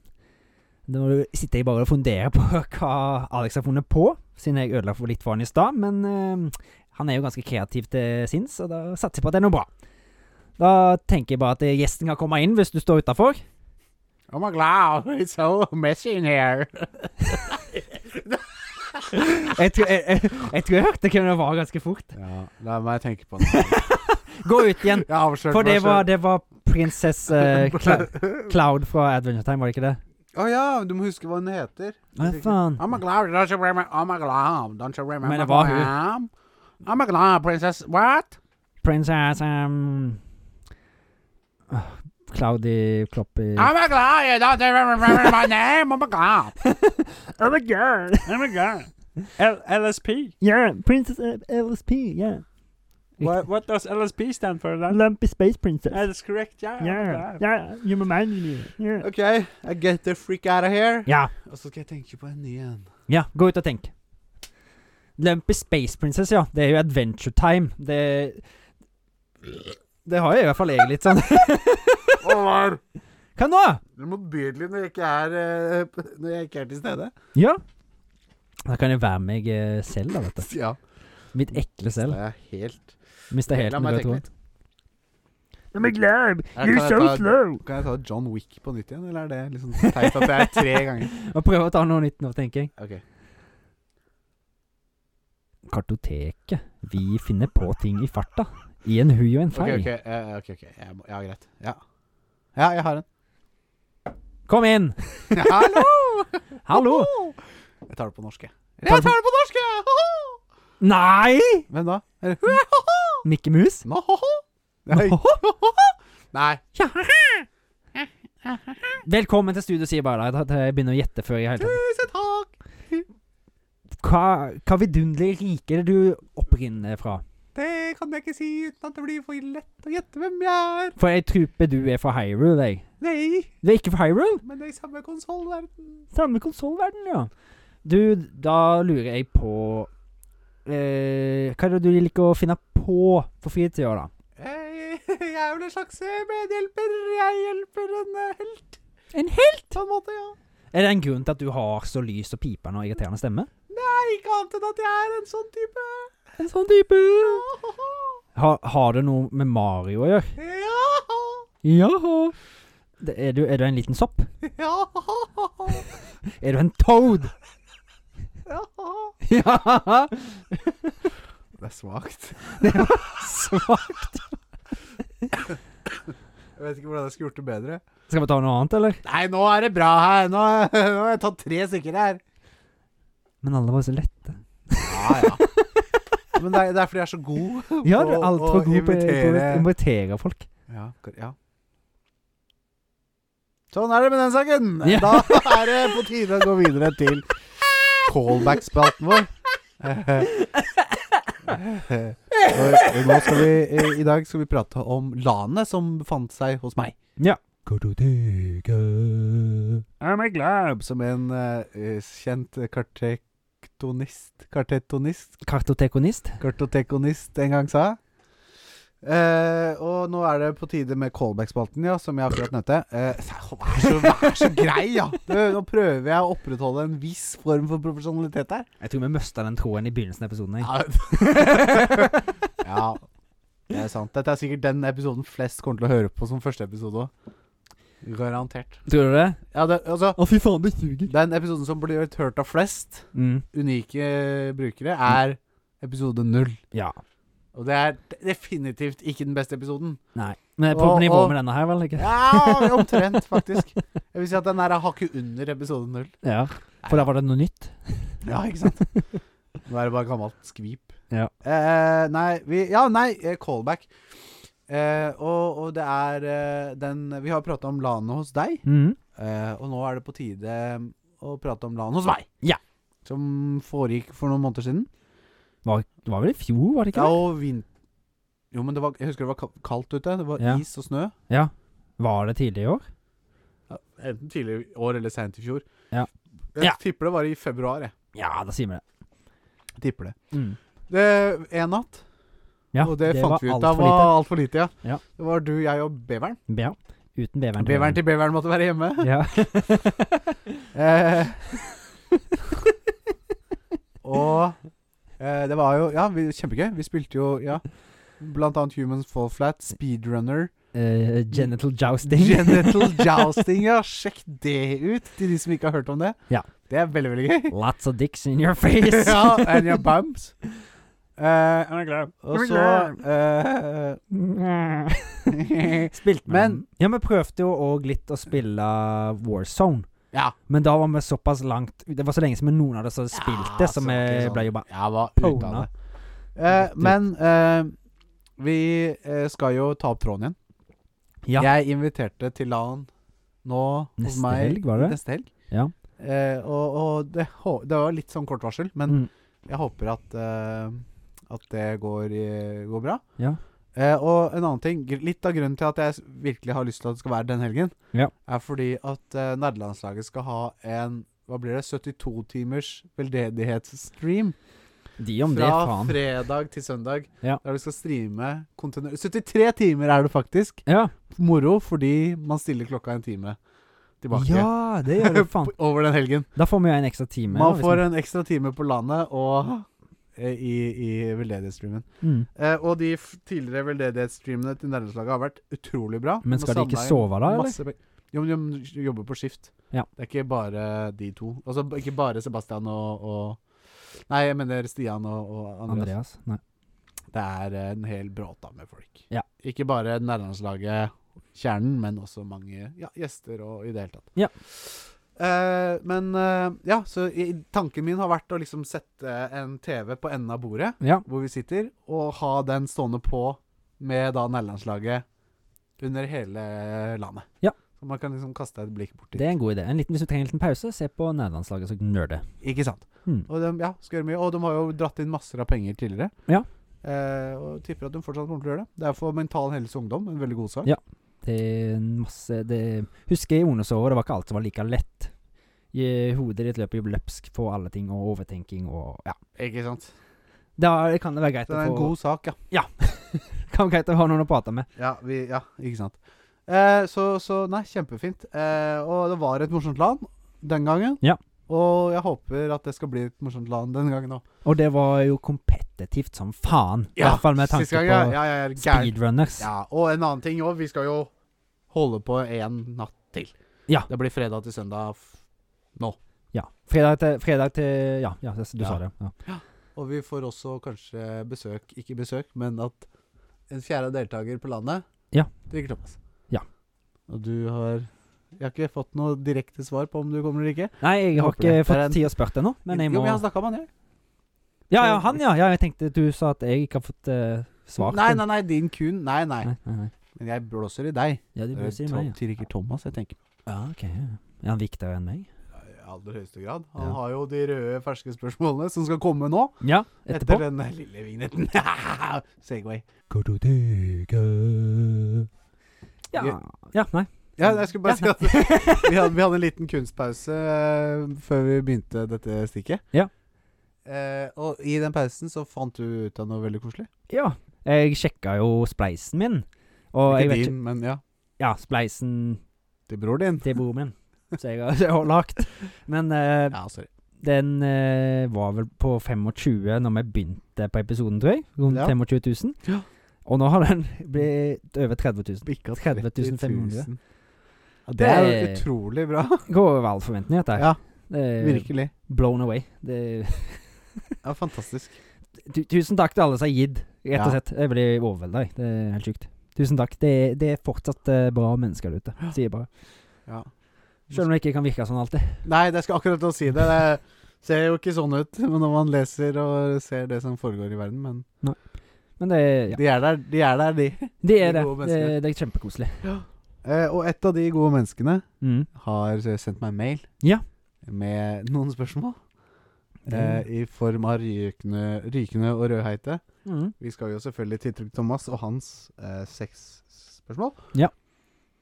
Nå sitter jeg bare og funderer på hva Alex har funnet på, siden jeg ødela for litt for han i stad. Men eh, han er jo ganske kreativ til sinns, og da satser jeg på at det er noe bra. Da tenker jeg bare at eh, gjesten kan komme inn hvis du står utafor. Oh my god, it's so messy in here. Jeg, tror- jeg, jeg, jeg tror jeg hørte hvem det var ganske fort. Ja, la meg tenke på det. Gå ut igjen! Jeg avslørte For det meg var, selv. det var prinsesse eh, Cla Cloud fra Adventure Time, var det ikke det? Å ja, du må huske hva hun heter. Hva faen? I'm a glad, don't you remember, I'm a glad, don't you remember, Men det var hun. ma'am? I'm a glad princess, what? Prinsesse um, ah, åh, Cloudy Cloppy I'm a glad, you don't remember my name, I'm a glad. I'm a girl, I'm a girl. L- LSP. Yeah, Princess of LSP, yeah. What, what does LSP stand for? Then? Lumpy Space Princess. That's correct. Yeah. Yeah, yeah. yeah, you remind me. Yeah. Ok, I get the freak out of here. Ja, Og så skal jeg tenke på en ny en. ja, gå ut og tenk. Lumpy Space Princess, ja. Det er jo Adventure Time. Det Det har jeg i hvert fall jeg litt sånn Håvard, Hva nå? du er motbydelig når jeg ikke er, eh, p- når jeg ikke er til stede. Ja. Da kan jeg være meg eh, selv, da, vet du. Ja, Mitt ekle selv. det er helt... Mista helt La meg tenke kontrollen. litt. I'm glad. Kan jeg ta- Kan jeg ta John Wick på nytt igjen, eller er det liksom teit at det er tre ganger? Og prøve å ta noe nytt nå, tenker jeg. Ok. Kartoteket. Vi finner på ting i farta. I en hui og en Ok, fei. ok, eh, ok, ok. Jeg må, ja, greit. Ja. ja, jeg har en. Kom inn! Hallo! Hallo! Jeg tar det på norsk, jeg. Tar Jeg det på- tar det på norsk, jeg! Ho-ho! Nei! Hvem da? Er det ho-ho? Mikke Mus? Nå, ho-ho? Nei. Nei. Velkommen til studio, sier bare da. Jeg begynner å gjette før jeg helt Tusen takk! Hva, hva vidunderlig rike er det du opprinner fra? Det kan jeg ikke si uten at det blir for lett å gjette hvem jeg er. For jeg tror du er fra Hyrule, jeg. Nei, Du er ikke fra Hyrule? men det er i samme konsollverden. Samme konsollverden, ja. Du, da lurer jeg på eh, Hva er det du liker å finne på for fritida, da? Jeg, jeg er vel en slags medhjelper. Jeg hjelper en eh, helt. En helt? På en måte, ja. Er det en grunn til at du har så lys og pipende og irriterende stemme? Nei, ikke annet enn at jeg er en sånn type. En sånn type. Ho-ho. Har, har det noe med Mario å gjøre? Ja. Jaha. Det, er, du, er du en liten sopp? Ja. Er du en toad? Ja. Ja! Det er svakt. Svart. Jeg vet ikke hvordan jeg skulle gjort det bedre. Skal vi ta noe annet, eller? Nei, nå er det bra her. Nå, nå har jeg tatt tre stykker her. Men alle var så lette. Ja, ja. Men det er, det er fordi jeg er så god Ja, du er å- altfor å god på- på å imitere- invitere folk. Ja, kor- ja. Sånn er det med den saken. Ja. Da er det på tide å gå videre til callback-spalten vår. Og nå skal vi, eh, I dag skal vi prate om lanet som befant seg hos meg. Ja. I'm a glob. Som en eh, eh, kjent kartektonist Kartetonist? Kartotekonist. Kartotekonist en gang sa. Eh, og nå er det på tide med callback-spalten, ja, som jeg akkurat nevnte. Eh, vær, så, vær så grei, ja! Du, nå prøver jeg å opprettholde en viss form for profesjonalitet her. Jeg tror vi mista den tråden i begynnelsen av episoden. jeg. Ja. ja, det er sant. Dette er sikkert den episoden flest kommer til å høre på som første episode òg. Garantert. Tror du det? Ja, det, altså, Å, fy faen, det suger. den episoden som blir hørt av flest Mm. unike brukere, er episode null. Ja. Og det er definitivt ikke den beste episoden. Nei. Men på Og- nivå og- med denne her, vel? ikke? Ja, omtrent, faktisk. Jeg vil si at den her er hakket under episode null. Ja. For da var det noe nytt? Ja, ikke sant? Nå er det bare gammelt skvip. Ja. Eh, nei, vi, ja, nei, eh, callback. Eh, og, og det er eh, den Vi har prata om LANet hos deg, Mhm. eh, og nå er det på tide um, å prate om LAN hos meg. Ja. Som foregikk for noen måneder siden. Var, det var vel i fjor, var det ikke? Ja, og vin... Jo, men det var, jeg husker det var ka- kaldt ute. Det var Ja. is og snø. det? Ja. Var det tidlig i år? Enten tidligere i år eller seint i fjor. Ja. Jeg Ja. tipper det var i februar, jeg. Ja, da sier vi det. jeg tipper det. Mm. det en natt, Ja, og det, var fant vi ut alt av for var lite. altfor lite. Ja. Ja. Det var du, jeg og beveren. Ja. Uten beveren. til Beveren til beveren måtte være hjemme. beveren. Ja. Eh, og eh, det var jo Ja, vi, kjempegøy. Vi spilte jo ja, blant annet Humans Fall Flat, Speedrunner, Eh, genital jousting. Genital Jousting. Ja, sjekk det ut til de som ikke har hørt om det. Ja. Det er veldig, veldig gøy. Lots of dicks in your face. ja, and your bums. Eh, I'm a glob. og så eh, Mm. Spilt med Men- den. Ja, vi prøvde jo òg litt å spille Warzone. Ja. Men da var vi såpass langt Det var så lenge som noen av oss hadde spilt det, så vi sånn ble jo bare Jeg var ute av pona. det. Eh, men eh, vi eh, skal jo ta opp tråden igjen. Ja. Jeg inviterte til LAN nå hos Neste meg. helg, var det? Neste helg. Ja. Eh, og og det, hå- det var litt sånn kort varsel, Mm. men jeg håper at, eh, at det går, i, går bra. Ja. Eh, og en annen ting, gr- litt av grunnen til at jeg s- virkelig har lyst til at det skal være den helgen, Ja. er fordi at eh, nerdelandslaget skal ha en hva blir det, 72 timers veldedighetsstream De om det, fra faen. fredag til søndag. Ja. Der du skal streame kontinuerlig 73 timer er det faktisk. Ja. Moro fordi man stiller klokka en time tilbake. ja, det gjør det, faen. Over den helgen. Da får vi jo en ekstra time. da, liksom. Man hvis får en ekstra time på landet og eh, i, i veldedighetsstreamen. vi- mm. Eh, og de f tidligere veldedighetsstreamene til nærmestlaget har vært utrolig bra. Men skal de Man ikke samlet inn sove da, eller? masse pe- Jo, men de jobber på skift. Ja. Det er ikke bare de to. Altså b- ikke bare Sebastian og, og Nei, jeg mener Stian og, og Andreas? Andreas. Nei. Det er eh, en hel bråta med folk. Ja. Ikke bare nærlandslaget, kjernen, men også mange ja, gjester og i det hele tatt. Ja. Eh, men eh, ja, så i, tanken min har vært å liksom sette en TV på enden av bordet Ja. hvor vi sitter, og ha den stående på med da nærlandslaget under hele landet. Ja. Så man kan liksom kaste et blikk bort Det dit. er en god idé. En liten, hvis du trenger en liten pause, se på nederlandslaget og nerde. Ikke sant? Mm. Og de, ja, skal gjøre mye. Og de har jo dratt inn masser av penger tidligere. Ja. Eh, og tipper at de fortsatt kommer til å gjøre det. Det er for Mental Helse Ungdom en veldig god sak. Ja. Det er en masse det, Husker i ungdomsåret, det var ikke alt som var like lett. I hodet ditt løper jo løpsk for alle ting, og overtenking og Ja. Ikke sant? Da kan det være greit Så det å er få en god sak, ja. Kan være greit å ha noen å prate med. Ja, vi, ja ikke sant. Eh, så, så nei, kjempefint. Eh, og det var et morsomt land den gangen. Ja. Og jeg håper at det skal bli et morsomt land denne gangen òg. Og det var jo kompetitivt som faen. I hvert fall med tanke siste gang, ja, på ja, ja, jeg er gæren. speedrunners. Ja. Ja, og en annen ting òg. Vi skal jo holde på en natt til. Ja. Det blir fredag til søndag. f- Fredag, til, fredag til Ja, ja du sa Ja. det. Ja. Og vi får også kanskje besøk, ikke besøk, men at en fjerde deltaker på landet Ja. drikker Thomas. Ja. Og du har Jeg har ikke fått noe direkte svar på om du kommer eller ikke. Nei, jeg har Håper det. ikke Det er fått en- tid å spørre ennå, men jeg Jo, må men jeg har snakka med han, jeg. Ja, ja, han, ja. ja. Jeg tenkte du sa at jeg ikke har fått eh, svar. Nei, nei, nei, din kun. Nei, nei. nei, nei, nei. Men jeg blåser i deg. Ja, du burde si Tom- meg, ja. Til Rikard Thomas, jeg tenker. ja ok, ja. Er han viktigere enn meg? I aller høyeste grad. Han Ja. har jo de røde, ferske spørsmålene som skal komme nå. Ja, etterpå. Etter denne lille vignetten. Segway. Ja. ja, nei. Ja, jeg skulle bare Ja. si at vi hadde, vi hadde en liten kunstpause eh, før vi begynte dette stikket. Ja. Eh, og i den pausen så fant du ut av noe veldig koselig. Ja. Jeg sjekka jo spleisen min. Og jeg Ikke vet din, ikke men ja. Ja, spleisen Til bror din. til broren min. Så jeg har, jeg har lagt. Men eh, Ja, sorry. den eh, var vel på 25 når vi begynte på episoden, tror jeg. Rundt Ja. 25 000. Ja. Og nå har den blitt over 30 000. Bikka 30 500. Ja, det er jo Det- utrolig bra. Går over all forventning, dette her. Ja, Det er virkelig. Blown away. Det, Ja, fantastisk. tu, tusen takk til alle som har gitt, rett og Ja. slett. Jeg blir overvelda, jeg. Det er helt sjukt. Tusen takk. Det, det er fortsatt eh, bra mennesker der ute, sier jeg bare. Ja. Selv om det ikke kan virke sånn alltid. Nei, jeg skal akkurat til å si det. Det ser jo ikke sånn ut men når man leser og ser det som foregår i verden, men Men det, ja. de er der, de. Er der, de. det er det. gode Det, mennesker. det er kjempekoselig. Eh, og et av de gode menneskene Mm. har sendt meg mail Ja. med noen spørsmål. Det- Eh, I form av rykende, rykende og rødheite. Mm. Vi skal jo selvfølgelig til Trygg Thomas og hans eh, seks spørsmål. Ja.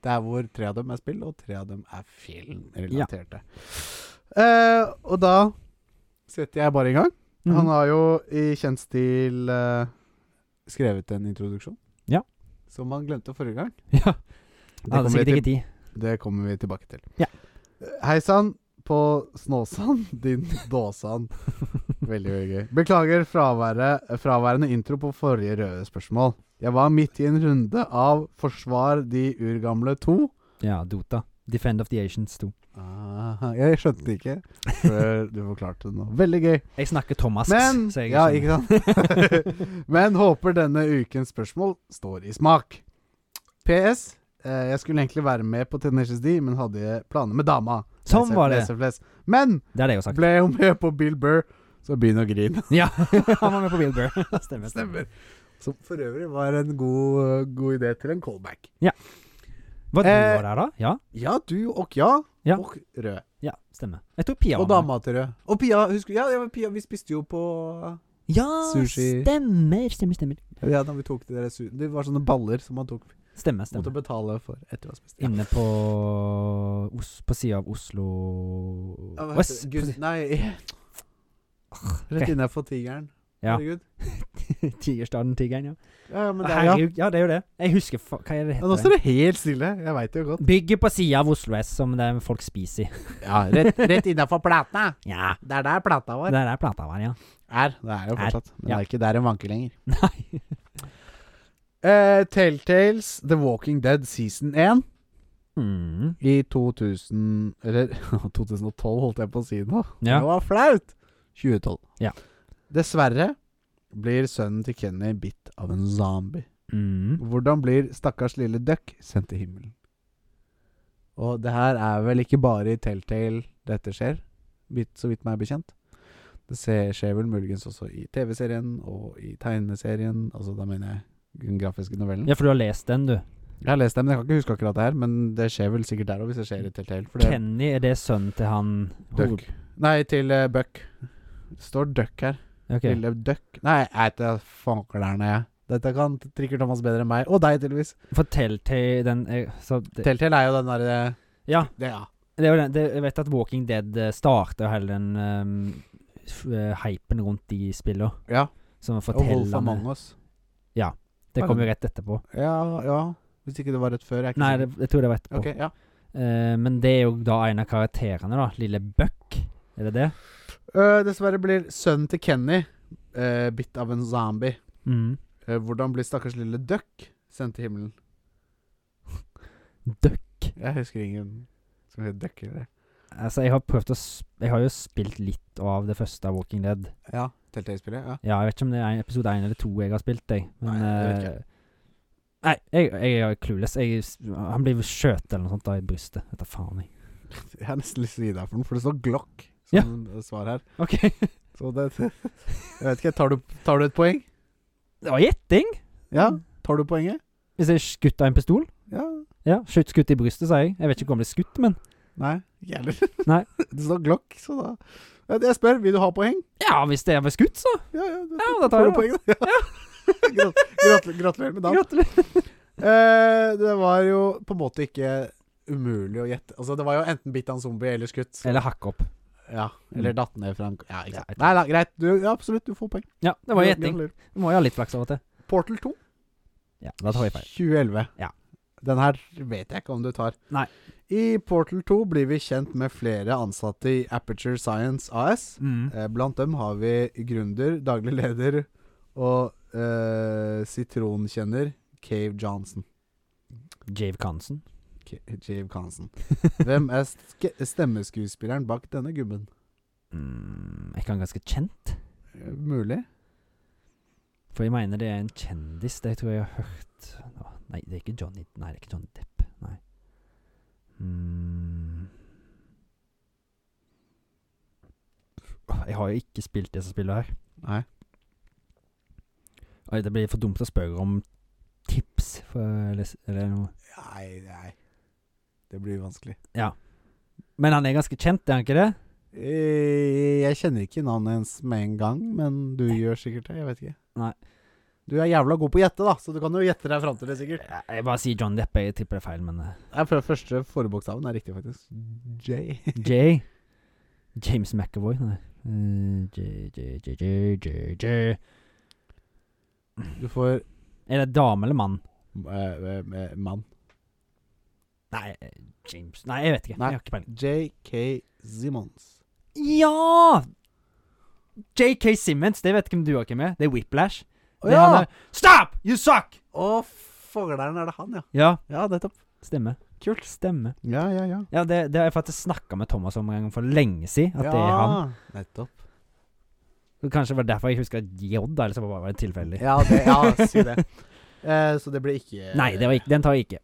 Der hvor tre av dem er spill, og tre av dem er filmrelaterte. Eh, og da setter jeg bare i gang. Mm. Han har jo i kjent stil eh, skrevet en introduksjon. Ja. Som han glemte forrige gang. Ja, Det hadde kommer, sikkert vi ikke til, tid. det kommer vi tilbake til. Ja. Hei sann på Snåsan, din dåsan. Veldig veldig gøy. Beklager fraværet, fraværende intro på forrige røde spørsmål. Jeg var midt i en runde av Forsvar de urgamle to. Ja, Dota. Defend of the Asians 2. Ah, jeg skjønte det ikke før du forklarte det nå. Veldig gøy. Jeg snakker Thomas, Men så jeg sånn- Ja, skjønner. ikke sant? Men håper denne ukens spørsmål står i smak. PS. Eh, jeg skulle egentlig være med på Tenacious D, men hadde planer med dama. Sånn SF, var det. SF. Men Det er det jeg har sagt. ble hun med på Bill Burr, så begynn å grine. Ja, han var med på Bill Burr. Stemmer. Stemmer. Som for øvrig var en god, god idé til en callback. Var du Eh, var der, da? Ja? Ja, du og ja. Ja. Og rød. Ja, stemmer. Jeg tror Pia Og var med. dama til rød. Og Pia, husker du? Ja, ja, men Pia, vi spiste jo på Ja, Sushi. stemmer, stemmer, stemmer. Ja, da vi tok de der su... Det var sånne baller som man tok Stemmer, Måtte stemmer. betale for etter å ha spist. Ja. Inne på Os På sida av Oslo Ja, hva Øst- heter det? Gud, nei Rett innenfor tigeren. Ja. Herregud. Tigerstaden Tigeren, ja. Ja, ja, men det er ja. Herregud, ja, det er jo det. Jeg husker fa Hva er det Men nå heter? står det helt stille. Jeg veit det jo godt. Bygget på sida av Oslo S, som det er folk spiser i. Ja, Rett, rett innafor plata. Ja. Det er der plata Det vår der er plata vår, ja. er. Det er jo Er. fortsatt. Men Ja. det er ikke der den vanker lenger. Nei. Eh, Telltales The Walking Dead season 1 Mm. i 2000 Eller 2012, holdt jeg på å si nå. Ja. Det var flaut! 2012. Ja. Dessverre blir sønnen til Kenny bitt av en zombie. Mm. Hvordan blir stakkars lille Duck sendt til himmelen? Og det her er vel ikke bare i Telltale dette skjer, vidt- så vidt meg er bekjent. Det se- skjer vel muligens også i TV-serien og i tegneserien, altså da mener jeg den grafiske novellen. Ja, for du har lest den, du. Jeg har lest det, men jeg kan ikke huske akkurat det her. Men det skjer vel sikkert der òg, hvis det skjer i Telltale. For det er Kenny, er det sønnen til han Duck. Nei, til eh, Buck. Det står Duck her. Ok. Lille Duck. Nei, jeg vet da fanker'n, jeg. Dette kan Trikker Thomas bedre enn meg. Og deg, tydeligvis. Fortell til den eh, så det, Telltale er jo den derre Ja, det, ja. det er jo den, det, jeg vet at Walking Dead eh, starter hele den ehm, f- eh, hypen rundt de spillene. ja. Som Og Wolf forteller Among meg Us. Det kommer jo rett etterpå. Ja, ja. Hvis ikke det var rett før. Jeg er ikke Nei, det, sikker. jeg tror det var etterpå. Ok, ja. Eh, men det er jo da en av karakterene, da. Lille Buck. Er det det? Øh, dessverre blir sønnen til Kenny eh, bitt av en zombie. Mm. Eh, hvordan blir stakkars lille Duck sendt til himmelen? Duck. Jeg husker ingen som heter Duck eller det. Altså, jeg har prøvd å s- Jeg har jo spilt litt av det første av Walking Dead. Ja, Telltale-spillet. Ja. Ja, jeg vet ikke om det er en- episode én eller to jeg har spilt, jeg. Men Nei, det vet eh, Nei, jeg, jeg er clueless. Jeg, han blir skjøt eller noe sånt da i brystet. Dette faen jeg. Jeg har nesten lyst til å gi deg for den, for det står Glock Ja. som svar her. Ok, Så det Jeg vet ikke. Tar du, tar du et poeng? det var gjetting! Ja? Tar du poenget? Hvis jeg er skutt av en pistol? Ja? Ja, skutt, skutt i brystet, sa jeg. Jeg vet ikke om han ble skutt, men Nei? Ikke jeg heller. Nei. Det står Glock, så da Jeg- Jeg spør, vil du ha poeng? Ja, hvis det er ble skutt, så! Ja, ja. Da Ja, da tar tar du jeg det. poeng, da. Ja. Grat- Gratulerer gratulerer med dagen. Gratulerer. Eh, det var jo på en måte ikke umulig å gjette. Altså, det var jo enten bitt av en zombie eller skutt. Eller hakk opp. Ja, eller datt ned fra en Ja, ikke Mm. sant. Ja, Nei, da, greit. Du, ja, absolutt, du får poeng. Ja, det var Gra- gjetting. gratulerer. Du må jo ha litt flaks av og til. Portal 2. Ja, da tar jeg feil. 2011. Ja. Den her vet jeg ikke om du tar. Nei. I Portal 2 blir vi kjent med flere ansatte i Aperture Science AS. Mm. Eh, Blant dem har vi gründer, daglig leder og eh, sitronkjenner Cave Johnson. Jave Kansen. K- Cave Johnson. Hvem er ske- stemmeskuespilleren bak denne gubben? Mm, er ikke han ganske kjent? Eh, Mulig? For jeg mener det er en kjendis. Det tror jeg jeg har hørt Å, Nei, det er ikke Johnny Nei, det er ikke Johnny Depp. Nei. Mm. Åh, Jeg har jo ikke spilt det som spiller her. Nei. Oi, det blir for dumt å spørre om tips for, eller, eller noe. Nei, nei. Det blir vanskelig. Men han er ganske kjent, er han ikke det? Eh, Jeg kjenner ikke navnet hennes med en gang, men du gjør sikkert det. Jeg vet ikke. Nei. Du er jævla god på å gjette, da, så du kan jo gjette deg fram til det, sikkert. Jeg, jeg bare sier Johnny Depp, jeg tipper det er feil, men eh, Nei, for Første forbokstaven er riktig, faktisk. J. J. James McAvoy, nei. Eh, J, J, J, J, J, J. Du får Er det dame eller mann? eh, eh, mann. Nei, eh, James Nei, jeg vet ikke. Nei. Jeg har ikke peiling. JK Simmons. Ja! JK Simmons, det vet ikke om du har ikke med. Det er Whiplash. Å Det er ja! han der, Stop! You suck! Å, fogleren er det han, ja. Ja, Ja, nettopp. stemme. Kult. Stemme. Ja, ja, ja. Ja, det, det har jeg faktisk snakka med Thomas om en gang for lenge siden. At det er han. Nettopp. Og Kanskje det var derfor jeg husker J, da, eller så bare var det tilfeldig. Ja, det, ja si det. Eh, så det ble ikke Nei, det var ikke, den tar jeg ikke.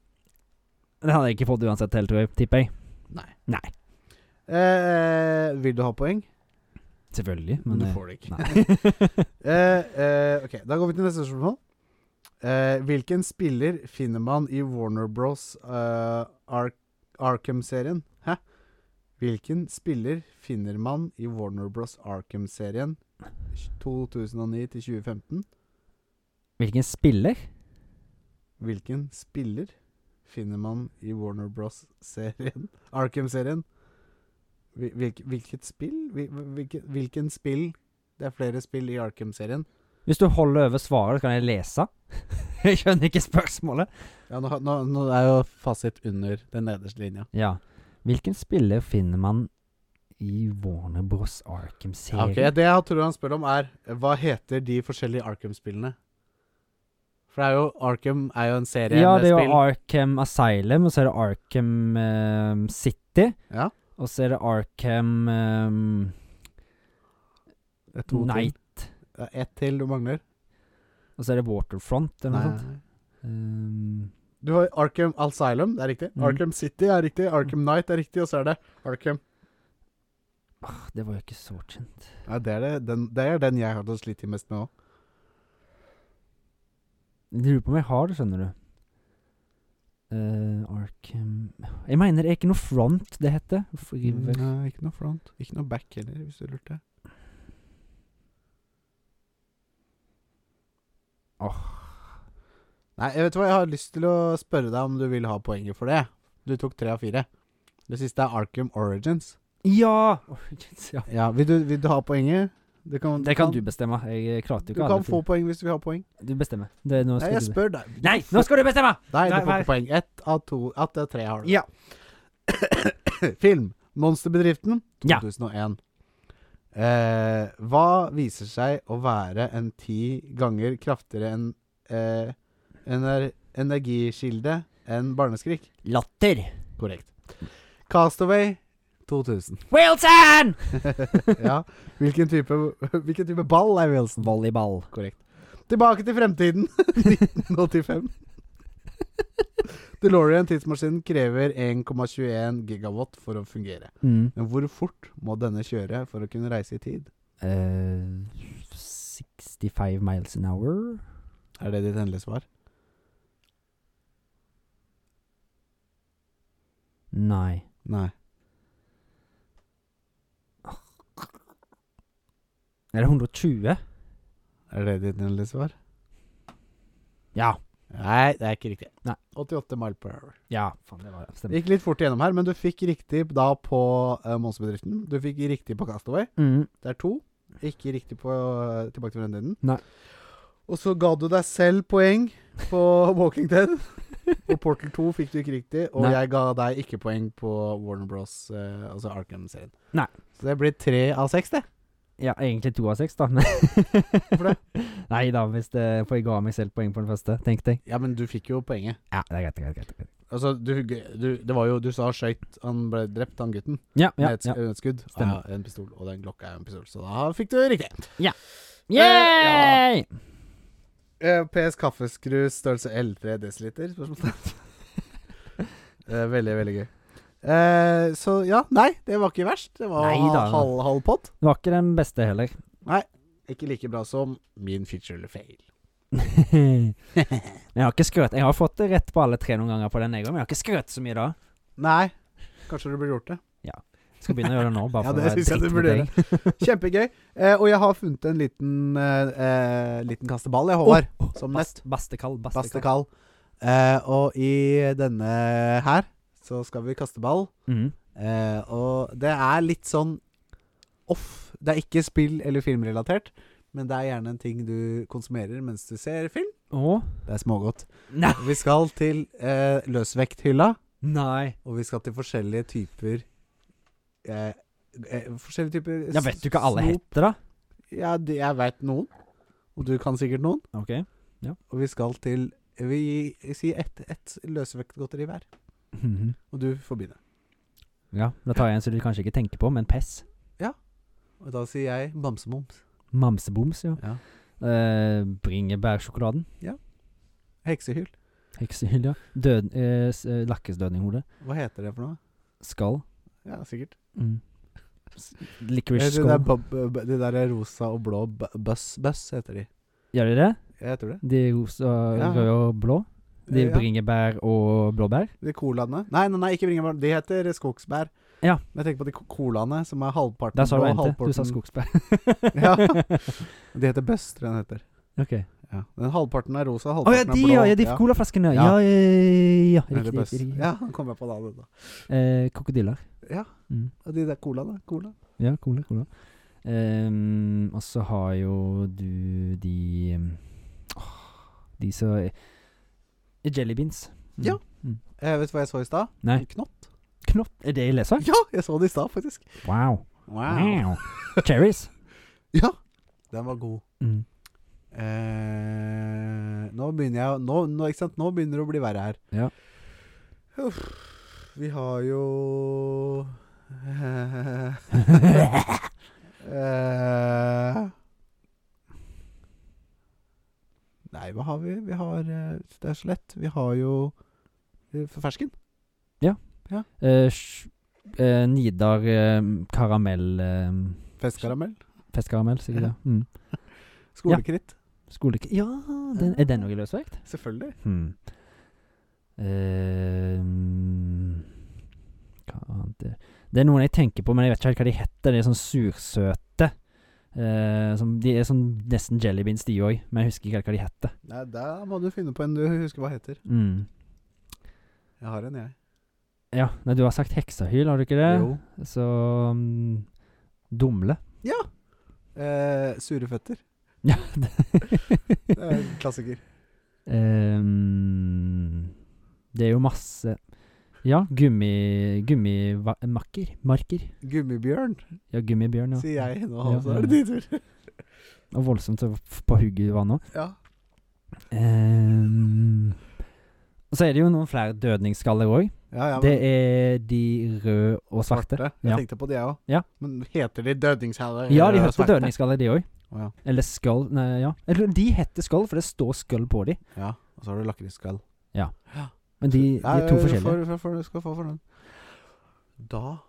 Den hadde jeg ikke fått uansett, helt, tror jeg. Tipper jeg. Nei. Nei. Eh, vil du ha poeng? Selvfølgelig, men du eh, får det ikke. Nei. Eh, eh, ok, da går vi til neste spørsmål. Eh, hvilken spiller finner man i Warner Bros. eh, Ar Arkham-serien? Hæ? Hvilken spiller finner man i Warner Bros. Arkham-serien 2009 til 2015? Hvilken spiller? Hvilken spiller finner man i Warner Bros.-serien? Arkham-serien? Hvil- Hvilk, hvilket spill? Hvil, hvilke, hvilken spill? Det er flere spill i Arkham-serien. Hvis du holder over svaret, så kan jeg lese. jeg skjønner ikke spørsmålet. Ja, nå, nå, nå er jo fasit under den nederste linja. Ja. Hvilken spiller finner man i Warner Bros. Ja, Arkham-serien? ok, Det jeg tror han spør om, er hva heter de forskjellige Arkham-spillene? For det er jo Arkham er jo en serie Ja, med det er spill. jo Arkham Asylum, og så er det Arkham ehm, City. Ja. Og så er det Arkham ehm, Det er to Nei. til. Det er Ett til du mangler. Og så er det Waterfront, eller noe Nei. sånt. Ehm, Du har Arkham Asylum, det er riktig. Mm. Arkham City er riktig. Arkham Knight er riktig, og så er det Arkham ah, det var jo ikke så kjent. Nei, det er, det, den, det er den jeg hadde slitt mest med òg. Jeg lurer på om jeg har det, skjønner du. Eh, Arkham Jeg mener, det er ikke noe front det heter. Friver. Mm, Nei, eh, ikke noe front. Ikke noe back heller, hvis du lurte. Nei, jeg vet hva, jeg har lyst til å spørre deg om du vil ha poenget for det. Du tok tre av fire. Det siste er Arkham Origins. Ja! Origins, ja. Ja, Vil du, vil du ha poenget? Det kan Det kan du bestemme. Jeg klarte Du jo ikke alle kan få fire. poeng hvis du vil ha poeng. Du bestemmer. Det, nå Nei, skal jeg du be- spør deg. Nei, nå skal du bestemme! Nei, du Nei, får nei. ikke poeng. Ett av to Av det tre har du. Ja. Film. 'Monsterbedriften' Ja. 2001. Eh, hva viser seg å være en ti ganger kraftigere enn eh, ener energikilde enn barneskrik? Latter. Korrekt. 'Castaway' 2000. Wilson! ja. Hvilken type, hvilken type ball er Wilson? Volleyball. Korrekt. 'Tilbake til fremtiden' 1985. DeLorean tidsmaskinen krever 1,21 gigawatt for å fungere. Mm. Men hvor fort må denne kjøre for å kunne reise i tid? Eh, 65 miles an hour? Er det ditt endelige svar? Nei. Nei. Er det 120? Er det ditt endelige svar? Ja. Nei, det er ikke riktig. Nei. 88 mile per hour. Ja, faen, det var Det stemmer. gikk litt fort igjennom her, men du fikk riktig da på uh, Monsterbedriften. Du fikk riktig på Castaway. Mm. Det er to. Ikke riktig på eh, Tilbake til fremtiden. Nei. Og så ga du deg selv poeng på Walking Dead. På Portal 2 fikk du ikke riktig, og Nei. jeg ga deg ikke poeng på Warner Bros. eh, altså Arkham-serien. Nei. Så det blir tre av seks, det. Ja, egentlig to av seks, da. men- det? Nei da, hvis det, for jeg ga meg selv poeng på den første. Tenk deg. Ja, men du fikk jo poenget. Ja, det er greit, det er greit. det er greit. Altså, du, du, det var jo, du sa skøyt Han ble drept, han gutten. Ja, ja, med et, ja. sk- et skudd. Stemmer. Ja, en pistol, og den glokka er en pistol. Så da fikk du riktig. Yay! Eh, PS kaffeskrus størrelse L3 desiliter? Spørsmålstegn. Eh, veldig, veldig gøy. Eh, så ja, nei, det var ikke verst. Det var Neida. halv, halv pott. Det var ikke den beste heller. Ikke like bra som min feature eller fail. men jeg har ikke skrøt. Jeg har fått det rett på alle tre noen ganger på den, jeg òg, men jeg har ikke skrøt så mye da. Nei, kanskje du burde gjort det. Skal begynne å gjøre det nå, bare Ja, for det å være synes jeg du dritt mot burde deg. Kjempegøy. Eh, og jeg har funnet en liten, eh, eh, liten kasteball, jeg, Håvard. Åh, åh, som bast- Bastekall. Bastekall. Bastekall. Eh, og i denne her så skal vi kaste ball. Mhm. Eh, og det er litt sånn off. Det er ikke spill- eller filmrelatert, men det er gjerne en ting du konsumerer mens du ser film. Åh. Det er smågodt. Nei. Vi skal til eh, løsvekthylla, Nei. og vi skal til forskjellige typer eh, eh, Forskjellige typer Ja, vet du hva alle snop. heter, da? Ja, det, jeg veit noen. Og du kan sikkert noen. Ok. Og vi skal til Vi sier ett et løsvektgodteri hver. Mhm. Og du får begynne. Ja, da tar jeg en som du kanskje ikke tenker på, men pess. Og da sier jeg bamsemums. Mamseboms, ja. Ja. Eh, bringebærsjokoladen. Heksehyl. Heksehyll, ja. Død, eh, s- eh, Lakkesdødninghode. Hva heter det for noe? Skall. Ja, sikkert. Mm. S- Jeg Licorice tror det er skall. bob- b- De der rosa og blå bu- buss, buss heter de. Gjør de det? Jeg tror det. De rosa, Ja. røde og blå? De Eh, ja. bringebær og blåbær? De colaene. Nei, nei, nei, ikke bringebær. De heter skogsbær. Ja. Men jeg tenker på de ko- colaene som er halvparten Der sa du blå, en til. Du sa halvparten skogsbær. Ja. De heter buss, tror jeg den heter. ok. Ja. Den halvparten er rosa, Å ja, halvparten de, er blå. ja! ja de colaflaskene. Ja. Ja, ja, ja. ja, Den heter Riktig, buss. riktig, riktig. Ja, nå kom jeg på det. da. Eh, krokodiller. Ja. Mm. Og de der colaene. Cola. Ja, cola. cola. Ehm, og så har jo du de ehm, åh, De som Jelly beans. Mm. Ja. Eh, vet du hva jeg så i stad? Nei. En Knott. Knott. Er det i lesa? Ja, jeg så det i stad, faktisk. Wow. wow. Cherries. Ja. Den var god. Mm. Eh, nå begynner jeg å- nå, nå, Ikke sant? Nå begynner det å bli verre her. Ja. Uff, vi har jo eh, Nei, hva har vi? Vi har eh, Det er så lett. Vi har jo eh, fersken. Eh, sj- eh, Nidar ehm, karamell ehm, Festkaramell. Festkaramell, sikkert. Ja. Mm. Skolekritt. Skolek... Ja, den, er den òg i løsvekt? Selvfølgelig. Hmm. Ehm, hva annet er- Det er noen jeg tenker på, men jeg vet ikke helt hva de heter. De er sånn sursøte. Eh, som, de er sånn nesten jellybeans, de òg, men jeg husker ikke helt hva de heter. Nei, da må du finne på en du husker hva heter. Mm. Jeg har en, jeg. Ja, nei, du har sagt heksahyl, har du ikke det? Jo. Så mm, Dumle. Eh, sure føtter. Ja. det- Det er en klassiker. Ehm, det er jo masse Ja, gummi... Gummimakker. Marker. Gummibjørn, Ja, gummibjørn, ja. sier jeg nå, Ja, så ja, er det din tur. Og voldsomt så f- på hugget du var nå. Ja. Ehm, og så er det jo noen flere dødningsskaller òg. Ja, ja, det men er de røde og svarte. Jeg Ja. tenkte på de, jeg òg. Ja. Men heter de dødningshaller? Ja, de heter dødningsskaller, de òg. Å, ja. Eller skull Nei, ja. Eller de heter skull, for det står skull på de. ja. Og så har du lakrisskall. Men de, de er to Nei, forskjellige. For, for, for, du skal få for den. Da,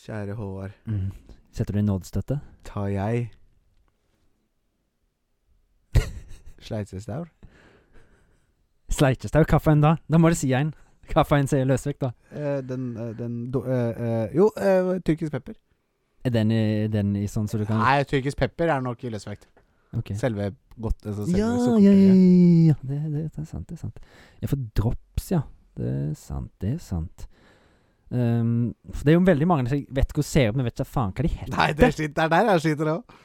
kjære Håvard, Mm. Setter du inn nådstøtte? tar jeg Sleitsestaur. Sleikestau kaffen da? Da må du si en. Kaffen sier løsvekt, da. Eh, den eh, den do, eh, eh, Jo, eh, tyrkisk pepper. Er den i, den i sånn så du kan Nei, tyrkisk pepper er nok i løsvekt. Ok. Selve godt altså selve Ja, ja, ja, sukkerpulveret. ja. ja. Det, det, det er sant, det er sant. Ja, for drops, ja. Det er sant, det er sant. Ehm, for det er jo veldig mange som vet hvor ser ut, men vet ikke faen hva de heter. Nei, det er, slit, det er der jeg sliter òg.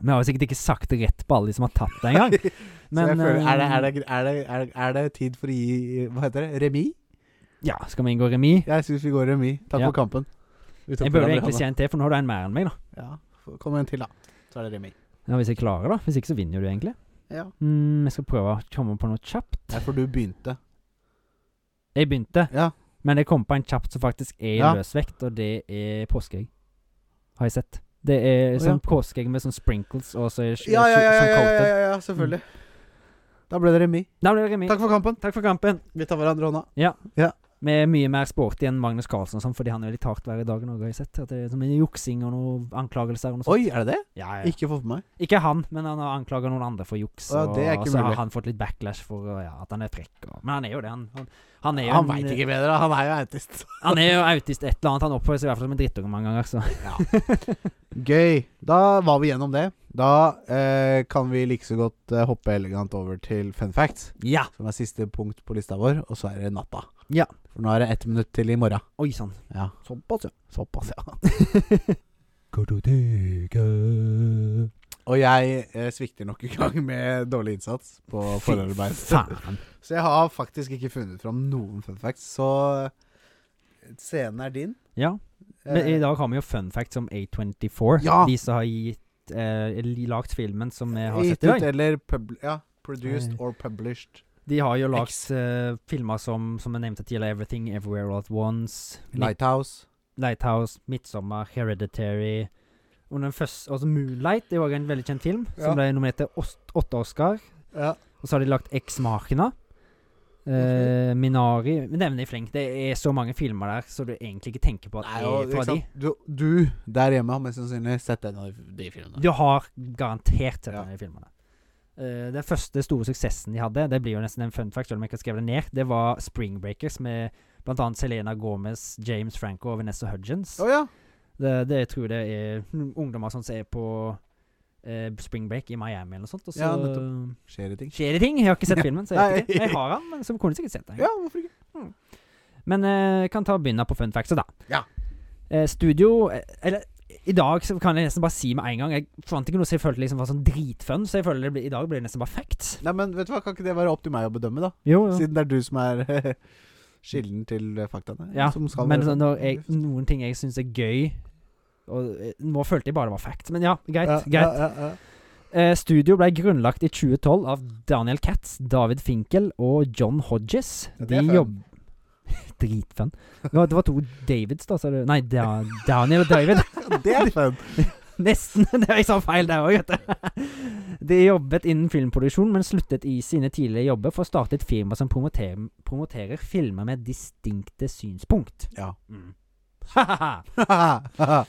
Vi har jo sikkert ikke sagt det rett på alle de som har tatt det engang. Men er, det- er, ehm, det- er, det- er, det- er det tid for å gi Hva heter det? Remis? ehm, Ja, skal vi inngå remis? Jeg syns vi går remis. Takk Ja. for kampen. Vi tok Jeg burde hverandre i egentlig si hånda. en til, for nå har du en mer enn meg, da. Ja, få- Kom igjen til, da. Så er det remis. Ja, Hvis jeg klarer, da. Hvis ikke, så vinner du, egentlig. Ja. Mm, jeg skal prøve å komme på noe kjapt. Nei, for du begynte. Jeg begynte, Ja. men jeg kom på en kjapt som faktisk er Ja. løsvekt, og det er påskeegg. Har jeg sett. Det er Å, sånn påskeegg med sånn sprinkles og så er Ja, ja, ja, sånn ja, coated. ja, ja, ja selvfølgelig. Mm. Da ble det remis. Da ble det remis. Takk for kampen. Takk for kampen. Vi tar hverandre i hånda. Vi er mye mer sporty enn Magnus Carlsen og sånn, fordi han er litt hardt hver dag nå, har jeg sett. At det er sånn juksing og noen anklagelser og noe sånt. Oi, er det det? Ja, ja. Ikke få for meg. Ikke han, men han har anklaga noen andre for juks. Å, ja, det er ikke og så mulig. har han fått litt backlash for uh, ja, at han er frekk. Og, men han er jo det. Han, han, han er jo Han en- veit ikke bedre, han er jo autist. Han er jo autist et eller annet. Han oppfører seg i hvert fall som en drittunge mange ganger. Så. Gøy. Da var vi gjennom det. Da eh, kan vi like så godt eh, hoppe elegant over til fun facts, Ja. som er siste punkt på lista vår, og så er det natta. Ja. For nå er det ett minutt til i morgen. Oi sann. Ja. Såpass, ja. Såpass, ja. Og jeg eh, svikter nok en gang med dårlig innsats på forarbeid. Faen. Så jeg har faktisk ikke funnet fram noen fun facts, så eh, scenen er din. Ja. Men eh, i dag har vi jo fun fact som A24. Eh. Ja. De som har gitt eh, lagt filmen som vi har Gitt sett i ut dag. eller pub ja, produced Eh. or published. De har jo Ex- lagt eh, filmer som, som jeg nevnte tidligere, Everything Everywhere All At Once, Light. Lighthouse. Lighthouse, Midtsommer, Hereditary og den første, altså Moonlight er jo også en veldig kjent film, Ja. som ble nominert til ås- åtte Oscar. Ja. Og så har de lagt X-Machina. Eh, Minari Vi nevner i fleng. Det er så mange filmer der så du egentlig ikke tenker på at Nei, det og, liksom er ikke fra de. sant? Du, du der hjemme har mest sannsynlig sett en av de filmene. Du har garantert sett Ja. denne filmen. Eh, den første store suksessen de hadde, det blir jo nesten en fun fact, selv om jeg ikke har skrevet det ned, det var Spring Breakers med bl.a. Selena Gomez, James Franco og Vanessa Hudgens. Å ja. Det, det jeg tror det er ungdommer som er på eh, spring break i Miami eller noe sånt, og så Ja, nettopp. Skjer det ting? skjer det ting. Jeg har ikke sett filmen, så jeg vet Nei. ikke. Jeg har den, men så kunne jeg sikkert sett den. Ja, hvorfor ikke? Men eh, jeg kan ta og begynne på fun facts, da. Ja. Eh, studio eh, Eller i dag så kan jeg nesten bare si med en gang Jeg fant ikke noe som jeg følte liksom var sånn dritfun, så jeg føler det blir, i dag blir det nesten bare facts. Nei, men vet du hva, Kan ikke det være opp til meg å bedømme, da? Jo, Siden det er du som er kilden til eh, faktaene. Ja, som skal men være sånn, sånn. når jeg, noen ting jeg syns er gøy og eh, Nå følte jeg bare det var facts, men ja, greit. Ja, greit. Ja, ja, ja. Eh, studio ble grunnlagt i 2012 av Daniel Katz, David Finkel og John Hodges. Ja, det De er fun. jobb... Dritfun. Det var, det var to Davids, da, sa du. Nei, da, Daniel og David. Det er fun. Nesten. Det var jeg sa feil der òg, vet du. De jobbet innen filmproduksjon, men sluttet i sine tidligere jobber for å starte et firma som promoterer, promoterer filmer med distinkte synspunkt. Ja. Mm. Ha-ha-ha.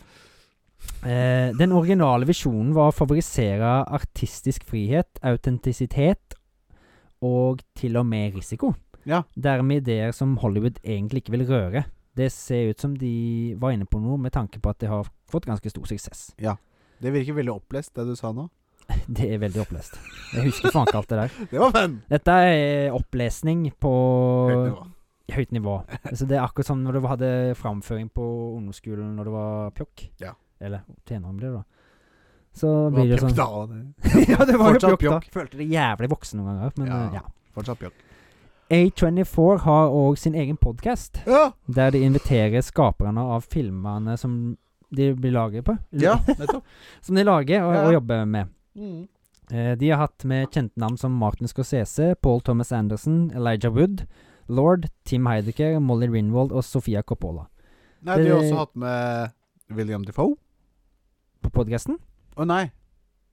Eh, den originale visjonen var å favorisere artistisk frihet, autentisitet og til og med risiko. Ja. Dermed ideer som Hollywood egentlig ikke vil røre. Det ser ut som de var inne på noe med tanke på at de har fått ganske stor suksess. det virker veldig opplest, det du sa nå. Det er veldig opplest. Jeg husker faen ikke alt det der. Det var fun! Dette er eh, opplesning på Høyt nivå. høyt nivå. Altså, det er akkurat som når du hadde framføring på ungdomsskolen når du var pjokk. Ja. Eller tenåring blir det da. Så Det var blir det pjokk, sånn da. ja, det var Fortsatt jo pjokk, da. pjokk. Følte det jævlig voksen noen ganger. Men Ja. eh, ja. Fortsatt pjokk. A24 har òg sin egen podkast, Ja, der de inviterer skaperne av filmene som de blir laget på. ja nettopp. Som de lager og, Ja. og jobber med. Mm. Eh, de har hatt med kjente navn som Martin Scorsese, Paul Thomas Anderson, Elijah Wood, Lord, Tim Heidecker, Molly Rinwald og Sofia Coppola Nei, du har også hatt med William Defoe. på podkasten. Å nei.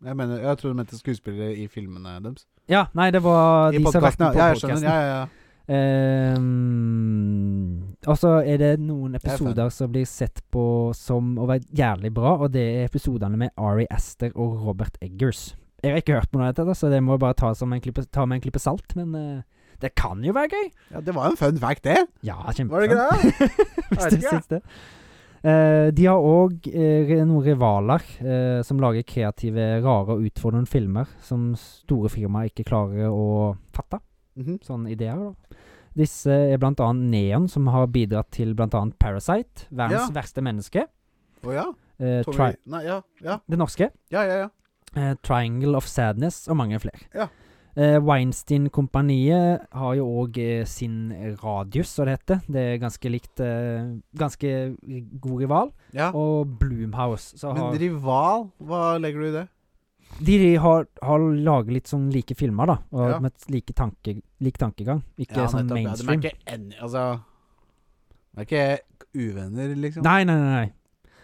Jeg, mener, jeg tror du mente skuespillere i filmene deres. Ja, nei, det var I de som har vært podkasten, med på ja. Jeg skjønner. podkasten. Ja, ja, ja. Ehm, og så er det noen er fun. episoder som blir sett på som å være jævlig bra, og det er episodene med Ari Aster og Robert Eggers. Jeg har ikke hørt på noe av dette, da, så det må jeg bare ta, som en klippe, ta med en klype salt, men eh, det kan jo være gøy! Ja, Det var jo en fun fact, det. Ja, Var det ikke kjempebra. det? Hvis Jeg du vet ikke. syns det. Eh, de har òg noen rivaler eh, som lager kreative, rare og utfordrende filmer som store firmaer ikke klarer å fatte Mhm. sånne ideer. da. Disse er bl.a. Neon, som har bidratt til bl.a. Parasite, verdens Ja. verste menneske. Å ja. eh, Tommy tri Nei, ja. Ja, det norske. ja, ja. ja. eh, Triangle of Sadness og mange flere. Ja. Eh, Weinstein-kompaniet har jo òg eh, sin Radius, som det heter. Det er ganske likt eh, Ganske god rival. ja. Og Bloomhouse. Så Men har, rival, hva legger du i det? de har, har laget litt sånn like filmer, da. Og Ja. Med like, tanke, lik tankegang. Ikke Ja, sånn nettopp, ja. De er mainstream. ikke en, altså De er ikke uvenner, liksom. Nei, nei, nei. nei.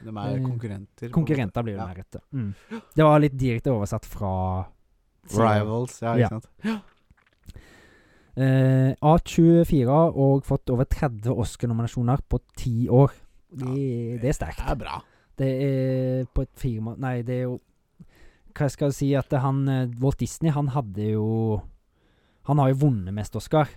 De er Eh, konkurrenter. på en Konkurrenter blir det Ja. mer etter. Mm. Det var litt direkte oversatt fra måte. Rivals, ja, ikke Ja. sant. Eh, A24 har og fått over 30 Oscar-nominasjoner på ti år. De, Det er Det sterkt. er bra. Det er på et firma Nei, det er jo Hva skal jeg si at det- han eh, Walt Disney, han hadde jo Han har jo vunnet mest Oscar. Å,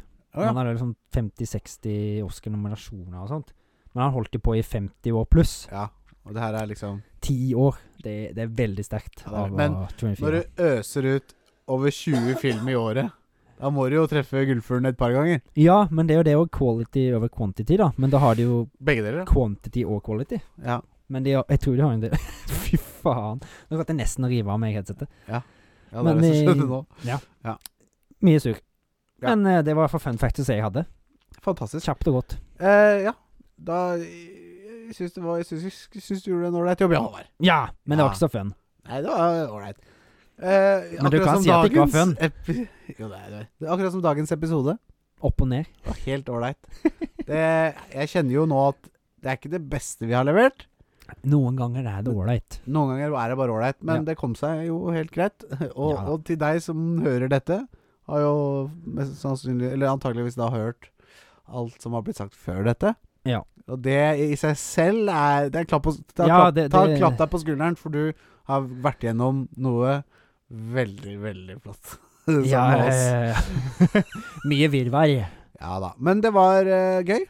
ja. Han hadde liksom 50-60 Oscar-nominasjoner og sånt. Men han holdt jo på i 50 år pluss. ja. Og det her er liksom Ti år. Det, det er veldig sterkt. Ja, det er det. av eh, Men A24. Når du øser ut over 20 film i året, da må du jo treffe gullfuglen et par ganger. Ja, men det er jo det òg. Quality over quantity, da. Men da har de jo Begge deler, da. quantity og quality. Ja. Men de har, jeg tror de har en del Fy faen. Nå klarte jeg nesten å rive av meg headsetet. ja det Men er det som i- skjedde nå. Mye surr. Ja. Men eh, det var i hvert fall fun facts jeg hadde. Fantastisk. Kjapt og godt. Eh, ja, da Jeg syns det var- jeg syns- jeg syns du gjorde en ålreit jobb, ja, Håvard. Ja, men det Ja. var ikke så fun. Nei, det var ålreit. Eh, Men du akkurat kan som si at det ikke var dagens epi- Jo, det er det. Det er Akkurat som dagens episode. Opp og ned. Det var helt ålreit. Det- Jeg kjenner jo nå at det er ikke det beste vi har levert. Noen ganger er det ålreit. Noen ganger er det bare ålreit, men Ja. det kom seg jo helt greit. Og, Ja da. og til deg som hører dette, har jo mest sannsynlig, eller antageligvis da hørt alt som har blitt sagt før dette. Ja. Og det i seg selv er Det er klapp, på, ta, Ja, klapp, det- ta, det- klapp deg på skulderen, for du har vært gjennom noe veldig, veldig flott. Sammen med oss. eh, Mye virvar. Ja da. Men det var eh, gøy.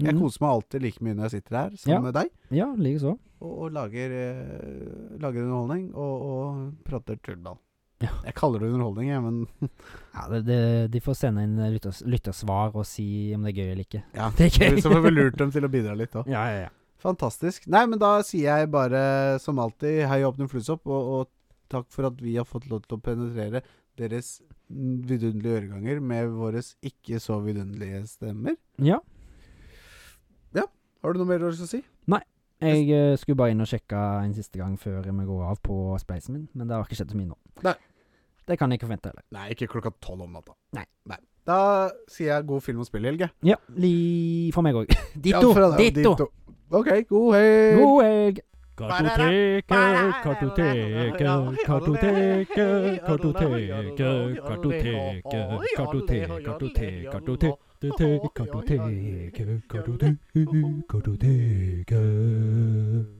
Jeg Mm. koser meg alltid like mye når jeg sitter her sammen Ja. med deg Ja, likeså. og, og lager, eh, lager underholdning og, og prater tullball. Ja. Jeg kaller det underholdning, jeg, men Ja, det, det, de får sende inn eh, lytters, lyttersvar og si om det er gøy eller ikke. ja. Det er gøy. så får vi lurt dem til å bidra litt òg. Ja, ja, ja. Fantastisk. Nei, men da sier jeg bare som alltid hei og åpne flusopp, og, og takk for at vi har fått lov til å penetrere deres vidunderlige øreganger med våre ikke så vidunderlige stemmer. ja. Har du noe mer du har lyst til å si? Jeg eh, skulle bare inn og sjekke en siste gang før vi går av på spleisen min, men det har ikke skjedd så mye nå. Nei. Det kan jeg ikke forvente heller. Nei, ikke klokka tolv om natta. Nei. Da sier jeg god film og spill, Helge. Ja, li for meg òg. Ditto! Ja, fra deg, ditto! OK, god helg. God helg! Kartoteket, kartoteket, kartoteket, kartoteket, kartoteket, kartoteket, kartoteket, kartoteket. Kartoteket, kartoteket, kartoteket, kartoteket.